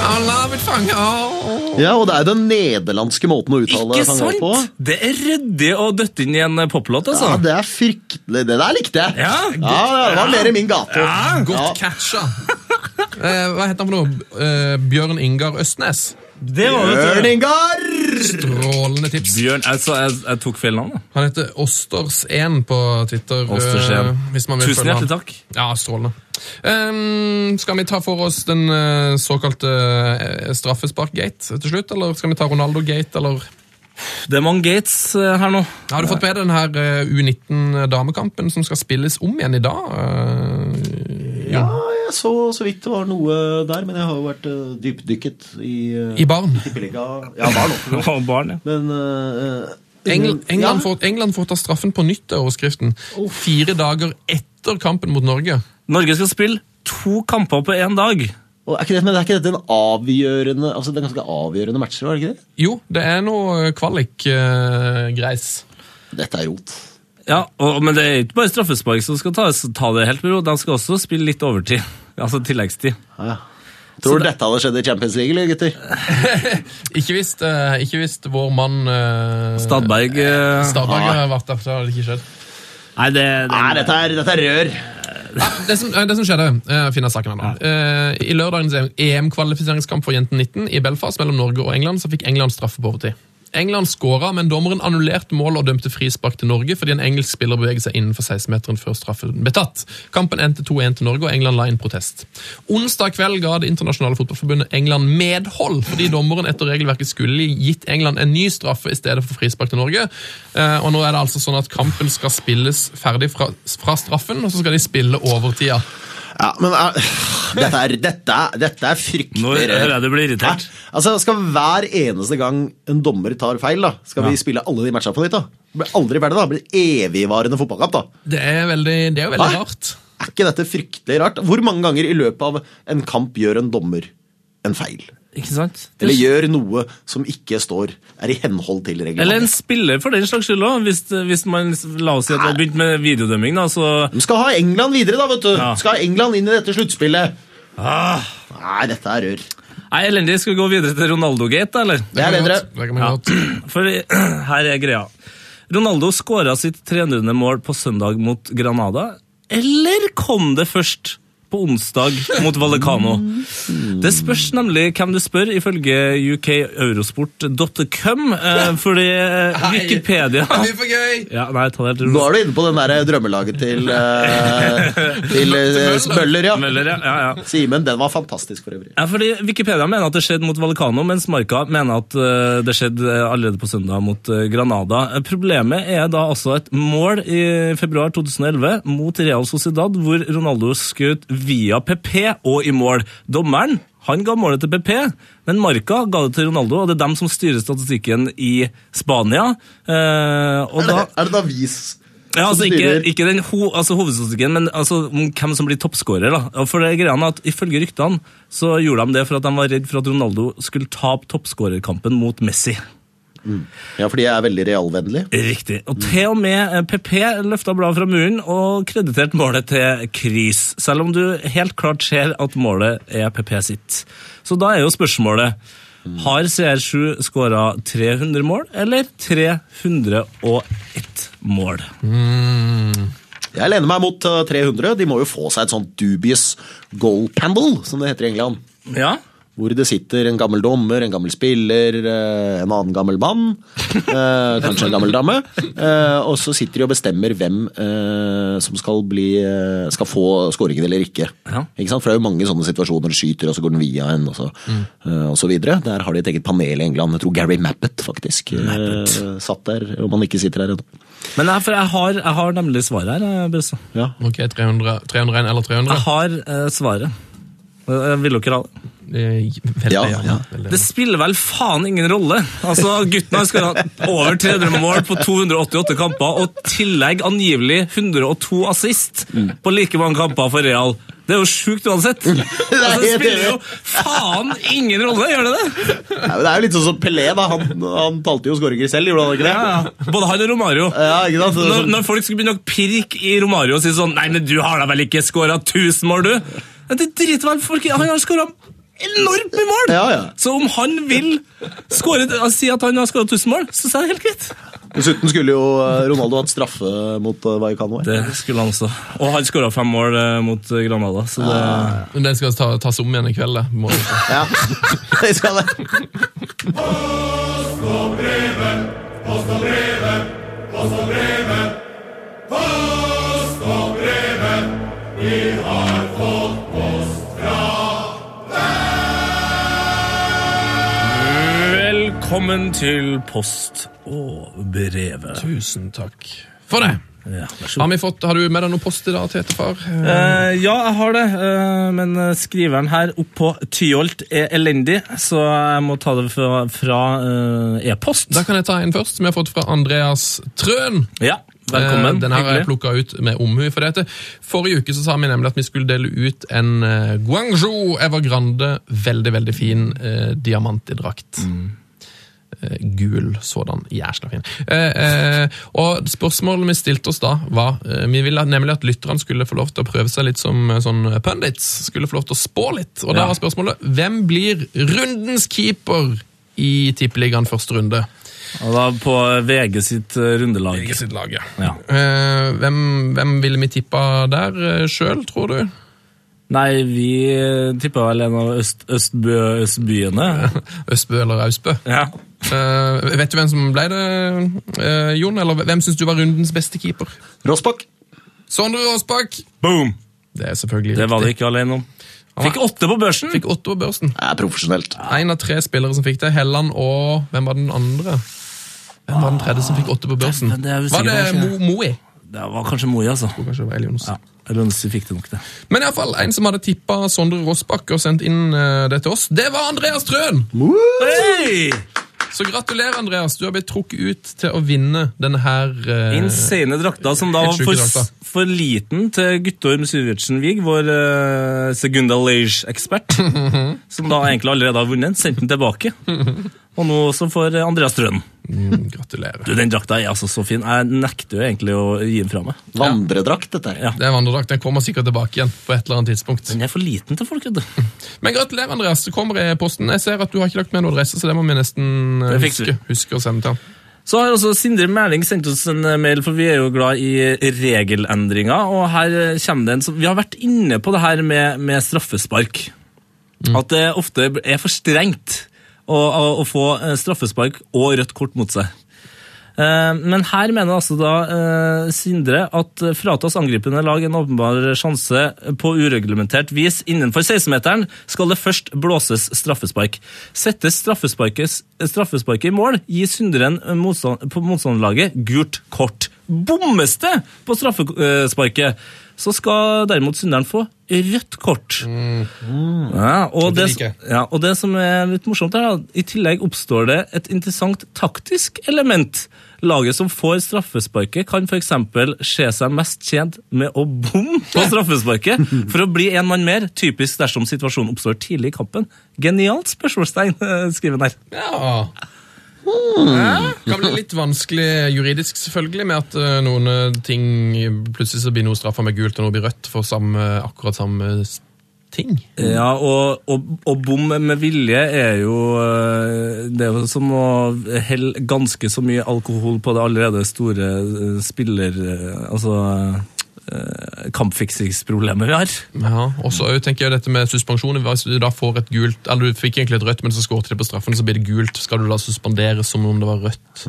Speaker 4: I love it, van Gaal!
Speaker 5: Ja, og det er jo den nederlandske måten å uttale
Speaker 1: Ikke
Speaker 5: fanger på.
Speaker 1: sant? Det er ryddig å døtte inn i en eh, poplåt, altså.
Speaker 5: Ja, det er fryktelig. Det der likte jeg.
Speaker 1: Ja.
Speaker 5: det var mer i min gate.
Speaker 4: Godt catcha! Eh, hva heter han for noe? Eh, Bjørn Ingar Østnes.
Speaker 1: Det var vet du.
Speaker 5: Ørningar!
Speaker 4: Strålende tips.
Speaker 1: Bjørn, altså, jeg, jeg tok feil navn. da.
Speaker 4: Han heter Åsters1 på Twitter. eh,
Speaker 1: Åsters1.
Speaker 4: hvis man vil
Speaker 1: Tusen
Speaker 4: følge han.
Speaker 1: hjertelig takk.
Speaker 4: Ja, strålende. Ehm, skal vi ta for oss den eh, såkalte eh, straffespark-gate til slutt, eller skal vi ta Ronaldo-gate, eller
Speaker 1: Det er mange gates eh, her nå.
Speaker 4: Har du fått med deg den her eh, U19-damekampen som skal spilles om igjen i dag? eh,
Speaker 5: Ja, jeg så så vidt det var noe der, men jeg har jo vært eh, dypdykket i eh,
Speaker 4: I barn.
Speaker 5: Tippeliga. Ja, var nok.
Speaker 1: Og barn, ja.
Speaker 5: Men eh, eh,
Speaker 4: Engl
Speaker 5: ja.
Speaker 4: England, får, England får ta straffen på nytt, er overskriften. Fire dager etter kampen mot Norge.
Speaker 1: Norge skal spille to kamper på én dag.
Speaker 5: Og er ikke det, men er ikke dette en avgjørende altså det er ganske avgjørende matcher, var det ikke det?
Speaker 4: Jo, det er noe eh, kvalik-greis.
Speaker 5: Dette er rot.
Speaker 1: Ja, og, Men det er ikke bare straffespark som skal tas. Ta det helt med ro. De skal også spille litt overtid. Altså tilleggstid.
Speaker 5: Ja. Tror du dette hadde skjedd i Champions League, eller, gutter?
Speaker 4: Ikke hvis, eh, ikke hvis vår mann eh,
Speaker 1: Stadberg eh,
Speaker 4: Stabæk har vært der, for da hadde det ikke skjedd.
Speaker 1: Nei, det, det,
Speaker 5: Nei, dette er, dette er rør.
Speaker 4: Det som, eh, det som skjedde, eh, finner jeg saken her da. Eh, I lørdagens EM-kvalifiseringskamp for jenten 19 i Belfast mellom Norge og England, så fikk England straffe på overtid. England skåra, men dommeren annullerte målet og dømte frispark til Norge fordi en engelsk spiller beveget seg innenfor 16-meteren før straffen ble tatt. Kampen endte 2-1 til Norge, og England la inn protest. Onsdag kveld ga Det internasjonale fotballforbundet England medhold fordi dommeren etter regelverket skulle gitt England en ny straffe i stedet for frispark til Norge. Eh, Og nå er det altså sånn at kampen skal spilles ferdig fra, fra straffen, og så skal de spille overtida.
Speaker 5: Ja, men er, dette, er, dette, er, dette er fryktelig
Speaker 1: Nå hører jeg du blir
Speaker 5: Nei,
Speaker 1: irritert.
Speaker 5: altså Skal hver eneste gang en dommer tar feil, da skal vi spille alle de matchene på nytt? da? Det blir aldri ferdig, da. Det blir evigvarende fotballkamp. da.
Speaker 4: Det er, veldig, det er jo veldig
Speaker 5: Hæ?
Speaker 4: rart.
Speaker 5: Er ikke dette fryktelig rart? Hvor mange ganger i løpet av en kamp gjør en dommer en feil?
Speaker 1: Ikke sant?
Speaker 5: Eller gjør noe som ikke står er i henhold til
Speaker 1: Eller en
Speaker 5: reglementet?
Speaker 1: spiller for den slags skyld òg. Hvis, hvis man la oss si at man begynte med videodømming, da, så
Speaker 5: De skal ha England videre, da, vet du!
Speaker 1: Ja. Ah.
Speaker 5: Skal ha England inn i dette sluttspillet! Nei, dette er rør.
Speaker 1: Nei, elendig. Skal vi gå videre til Ronaldo-gate, da, eller?
Speaker 5: Det
Speaker 4: kan
Speaker 5: er
Speaker 4: man
Speaker 5: bedre.
Speaker 4: godt- Det kan man godt.
Speaker 1: For her er greia. Ronaldo skåra sitt 300. mål på søndag mot Granada. Eller kom det først på onsdag mot Vallecano?
Speaker 4: Mm.
Speaker 1: Det spørs nemlig hvem du spør, ifølge ukeurosport.com. eh, Fordi eh, Wikipedia
Speaker 4: Det blir for gøy!
Speaker 1: ja, Nei, ta det helt
Speaker 5: Nå
Speaker 1: rolig.
Speaker 5: er du inne på den der drømmelaget til, eh, til eh, Møller, ja.
Speaker 1: Møller, ja. ja, ja.
Speaker 5: Simen, den var fantastisk for øvrig.
Speaker 1: Ja, fordi Wikipedia mener at det skjedde mot Vallecano, mens Marca mener at eh, det skjedde eh, allerede på søndag mot eh, Granada. Eh, Problemet er da altså et mål i februar 2011 mot Real Sociedad, hvor Ronaldo skjøt via PP og i mål. Dommeren han ga målet til PP, men Marca ga det til Ronaldo, og det er dem som styrer statistikken i Spania. Eh, og
Speaker 5: Er det,
Speaker 1: da...
Speaker 5: er det da vis
Speaker 1: Ja, altså
Speaker 5: som
Speaker 1: ikke,
Speaker 5: styrer?
Speaker 1: ikke den ho, altså, hovedstatistikken, men altså, om hvem som blir toppskårer. da. Og For det greia er at Ifølge ryktene så gjorde de det for at de var redd for at Ronaldo skulle tape toppskårerkampen mot Messi.
Speaker 5: Ja, fordi jeg er veldig realvennlig.
Speaker 1: Riktig. Og til og med eh, PP løfta bladet fra muren og krediterte målet til Kris, selv om du helt klart ser at målet er PP sitt. Så da er jo spørsmålet har CR7 skåra 300 mål eller 301 mål?
Speaker 5: Jeg lener meg mot eh, 300. De må jo få seg et sånt dubious goal panel, som det heter i England.
Speaker 1: Ja,
Speaker 5: Hvor det sitter en gammel dommer, en gammel spiller, eh, en annen gammel mann, eh, kanskje en gammel dame. eh, Og så sitter de og bestemmer hvem eh, som skal, bli, eh, skal få scoringen eller ikke.
Speaker 1: Ja.
Speaker 5: ikke sant? For det er jo mange sånne situasjoner. Skyter, og så går den via en, og så, eh, og så videre. Der har de et eget panel i England. Jeg tror Gary Mappet faktisk eh, satt der, om han ikke sitter der ennå.
Speaker 1: Men nei, for jeg har, jeg har nemlig svaret her. eh, Bøsse.
Speaker 5: Ja.
Speaker 4: Ok, 300, 301 eller 300?
Speaker 1: Jeg har eh, svaret. Eh, Vil dere ha det?
Speaker 4: Eh, Veldig,
Speaker 5: Ja, ja.
Speaker 1: Det spiller vel faen ingen rolle. Altså, Gutten har skåra over 300 mål på 288 kamper og tillegg angivelig 102 assist på like mange kamper for Real. Det er jo sjukt uansett! Altså, det
Speaker 5: helt
Speaker 1: spiller jo
Speaker 5: enig.
Speaker 1: faen ingen rolle, gjør det det?
Speaker 5: Nei, men det er jo litt sånn som Pelé, da. Han, han talte jo skåringer selv, gjorde han ikke det?
Speaker 1: Ja, ja. Både han og Romario.
Speaker 5: Ja, ikke sant? Så,
Speaker 1: Når,
Speaker 5: sånn-
Speaker 1: når folk skulle begynne å pirke i Romario og si sånn Nei, men du har da vel ikke skåra 1000 mål, du? Ja, Det driter vel folk i. Han har skåra enormt mye mål!
Speaker 5: Ja, ja.
Speaker 1: Så om han vil score, altså, si at han har skåra 1000 mål, så er det helt greit.
Speaker 5: Dessuten skulle jo eh, Ronaldo hatt straffe mot eh, Vallecano. her.
Speaker 1: Det skulle han også. Og han skåra fem mål eh, mot eh, Granada, så det
Speaker 5: Ah.
Speaker 4: Men Den skal ta, tas om igjen i kveld. det. Må-
Speaker 5: Ja, det skal det.
Speaker 1: Velkommen til Post og brevet.
Speaker 4: Tusen takk for det.
Speaker 1: Ja, vær så god.
Speaker 4: Har, vi fått, har du med deg noe post i dag, Tetefar?
Speaker 1: Eh, ja, jeg har det, eh, men eh, skriveren her oppå Tyholt er elendig, så jeg må ta det fra, fra eh, e-post.
Speaker 4: Da kan jeg ta en først, som jeg har fått fra Andreas Trøen.
Speaker 1: Ja, velkommen.
Speaker 4: Eh, Den her har jeg
Speaker 1: Hyggelig.
Speaker 4: plukka ut med omhu. For dette. Forrige uke så sa vi nemlig at vi skulle dele ut en eh, Guangzhou Evergrande veldig, veldig fin eh, diamant i drakt.
Speaker 1: Mm.
Speaker 4: Eh, gul sådan. Jæsla fin. Eh, eh, og spørsmålet vi stilte oss da, var eh, Vi ville nemlig at lytterne skulle få lov til å prøve seg litt som eh, sånn pundits. Skulle få lov til å spå litt. Og da
Speaker 1: Ja.
Speaker 4: var spørsmålet hvem blir rundens keeper i Tippeligaen første runde?
Speaker 1: Og da på VG sitt eh, rundelag.
Speaker 4: Ikke sitt lag, ja.
Speaker 1: Ja.
Speaker 4: Eh, hvem, hvem ville vi tippa der sjøl, tror du?
Speaker 1: Nei, vi eh, tippa vel en av øst, østbø, østbyene.
Speaker 4: Østbø eller Austbø?
Speaker 1: Ja.
Speaker 4: Eh, vet du hvem som ble det, eh, Jon? Eller hvem syns du var rundens beste keeper?
Speaker 5: Rossbakk.
Speaker 4: Sondre Aasbakk!
Speaker 1: Boom!
Speaker 4: Det er selvfølgelig
Speaker 1: Det var du
Speaker 4: riktig.
Speaker 1: ikke alene om. Fikk åtte på børsen!
Speaker 4: Fikk åtte på børsen.
Speaker 5: Det er profesjonelt.
Speaker 4: Én av tre spillere som fikk det. Helland og Hvem var den andre? Hvem var den tredje som fikk åtte på børsen?
Speaker 1: det er jeg
Speaker 4: var
Speaker 1: usikker
Speaker 4: det
Speaker 1: på, kanskje.
Speaker 4: Mo Moe?
Speaker 1: Det var kanskje Moi, altså.
Speaker 4: Kanskje det var Elionos.
Speaker 1: Ja, Lønse fikk det nok, det.
Speaker 4: Men i alle fall, en som hadde tippa Sondre Rossbakk og sendt inn eh, det til oss, det var Andreas Trøen!
Speaker 1: Hey!
Speaker 4: Så gratulerer, Andreas. Du har blitt trukket ut til å vinne denne her eh,
Speaker 1: Insane drakta som da
Speaker 4: Helt
Speaker 1: var
Speaker 4: sjuke
Speaker 1: for,
Speaker 4: drakter.
Speaker 1: for liten til Guttorm Syvertsen Wiig, vår uh, Segunda Lage-ekspert, som da egentlig allerede har vunnet, sendte den tilbake. Og nå også får Andreas Trøen.
Speaker 4: Mm, Gratulerer.
Speaker 1: Du, Den drakta er altså så fin. Jeg nekter jo egentlig å gi den fra meg.
Speaker 5: Vandredrakt, dette her.
Speaker 1: Ja.
Speaker 4: Det er vandredrakt. Den kommer sikkert tilbake igjen på et eller annet tidspunkt.
Speaker 1: Den er for liten til folk, vet du.
Speaker 4: Men gratulerer, Andreas. Det kommer i posten. Jeg ser at du har ikke lagt med noen adresse, så det må vi nesten eh,
Speaker 1: Det fikser vi.
Speaker 4: huske, huske å sende til han.
Speaker 1: Så har også Sindre Mæling sendt oss en eh, mail, for vi er jo glad i regelendringer. Og her eh, kommer det en som Vi har vært inne på det her med, med straffespark. At det ofte er for strengt å, å, å få eh, straffespark og rødt kort mot seg. Eh, Men her mener altså da eh, Sindre at eh, fratas angripende lag en åpenbar sjanse på ureglementert vis innenfor 16-meteren, skal det først blåses straffespark. Settes straffesparkes- straffesparket i mål, gir synderen eh, motstand, på motstanderlaget gult kort. Bommes det på straffesparket, så skal derimot synderen få rødt kort. Ja, og,
Speaker 4: Det
Speaker 1: det,
Speaker 4: liker jeg.
Speaker 1: ja, og det som er litt morsomt her, da, i tillegg oppstår det et interessant taktisk element. Laget som får straffesparket, kan f.eks. se seg mest tjent med å bomme på straffesparket for å bli en mann mer, typisk dersom situasjonen oppstår tidlig i kampen. Genialt spørsmålstegn, eh, skriver han her.
Speaker 4: Ja.
Speaker 1: Hmm.
Speaker 4: Det kan bli litt vanskelig juridisk, selvfølgelig, med at eh, noen eh, ting Plutselig så blir noe straffa med gult, og noe blir rødt for samme, akkurat samme s- ting.
Speaker 1: Ja, og, og, og bom med vilje er jo eh, Det er jo som å helle ganske så mye alkohol på det allerede store eh, spiller... eh, Altså eh, kampfiksingsproblemet vi har.
Speaker 4: Ja, og så tenker jeg dette med suspensjoner. Hvis du da får et gult, eller du fikk egentlig et rødt, men så skåret de på straffen, så blir det gult. Skal du da suspendere som om det var rødt?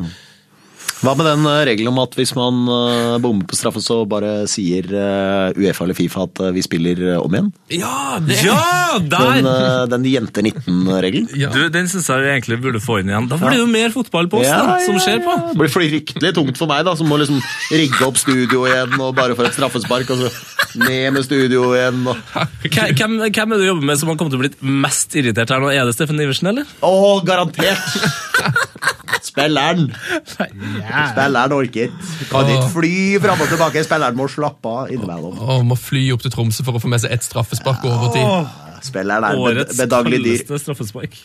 Speaker 5: Hva med den eh, regelen om at hvis man eh, bommer på straffen, så bare sier eh, Uefa eller Fifa at eh, vi spiller eh, om igjen?
Speaker 4: Ja, det
Speaker 1: Ja,
Speaker 5: Den,
Speaker 1: der!
Speaker 5: eh, den jente 19-regelen.
Speaker 4: Ja.
Speaker 1: Du, Den syns jeg vi egentlig burde få inn igjen. Da blir det jo mer fotball på oss, da, som skjer på.
Speaker 5: Det blir fryktelig tungt for meg, da, som må liksom rigge opp studio igjen og bare for et straffespark, og så ned med studio igjen. Og...
Speaker 1: Hvem, hvem hvem er det du jobber med som har kommet til å bli blitt mest irritert her nå? Er det Steffen Iversen, eller?
Speaker 5: Å, garantert! Spilleren! Spilleren orker. Kan ikke fly fram og tilbake. Spilleren må slappe av innimellom.
Speaker 4: Og må fly opp til Tromsø for å få med seg ett straffespark og overtid.
Speaker 5: Spilleren er et bed
Speaker 1: Årets
Speaker 5: bedagelig dyr.
Speaker 1: kaldeste straffespark.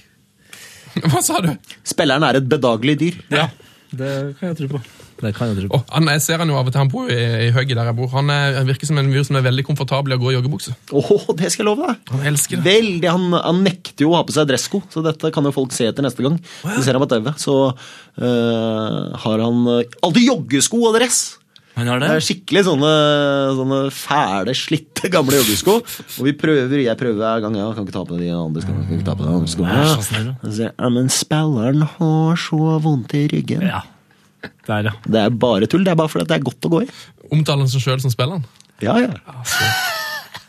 Speaker 4: Hva sa du?
Speaker 5: Spilleren er et bedagelig dyr.
Speaker 4: Ja.
Speaker 1: Det kan jeg tro på. Det kan jeg tro på.
Speaker 4: Å, han, jeg ser han jo av og til, han bor jo i, i Høgget der jeg bor. Han, er, han virker som en fyr som er veldig komfortabel i å gå i joggebukse.
Speaker 5: Åh, det skal jeg love deg!
Speaker 4: Han elsker det.
Speaker 5: Veldig, han, han nekter jo å ha på seg dressko, så dette kan jo folk se etter neste gang. De ser ham på TV, så øh, har han øh, alltid joggesko og dress!
Speaker 1: Han har
Speaker 5: Det
Speaker 1: det?
Speaker 5: er skikkelig sånne, sånne fæle, slitte, gamle joggesko. Og vi prøver, jeg prøver hver gang. Ja, kan ikke ta på de andre skoene. Kan ikke ta på de andre skoene.
Speaker 1: Vær så snill.
Speaker 5: Og så sier jeg, Ja, men spilleren har så vondt i ryggen.
Speaker 1: Ja. Der, ja.
Speaker 5: Det er bare tull. Det er bare fordi det er godt å gå i.
Speaker 4: Omtaler han seg sjøl som spilleren?
Speaker 5: Ja, ja.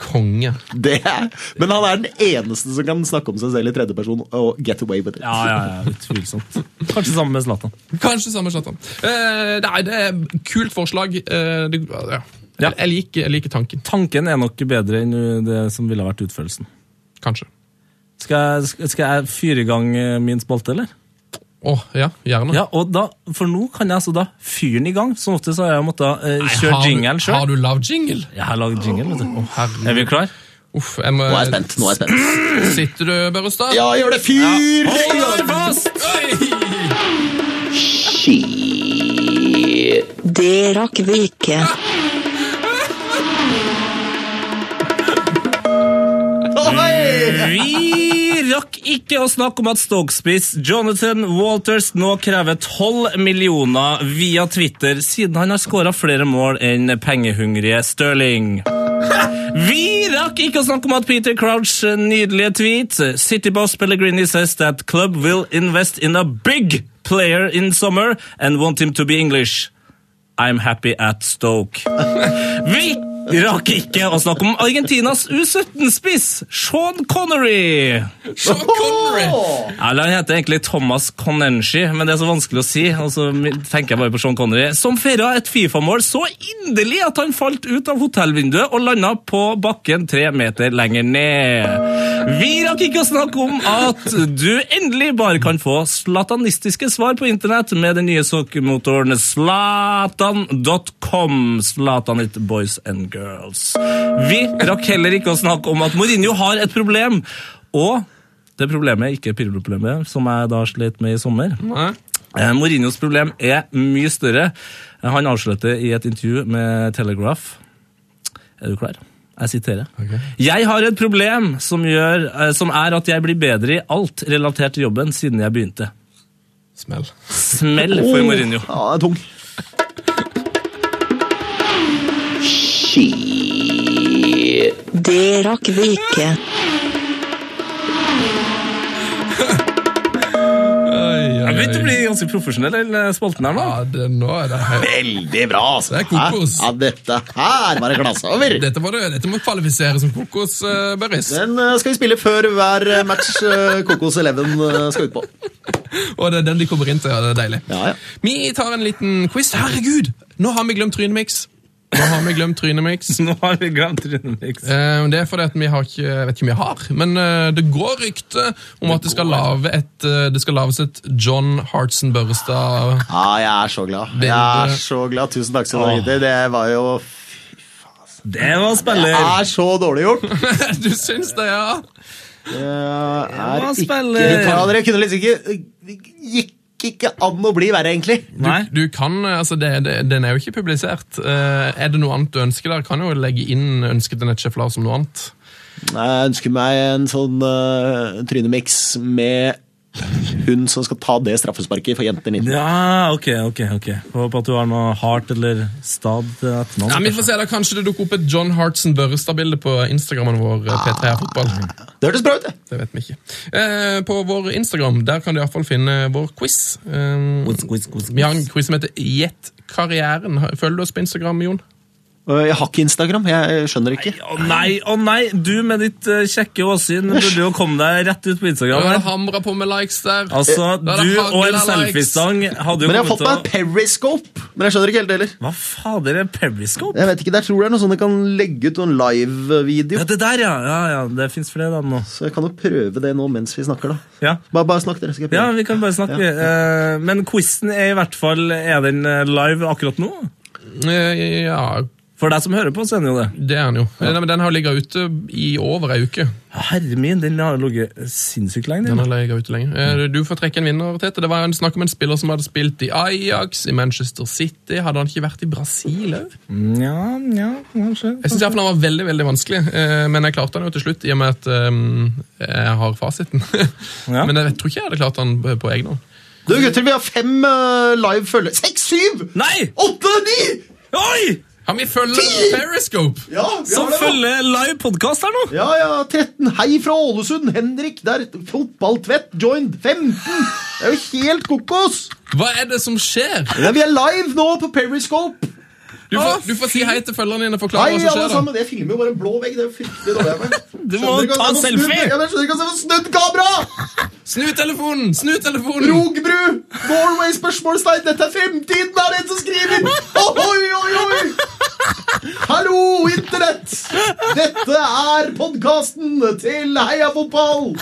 Speaker 4: Konge.
Speaker 5: Det er. Men han er den eneste som kan snakke om seg selv i tredjeperson og get away with it.
Speaker 1: Ja, ja, ja, utvilsomt. Kanskje sammen med Zlatan.
Speaker 4: Kanskje samme Zlatan. Eh, nei, det er kult forslag. Eh, det, ja. Jeg, jeg, liker, jeg liker tanken.
Speaker 1: Tanken er nok bedre enn det som ville ha vært utførelsen.
Speaker 4: Kanskje.
Speaker 1: Skal jeg, skal- skal jeg fyre i gang eh, min spalte, eller?
Speaker 4: Å, ja, gjerne.
Speaker 1: Ja, og da, For nå kan jeg altså da fyre den i gang. Som ofte så har jeg måttet eh,
Speaker 4: Nei,
Speaker 1: kjøre
Speaker 4: har du-
Speaker 1: jingelen
Speaker 4: Har
Speaker 1: sjøl.
Speaker 4: du lagd jingle?
Speaker 1: Jeg har lagd jingle, vet du.
Speaker 4: Herre.
Speaker 1: Er vi klar?
Speaker 4: Uff, jeg må...
Speaker 5: Nå er jeg spent. nå er jeg spent.
Speaker 4: Sitter du, Børrestad?
Speaker 5: Ja, gjør det! Fyr!
Speaker 4: Hold deg fast! Oi!
Speaker 9: Det rakk vi ikke.
Speaker 1: Vi rakk ikke å snakke om at Stokespiss Jonathan Walters nå krever 12 millioner via Twitter, siden han har skåra flere mål enn pengehungrige Stirling. Vi rakk ikke å snakke om at Peter Crouch' nydelige tweet Cityboss Pellegrini says that club will invest in a big player in summer and want him to be English. I'm happy at Stoke. Vi rakk ikke å snakke om Argentinas U17-spiss, Sean Connery.
Speaker 4: Sean Connery!
Speaker 1: Eller han heter egentlig Thomas Conenshi, men det er så vanskelig å si. Og så tenker jeg bare på Sean Connery, som feira et Fifa-mål så inderlig at han falt ut av hotellvinduet og landa på bakken tre meter lenger ned. Vi rakk ikke å snakke om at du endelig bare kan få slatanistiske svar på internett med den nye sokkemotoren slatan.com. Slatan it boys and girls. Vi rakk heller ikke å snakke om at Mourinho har et problem, og det problemet er ikke Pirlo-problemet, som jeg da slet med i sommer.
Speaker 4: Nei.
Speaker 1: Eh, Mourinhos problem er mye større. Eh, Han avslutter i et intervju med Telegraph. Er du klar? Jeg siterer. Jeg har et problem som, gjør, eh, som er at jeg blir bedre i alt relatert til jobben siden jeg begynte.
Speaker 4: Smell.
Speaker 1: Smell for Mourinho.
Speaker 5: Ja, det er tung.
Speaker 9: Det rakk vi ikke.
Speaker 1: Jeg begynte å bli ganske profesjonell i den eh, spalten her nå.
Speaker 4: Ja, det, nå er det høyt.
Speaker 5: Veldig bra, altså.
Speaker 4: Det er kokos.
Speaker 5: Hæ? Ja, dette her var det klasse over.
Speaker 4: Dette, var det, dette må kvalifisere som kokos, eh, Børris.
Speaker 5: Den eh, skal vi spille før hver eh, match eh, Kokos Eleven eh, skal ut på.
Speaker 4: Og det er den de kommer inn til, ja, det er deilig.
Speaker 5: Ja, ja.
Speaker 4: Vi tar en liten quiz. Herregud, nå har vi glemt Trynemix. Nå har vi glemt Trynemix.
Speaker 1: Nå har vi glemt Runemix.
Speaker 4: Eh, Det er fordi at vi har ikke, jeg vet ikke om vi har, men eh, det går rykte om at det skal, lave et, eh, det skal laves et John Hartson Børrestad
Speaker 5: Ja, jeg er så glad. Jeg er så glad. Tusen takk skal du ha, gutter. Det var jo
Speaker 1: Det var
Speaker 5: Det
Speaker 1: spiller.
Speaker 5: er så dårlig gjort.
Speaker 4: Du syns det, ja?
Speaker 5: Det er
Speaker 1: Ja,
Speaker 5: ikke
Speaker 1: spiller.
Speaker 5: Ja, Dere kunne liksom ikke Gikk ikke an å bli verre, egentlig.
Speaker 1: Nei.
Speaker 4: Du kan, eh, altså det, det, Den er jo ikke publisert. Eh, Er det noe annet du ønsker der? Kan jo legge inn ønsket til Netchef Lars som noe annet.
Speaker 5: Nei, Jeg ønsker meg en sånn uh, trynemiks med hun som skal ta det straffesparket for jenter 19.
Speaker 1: Ja, ok, ok. ok. Håper at du har noe hardt eller stad eh, til etternavn.
Speaker 4: Ja, vi får se da, Kanskje det dukker opp et John Hartson Børrestad-bilde på Instagrammen vår. eh, P3 fotball.
Speaker 5: Det hørtes bra ut, det.
Speaker 4: Det vet vi ikke. Eh, på vår Instagram der kan du i hvert fall finne vår quiz. Eh,
Speaker 1: Quiz, quiz, quiz,
Speaker 4: vi har en
Speaker 1: quiz.
Speaker 4: quiz som heter Gjett karrieren. Følger du oss på Instagram, Jon?
Speaker 5: Øh, Jeg har ikke Instagram. Jeg skjønner ikke.
Speaker 1: Å nei, å nei! Du med ditt eh, kjekke åsyn burde jo komme deg rett ut på
Speaker 4: Da var
Speaker 1: Instagram.
Speaker 4: det
Speaker 1: her.
Speaker 4: hamra på med likes der.
Speaker 1: Altså,
Speaker 4: Da er det
Speaker 1: Du og en
Speaker 4: hagla likes.
Speaker 1: selfiestang hadde jo
Speaker 5: Men jeg har
Speaker 1: kommet
Speaker 5: fått meg en
Speaker 1: til å
Speaker 5: periscope. Men jeg skjønner ikke helt det heller.
Speaker 1: Hva fader er Periscope?
Speaker 5: Jeg vet ikke, Der tror jeg det er noe sånn jeg kan legge ut en live-video.
Speaker 1: Ja, det der, ja! ja, ja det fins flere da nå.
Speaker 5: Så jeg kan jo prøve det nå mens vi snakker, da.
Speaker 1: Ja.
Speaker 5: Bare, bare snakk, dere. skal jeg
Speaker 1: ja,
Speaker 5: prøve.
Speaker 1: vi kan bare snakke. eh, Men quizen er i hvert fall Er den eh, live akkurat nå?
Speaker 4: Eh, Ja,
Speaker 1: For deg som hører på, så er den jo det.
Speaker 4: det er han jo. Eh, Nei, men den har ligget ute i over ei uke.
Speaker 1: Herre min, den har ligget sinnssykt lenge.
Speaker 4: Den
Speaker 1: Den.
Speaker 4: har ligget ute
Speaker 5: Mm.
Speaker 4: lenge. Eh, Du får trekke en vinner, Tete. Det var en snakk om en spiller som hadde spilt i Ajax, i Manchester City. Hadde han ikke vært i Brasil òg?
Speaker 1: Ja, ja, kanskje.
Speaker 4: Jeg syns han var veldig veldig vanskelig, eh, men jeg klarte han jo til slutt, i og med at eh, jeg har fasiten.
Speaker 1: Ja.
Speaker 4: Men jeg tror ikke jeg hadde klart han på- på egen hånd.
Speaker 5: Du gutter, vi har fem øh, live følgere. Seks, syv!
Speaker 1: Nei!
Speaker 5: Åtte, ni!
Speaker 1: Oi!
Speaker 4: Har vi følger Periscope?
Speaker 5: Ja, vi
Speaker 1: Som
Speaker 5: har det, da.
Speaker 1: følger live podkast her nå!
Speaker 5: Ja, ja, 13. Hei fra Ålesund. Henrik der. Fotballtvett joined. 15. Det er jo helt kokos!
Speaker 4: Hva er det som skjer?
Speaker 5: Ja, vi er live nå på Periscope.
Speaker 4: Du får, du får si hei til følgerne dine og
Speaker 5: Hei,
Speaker 4: forklare hva som
Speaker 5: alle
Speaker 4: skjer. da.
Speaker 5: sammen. Jeg filmer jo bare en blå vegg. Det er jo fryktelig dårlig av meg.
Speaker 1: Du må
Speaker 5: Skjønner ikke at
Speaker 1: ta
Speaker 5: jeg
Speaker 1: en
Speaker 5: snudd-
Speaker 1: selfie.
Speaker 5: Ja, men Jeg skjønner ikke at jeg får snudd kamera!
Speaker 4: Snu telefonen! Snu telefonen!
Speaker 5: Rogbru! Norway spørsmålstegn! Dette er fremtiden, er det en som skriver! Ohoi, oi, oi! Hallo, Internett! Dette er podkasten til Heia fotball!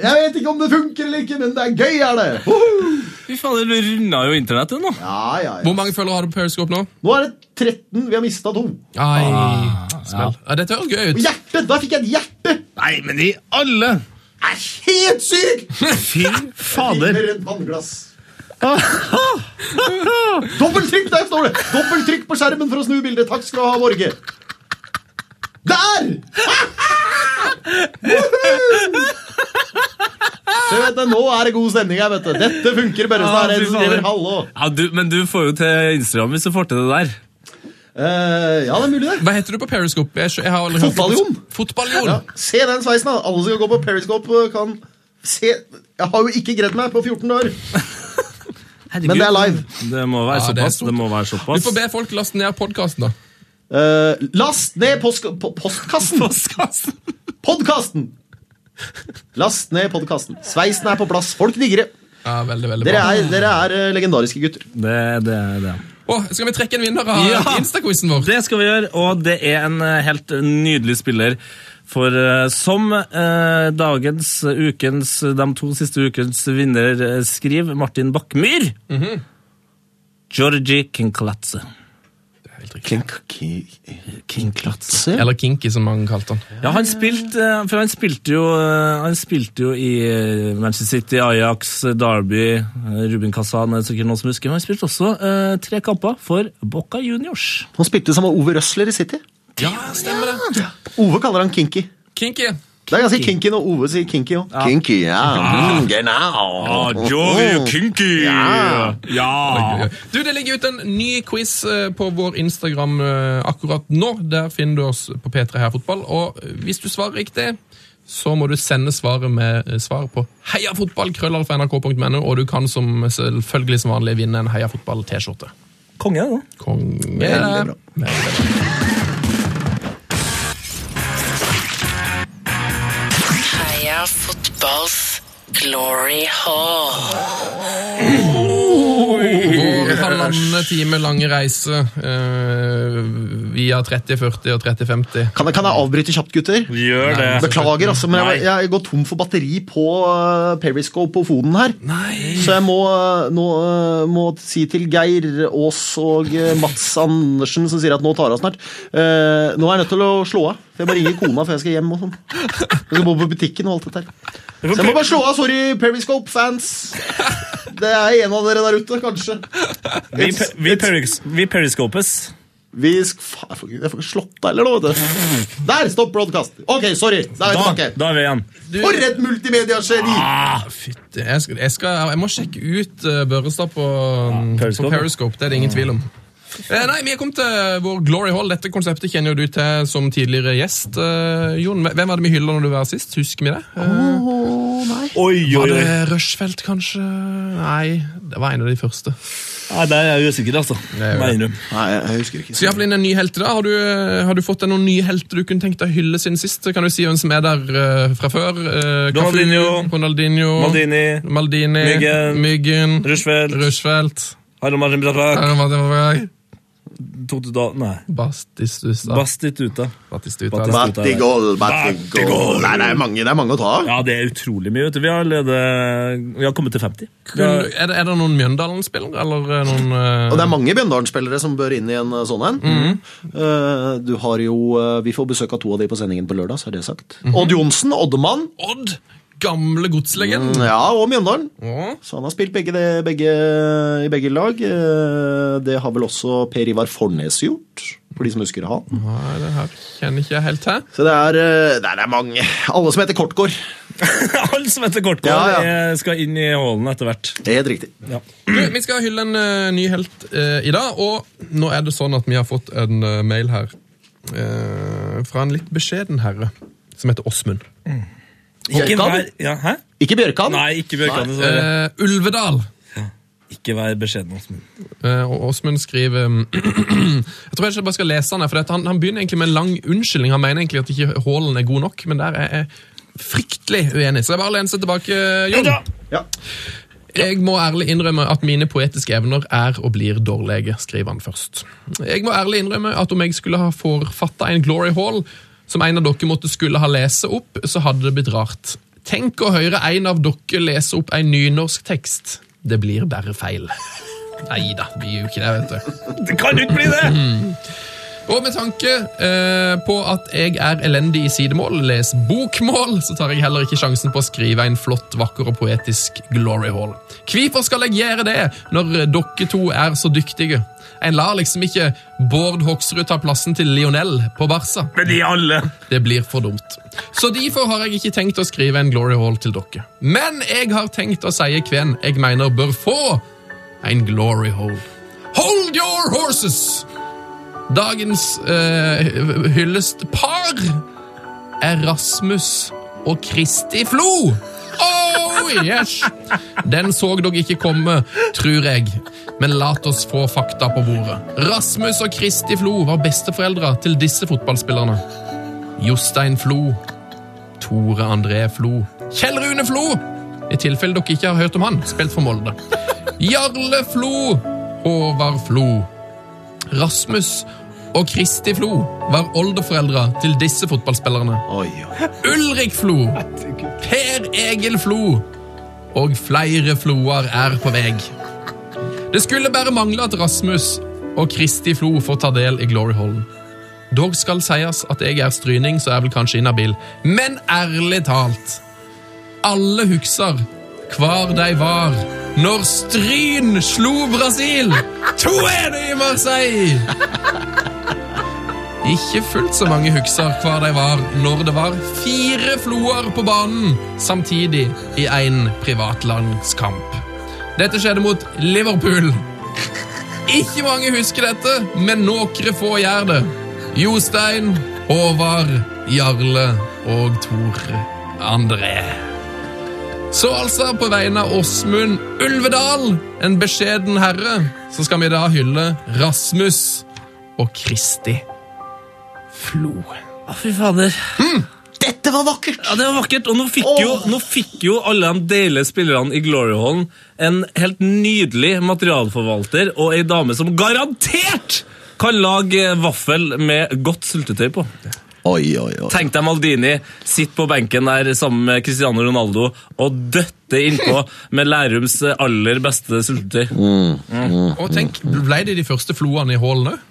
Speaker 5: Jeg vet ikke om det funker eller ikke, men det er gøy, er det! Hoho!
Speaker 1: Fy fader, du runda jo internettet nå.
Speaker 5: Ja, ja, ja.
Speaker 4: Hvor mange følgere har du på Periscope nå?
Speaker 5: Nå er det 13. Vi har mista to.
Speaker 4: Ai,
Speaker 5: Ah,
Speaker 4: smell. Ja, dette høres gøy ut.
Speaker 5: Hjerte! Da fikk jeg et hjerte!
Speaker 1: Nei, men i alle
Speaker 5: Det er helt sykt!
Speaker 1: Fy fader.
Speaker 5: Eller et vannglass. Dobbeltrykk der, står det! Dobbeltrykk på skjermen for å snu bildet. Takk skal du ha, Norge. Der! Woohoo! Så vet du, Nå er det god stemning her, vet du. Dette funker, bare så er det en som skriver hallo.
Speaker 1: Ja, du, men du får jo til Instagram hvis du får til det der.
Speaker 5: Eh, ja, det er mulig, det.
Speaker 4: Hva heter du på Periscope? Jeg, skjø- jeg har aldri hørt-
Speaker 5: Fotballjon.
Speaker 4: Fotballjon.
Speaker 5: Ja. Se den sveisen, da! Alle som kan gå på Periscope, kan Se, jeg har jo ikke gredd meg på 14 år,
Speaker 1: Herregud.
Speaker 5: men det er live.
Speaker 1: Det må være
Speaker 4: Ja, det er
Speaker 1: såpass.
Speaker 4: stort.
Speaker 1: Det må være
Speaker 4: Du
Speaker 1: såpass.
Speaker 4: får be folk laste ned podkasten, da.
Speaker 5: Eh, last ned post, po- postkassen! Podkasten! Last ned podkasten. Sveisen er på plass. Folk digger det.
Speaker 4: Ja, veldig, veldig
Speaker 5: Dere
Speaker 4: bra.
Speaker 5: er, dere er eh, legendariske gutter.
Speaker 1: Det, det, det.
Speaker 4: Åh, skal vi trekke en vinner av
Speaker 1: Ja!
Speaker 4: Insta-quizen vår?
Speaker 1: Det skal vi gjøre, og det er en eh, helt nydelig spiller. For eh, som eh, dagens, ukens, eh, de to siste ukens vinner eh, skriver, Martin Bakkmyr
Speaker 4: Mhm.
Speaker 1: Georgie Kinklatse.
Speaker 4: Helt riktig.
Speaker 5: Kinklatse?
Speaker 4: Eller Kinky, som mange kalte han.
Speaker 1: Ja, han spilte, eh, for han spilte jo, eh, han spilte jo i eh, Manchester City, Ajax, eh, Derby, eh, Ruben Kazan, er det sikkert noen som husker. Men han spilte også eh, tre kamper for Boca Juniors.
Speaker 5: Han spilte sammen med Ove Røsler i City.
Speaker 4: Ja, stemmer det.
Speaker 5: Ove kaller han Kinky.
Speaker 4: Kinky.
Speaker 5: Det er ganske kinky når Ove sier kinky òg. Kinky, ja. Mm,
Speaker 1: Ah,
Speaker 5: genau.
Speaker 1: Kinky!
Speaker 5: Ja.
Speaker 1: ja.
Speaker 4: Du, Det ligger ut en ny quiz eh, på vår Instagram eh, akkurat nå. Der finner du oss på P3 Heia Fotball. Og eh, hvis du svarer riktig, så må du sende svaret med eh, svar på heiafotballkrøllalfa.nrk.no, og du kan som eh, selvfølgelig som vanlig vinne en Heia Fotball-T-skjorte.
Speaker 1: Konge, da.
Speaker 4: Konge.
Speaker 5: Veldig bra.
Speaker 10: Heia fotballs glory hall.
Speaker 4: Vår halvannen time lange reise eh, via 30, 40 og 30, 50.
Speaker 5: Kan, jeg- kan jeg avbryte kjapt, gutter?
Speaker 1: Gjør det.
Speaker 5: Beklager, altså, men jeg,
Speaker 1: Nei.
Speaker 5: jeg går tom for batteri på uh, Periscope på fonen her. Så jeg må, eh, nå, eh, må si til Geir Aas og eh, Mats Andersen, som sier at nå tar hun snart eh, Nå er jeg nødt til å slå av. for Jeg må ringe kona før jeg skal hjem. og sånn. Jeg skal bo på butikken og alt dette her. Så jeg må bare slå av. Sorry, Periscope-fans. Det er en av dere der ute, kanskje.
Speaker 1: Vi, pe- vi, peris, vi periskopes.
Speaker 5: Vi sk... Faen, jeg får ikke- jeg får ikke slått av eller noe, vet du. Der! Stopp broadcast. Ok, sorry. Da er jeg
Speaker 1: Da,
Speaker 5: tilbake.
Speaker 1: da er vi igjen.
Speaker 5: For et multimediegeni!
Speaker 4: Fytti, jeg, skal, jeg, skal, jeg må sjekke ut eh, Børrestad på, mm,
Speaker 1: Periscope.
Speaker 4: på Periscope. Det er det ingen tvil om. Eh, nei, Vi er kommet til vår Glory Hall. Dette konseptet kjenner jo du til som tidligere gjest. eh, Jon, hvem var det vi hylla når du var her sist? Husker vi det? Eh,
Speaker 1: Oi, oi,
Speaker 4: var
Speaker 1: oi.
Speaker 4: det Rushfeldt, kanskje? Nei, det var en av de første.
Speaker 1: Nei, der er jeg usikker, altså.
Speaker 4: er jo
Speaker 1: Må jeg innrømme.
Speaker 5: Nei, jeg, jeg husker ikke.
Speaker 4: Så iallfall inn en ny helt i dag. Har du, eh, har du fått deg noen nye helter du kunne tenkt deg å hylle siden sist? Kan du si hvem som er der eh, fra før? Eh, Cafu,
Speaker 1: Ronaldinho.
Speaker 4: Ronaldinho
Speaker 1: Maldini,
Speaker 4: Maldini
Speaker 1: Myggen.
Speaker 4: Myggen
Speaker 1: Rushfeldt,
Speaker 4: Rushfeldt.
Speaker 1: Harald Martin Brattak,
Speaker 4: Her var det på vei.
Speaker 1: Totodal Nei,
Speaker 4: Bastistusa.
Speaker 1: Bastituta.
Speaker 4: Batistuta.
Speaker 1: Bas-
Speaker 5: Battigol,
Speaker 1: Battigol.
Speaker 5: battigol. Nei, det er mange, det er mange å ta av.
Speaker 1: Ja, det er utrolig mye. vet du. Vi har, allerede- vi har kommet til 50.
Speaker 4: Kun- er, det, er det noen Mjøndalen-spillere, eller eh, noen eh,
Speaker 5: Og det er mange Bjøndalen-spillere som bør inn i en eh, sånn en. Eh, du har jo eh, Vi får besøk av to av de på sendingen på lørdag, så er det sagt. Odd Johnsen, Oddemann.
Speaker 4: Odd! Gamle godslegenden.
Speaker 5: Ja, og Mjøndalen.
Speaker 4: Ja.
Speaker 5: Så han har spilt begge det, begge, i begge lag. Eh, Det har vel også Per Ivar Fornes gjort, for de som husker han.
Speaker 4: Nei, det her kjenner ikke jeg helt til.
Speaker 5: Så det er, eh, nei, det er mange. Alle som heter Kortgård.
Speaker 1: Alle som heter Kortgård,
Speaker 5: Ja, ja.
Speaker 1: eh, skal inn i hallen etter hvert.
Speaker 5: Helt riktig.
Speaker 4: Du, Vi skal hylle en eh, ny helt eh, i dag, og nå er det sånn at vi har fått en eh, mail her eh, fra en litt beskjeden herre som heter Åsmund.
Speaker 1: Ikke
Speaker 5: Bjørkan?
Speaker 1: vær, ja, hæ?
Speaker 5: Ikke Bjørkan.
Speaker 1: Nei, eh. ikke Bjørkan. dessverre.
Speaker 4: Eh, Ulvedal.
Speaker 1: Ikke vær beskjeden. altså. Åsmund.
Speaker 4: Eh, og Åsmund skriver Jeg tror jeg ikke bare skal lese han her, for dette- han, han begynner egentlig med en lang unnskyldning. Han mener egentlig at ikke Haaland er god nok, men der er jeg fryktelig uenig. Så jeg bare lener seg tilbake, Jon.
Speaker 5: Ja.
Speaker 4: Jeg må ærlig innrømme at mine poetiske evner er og blir dårlige, skriver han først. Jeg må ærlig innrømme at om jeg skulle ha forfatta en Glory Hall som en av dere måtte skulle ha lese opp, så hadde det blitt rart. Tenk å høre en av dere lese opp en nynorsk tekst. Det blir bare feil. Nei da, det blir jo ikke det, vet du.
Speaker 1: Det kan jo ikke bli det!
Speaker 4: Og med tanke eh, på at jeg er elendig i sidemål, les bokmål, så tar jeg heller ikke sjansen på å skrive en flott, vakker og poetisk glory hall. Hvorfor skal jeg gjøre det, når dere to er så dyktige? En lar liksom ikke Bård Hoksrud ta plassen til Lionel på Barca.
Speaker 1: Men i alle
Speaker 4: Det blir for dumt. Så derfor har jeg ikke tenkt å skrive en glory hall til dere. Men jeg har tenkt å si hvem jeg mener bør få en glory hall. Hold your horses! Dagens eh, hyllest par er Rasmus og Kristi Flo. Åh! Oi, yes! Den så dere ikke komme, tror jeg. Men lat oss få fakta på bordet. Rasmus og Kristi Flo var besteforeldre til disse fotballspillerne. Jostein Flo. Tore André Flo. Kjell Rune Flo! I tilfelle dere ikke har hørt om han, spilt for Molde. Jarle Flo. Håvard Flo. Rasmus og Kristi Flo var oldeforeldre til disse fotballspillerne.
Speaker 5: Oi, oi.
Speaker 4: Ulrik Flo, Per Egil Flo og flere floer er på vei. Det skulle bare mangle at Rasmus og Kristi Flo får ta del i Gloryhallen. Dog skal sies at jeg er stryning, så er vel kanskje inhabil. Men ærlig talt Alle husker hvar de var når Stryn slo Brasil 2-1 i Marseille! Ikke fullt så mange husker hva de var når det var fire floer på banen samtidig i en privatlandskamp. Dette skjedde mot Liverpool. Ikke mange husker dette, men noen få gjør det. Jostein, Håvard, Jarle og Tor André. Så altså, på vegne av Åsmund Ulvedal, en beskjeden herre, så skal vi da hylle Rasmus og Kristi. Flo.
Speaker 1: Å, Ah, fy fader.
Speaker 5: Mm, Dette var vakkert!
Speaker 1: Ja, Det var vakkert. Og nå fikk, jo, nå fikk jo alle de deilige spillerne i Gloryhallen en helt nydelig materialforvalter og ei dame som garantert kan lage eh, vaffel med godt sultetøy på.
Speaker 5: Oi, oi, oi.
Speaker 1: Tenk deg Maldini sitter på benken der sammen med Cristiano Ronaldo og døtter innpå med Lærums aller beste sultetøy.
Speaker 5: Mm.
Speaker 4: Og tenk, ble det de første floene i hallen òg?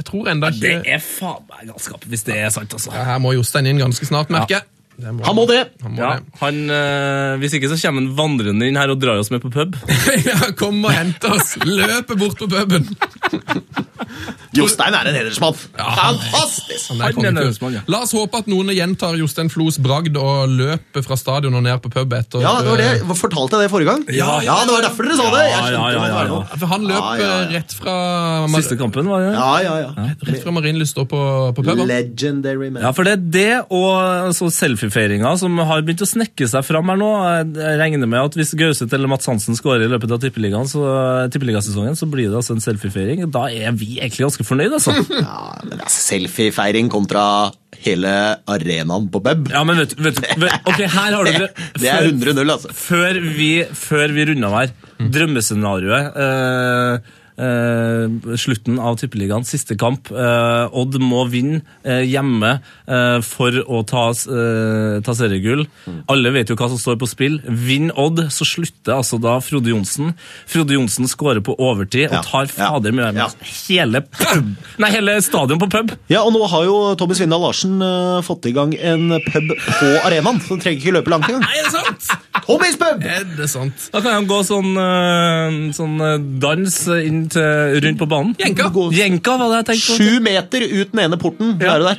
Speaker 4: Jeg tror enda
Speaker 1: Det
Speaker 4: ikke
Speaker 1: er faen meg galskap, hvis det er sant, altså.
Speaker 4: Ja, Her må Jostein inn ganske snart, merker jeg. Det
Speaker 5: Han må det!
Speaker 4: Han må
Speaker 1: Ja,
Speaker 4: det.
Speaker 1: han, eh, Hvis ikke så kommer han vandrende inn her og drar oss med på pub.
Speaker 4: Ja, Kom og hent oss! Løpe bort på puben!
Speaker 5: Jostein er en hedersmann. Fantastisk!
Speaker 4: Han
Speaker 1: Han
Speaker 4: er
Speaker 1: er
Speaker 4: kongetur.
Speaker 1: nervøs mann, ja.
Speaker 4: La oss håpe at noen gjentar Jostein Flos bragd og løper fra stadion og ned på pub etter
Speaker 5: Ja, det var det. Hva- Fortalte jeg det forrige gang?
Speaker 1: Ja, ja,
Speaker 5: det var derfor dere sa det! Jeg
Speaker 1: Ja,
Speaker 5: skjønte
Speaker 1: ja, ja,
Speaker 5: hva det var
Speaker 1: ja,
Speaker 5: nå.
Speaker 1: ja.
Speaker 4: For han løp
Speaker 5: Ja, Ah, ja, ja.
Speaker 4: eh, rett fra Mar-
Speaker 1: Siste kampen var jo
Speaker 5: Ja, ja, ja.
Speaker 4: Rett fra Marienlyst og på, på pub. han.
Speaker 5: Legendary man.
Speaker 1: Ja, for det er det og altså, selfiefeiringa som har begynt å snekke seg fram her nå. Jeg regner med at hvis Gauseth eller Mats Hansen skårer i løpet av tippeligaen, så, tippeligasesongen, så blir det altså en selfiefeiring. Da er vi egentlig ganske fornøyd, altså.
Speaker 5: Ja, men det er altså selfiefeiring kontra hele arenaen på pub.
Speaker 1: Ja, men vet du vet, du- vet, Ok, her har du
Speaker 5: Det, det er 100-0, altså.
Speaker 1: Før vi, før vi runder av her, drømmescenarioet eh, eh, Slutten av tippeligaen, siste kamp. Eh, Odd må vinne eh, hjemme eh, for å ta, s- eh, ta seriegull. Alle vet jo hva som står på spill. Vinn Odd, så slutter altså da Frode Johnsen. Frode Johnsen skårer på overtid
Speaker 5: Ja,
Speaker 1: og tar
Speaker 5: ja,
Speaker 1: fader med
Speaker 5: ja.
Speaker 1: hele pub Nei, hele stadion på pub!
Speaker 5: Ja, og nå har jo Tommy Svindal Larsen eh, fått i gang en pub på arenaen, så du trenger ikke løpe langt engang.
Speaker 1: Nei, er det sant? Eh,
Speaker 5: Tommys pub!
Speaker 4: Er det sant?
Speaker 1: Da kan han gå sånn, øh, sånn øh, dans inn til, rundt på banen.
Speaker 4: Jenka.
Speaker 1: Jenka var det jeg tenkte på.
Speaker 5: Sju meter ut den ene porten, da er du der.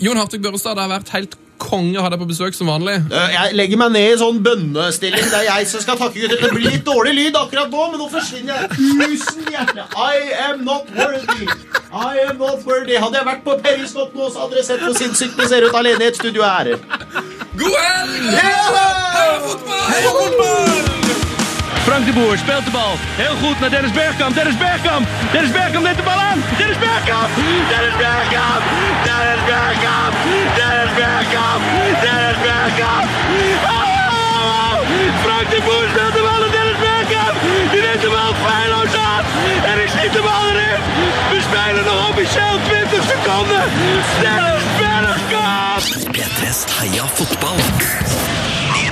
Speaker 4: Jon Hartvig Børrestad, det har vært helt konge å ha deg på besøk som vanlig.
Speaker 5: Eh, Jeg legger meg ned i sånn bønnestilling. Det er jeg som skal takke gutter. Det blir litt dårlig lyd akkurat nå, men nå forsvinner jeg. Tusen hjertelig. I am not worthy. I am not worthy. Hadde jeg vært på Periskop nå, så hadde dere sett hvor sinnssykt det ser ut alene i et studio her.
Speaker 4: God helg!
Speaker 5: Yeah!
Speaker 2: Frank de Boer speelt de bal. Heel goed naar Dennis Bergkamp. Dennis Bergkamp. Dennis Bergkamp neemt de bal aan. Dennis Bergkamp. Dennis Bergkamp. Dennis Bergkamp. Dennis Bergkamp. Dennis Bergkamp. Oh! Frank de Boer speelt de bal naar Dennis Bergkamp. Die neemt de bal feilloos aan. En ik schiet de bal erin. We spelen nog officieel 20 seconden. Dennis Bergkamp.
Speaker 3: P3s Heia fotball. Ny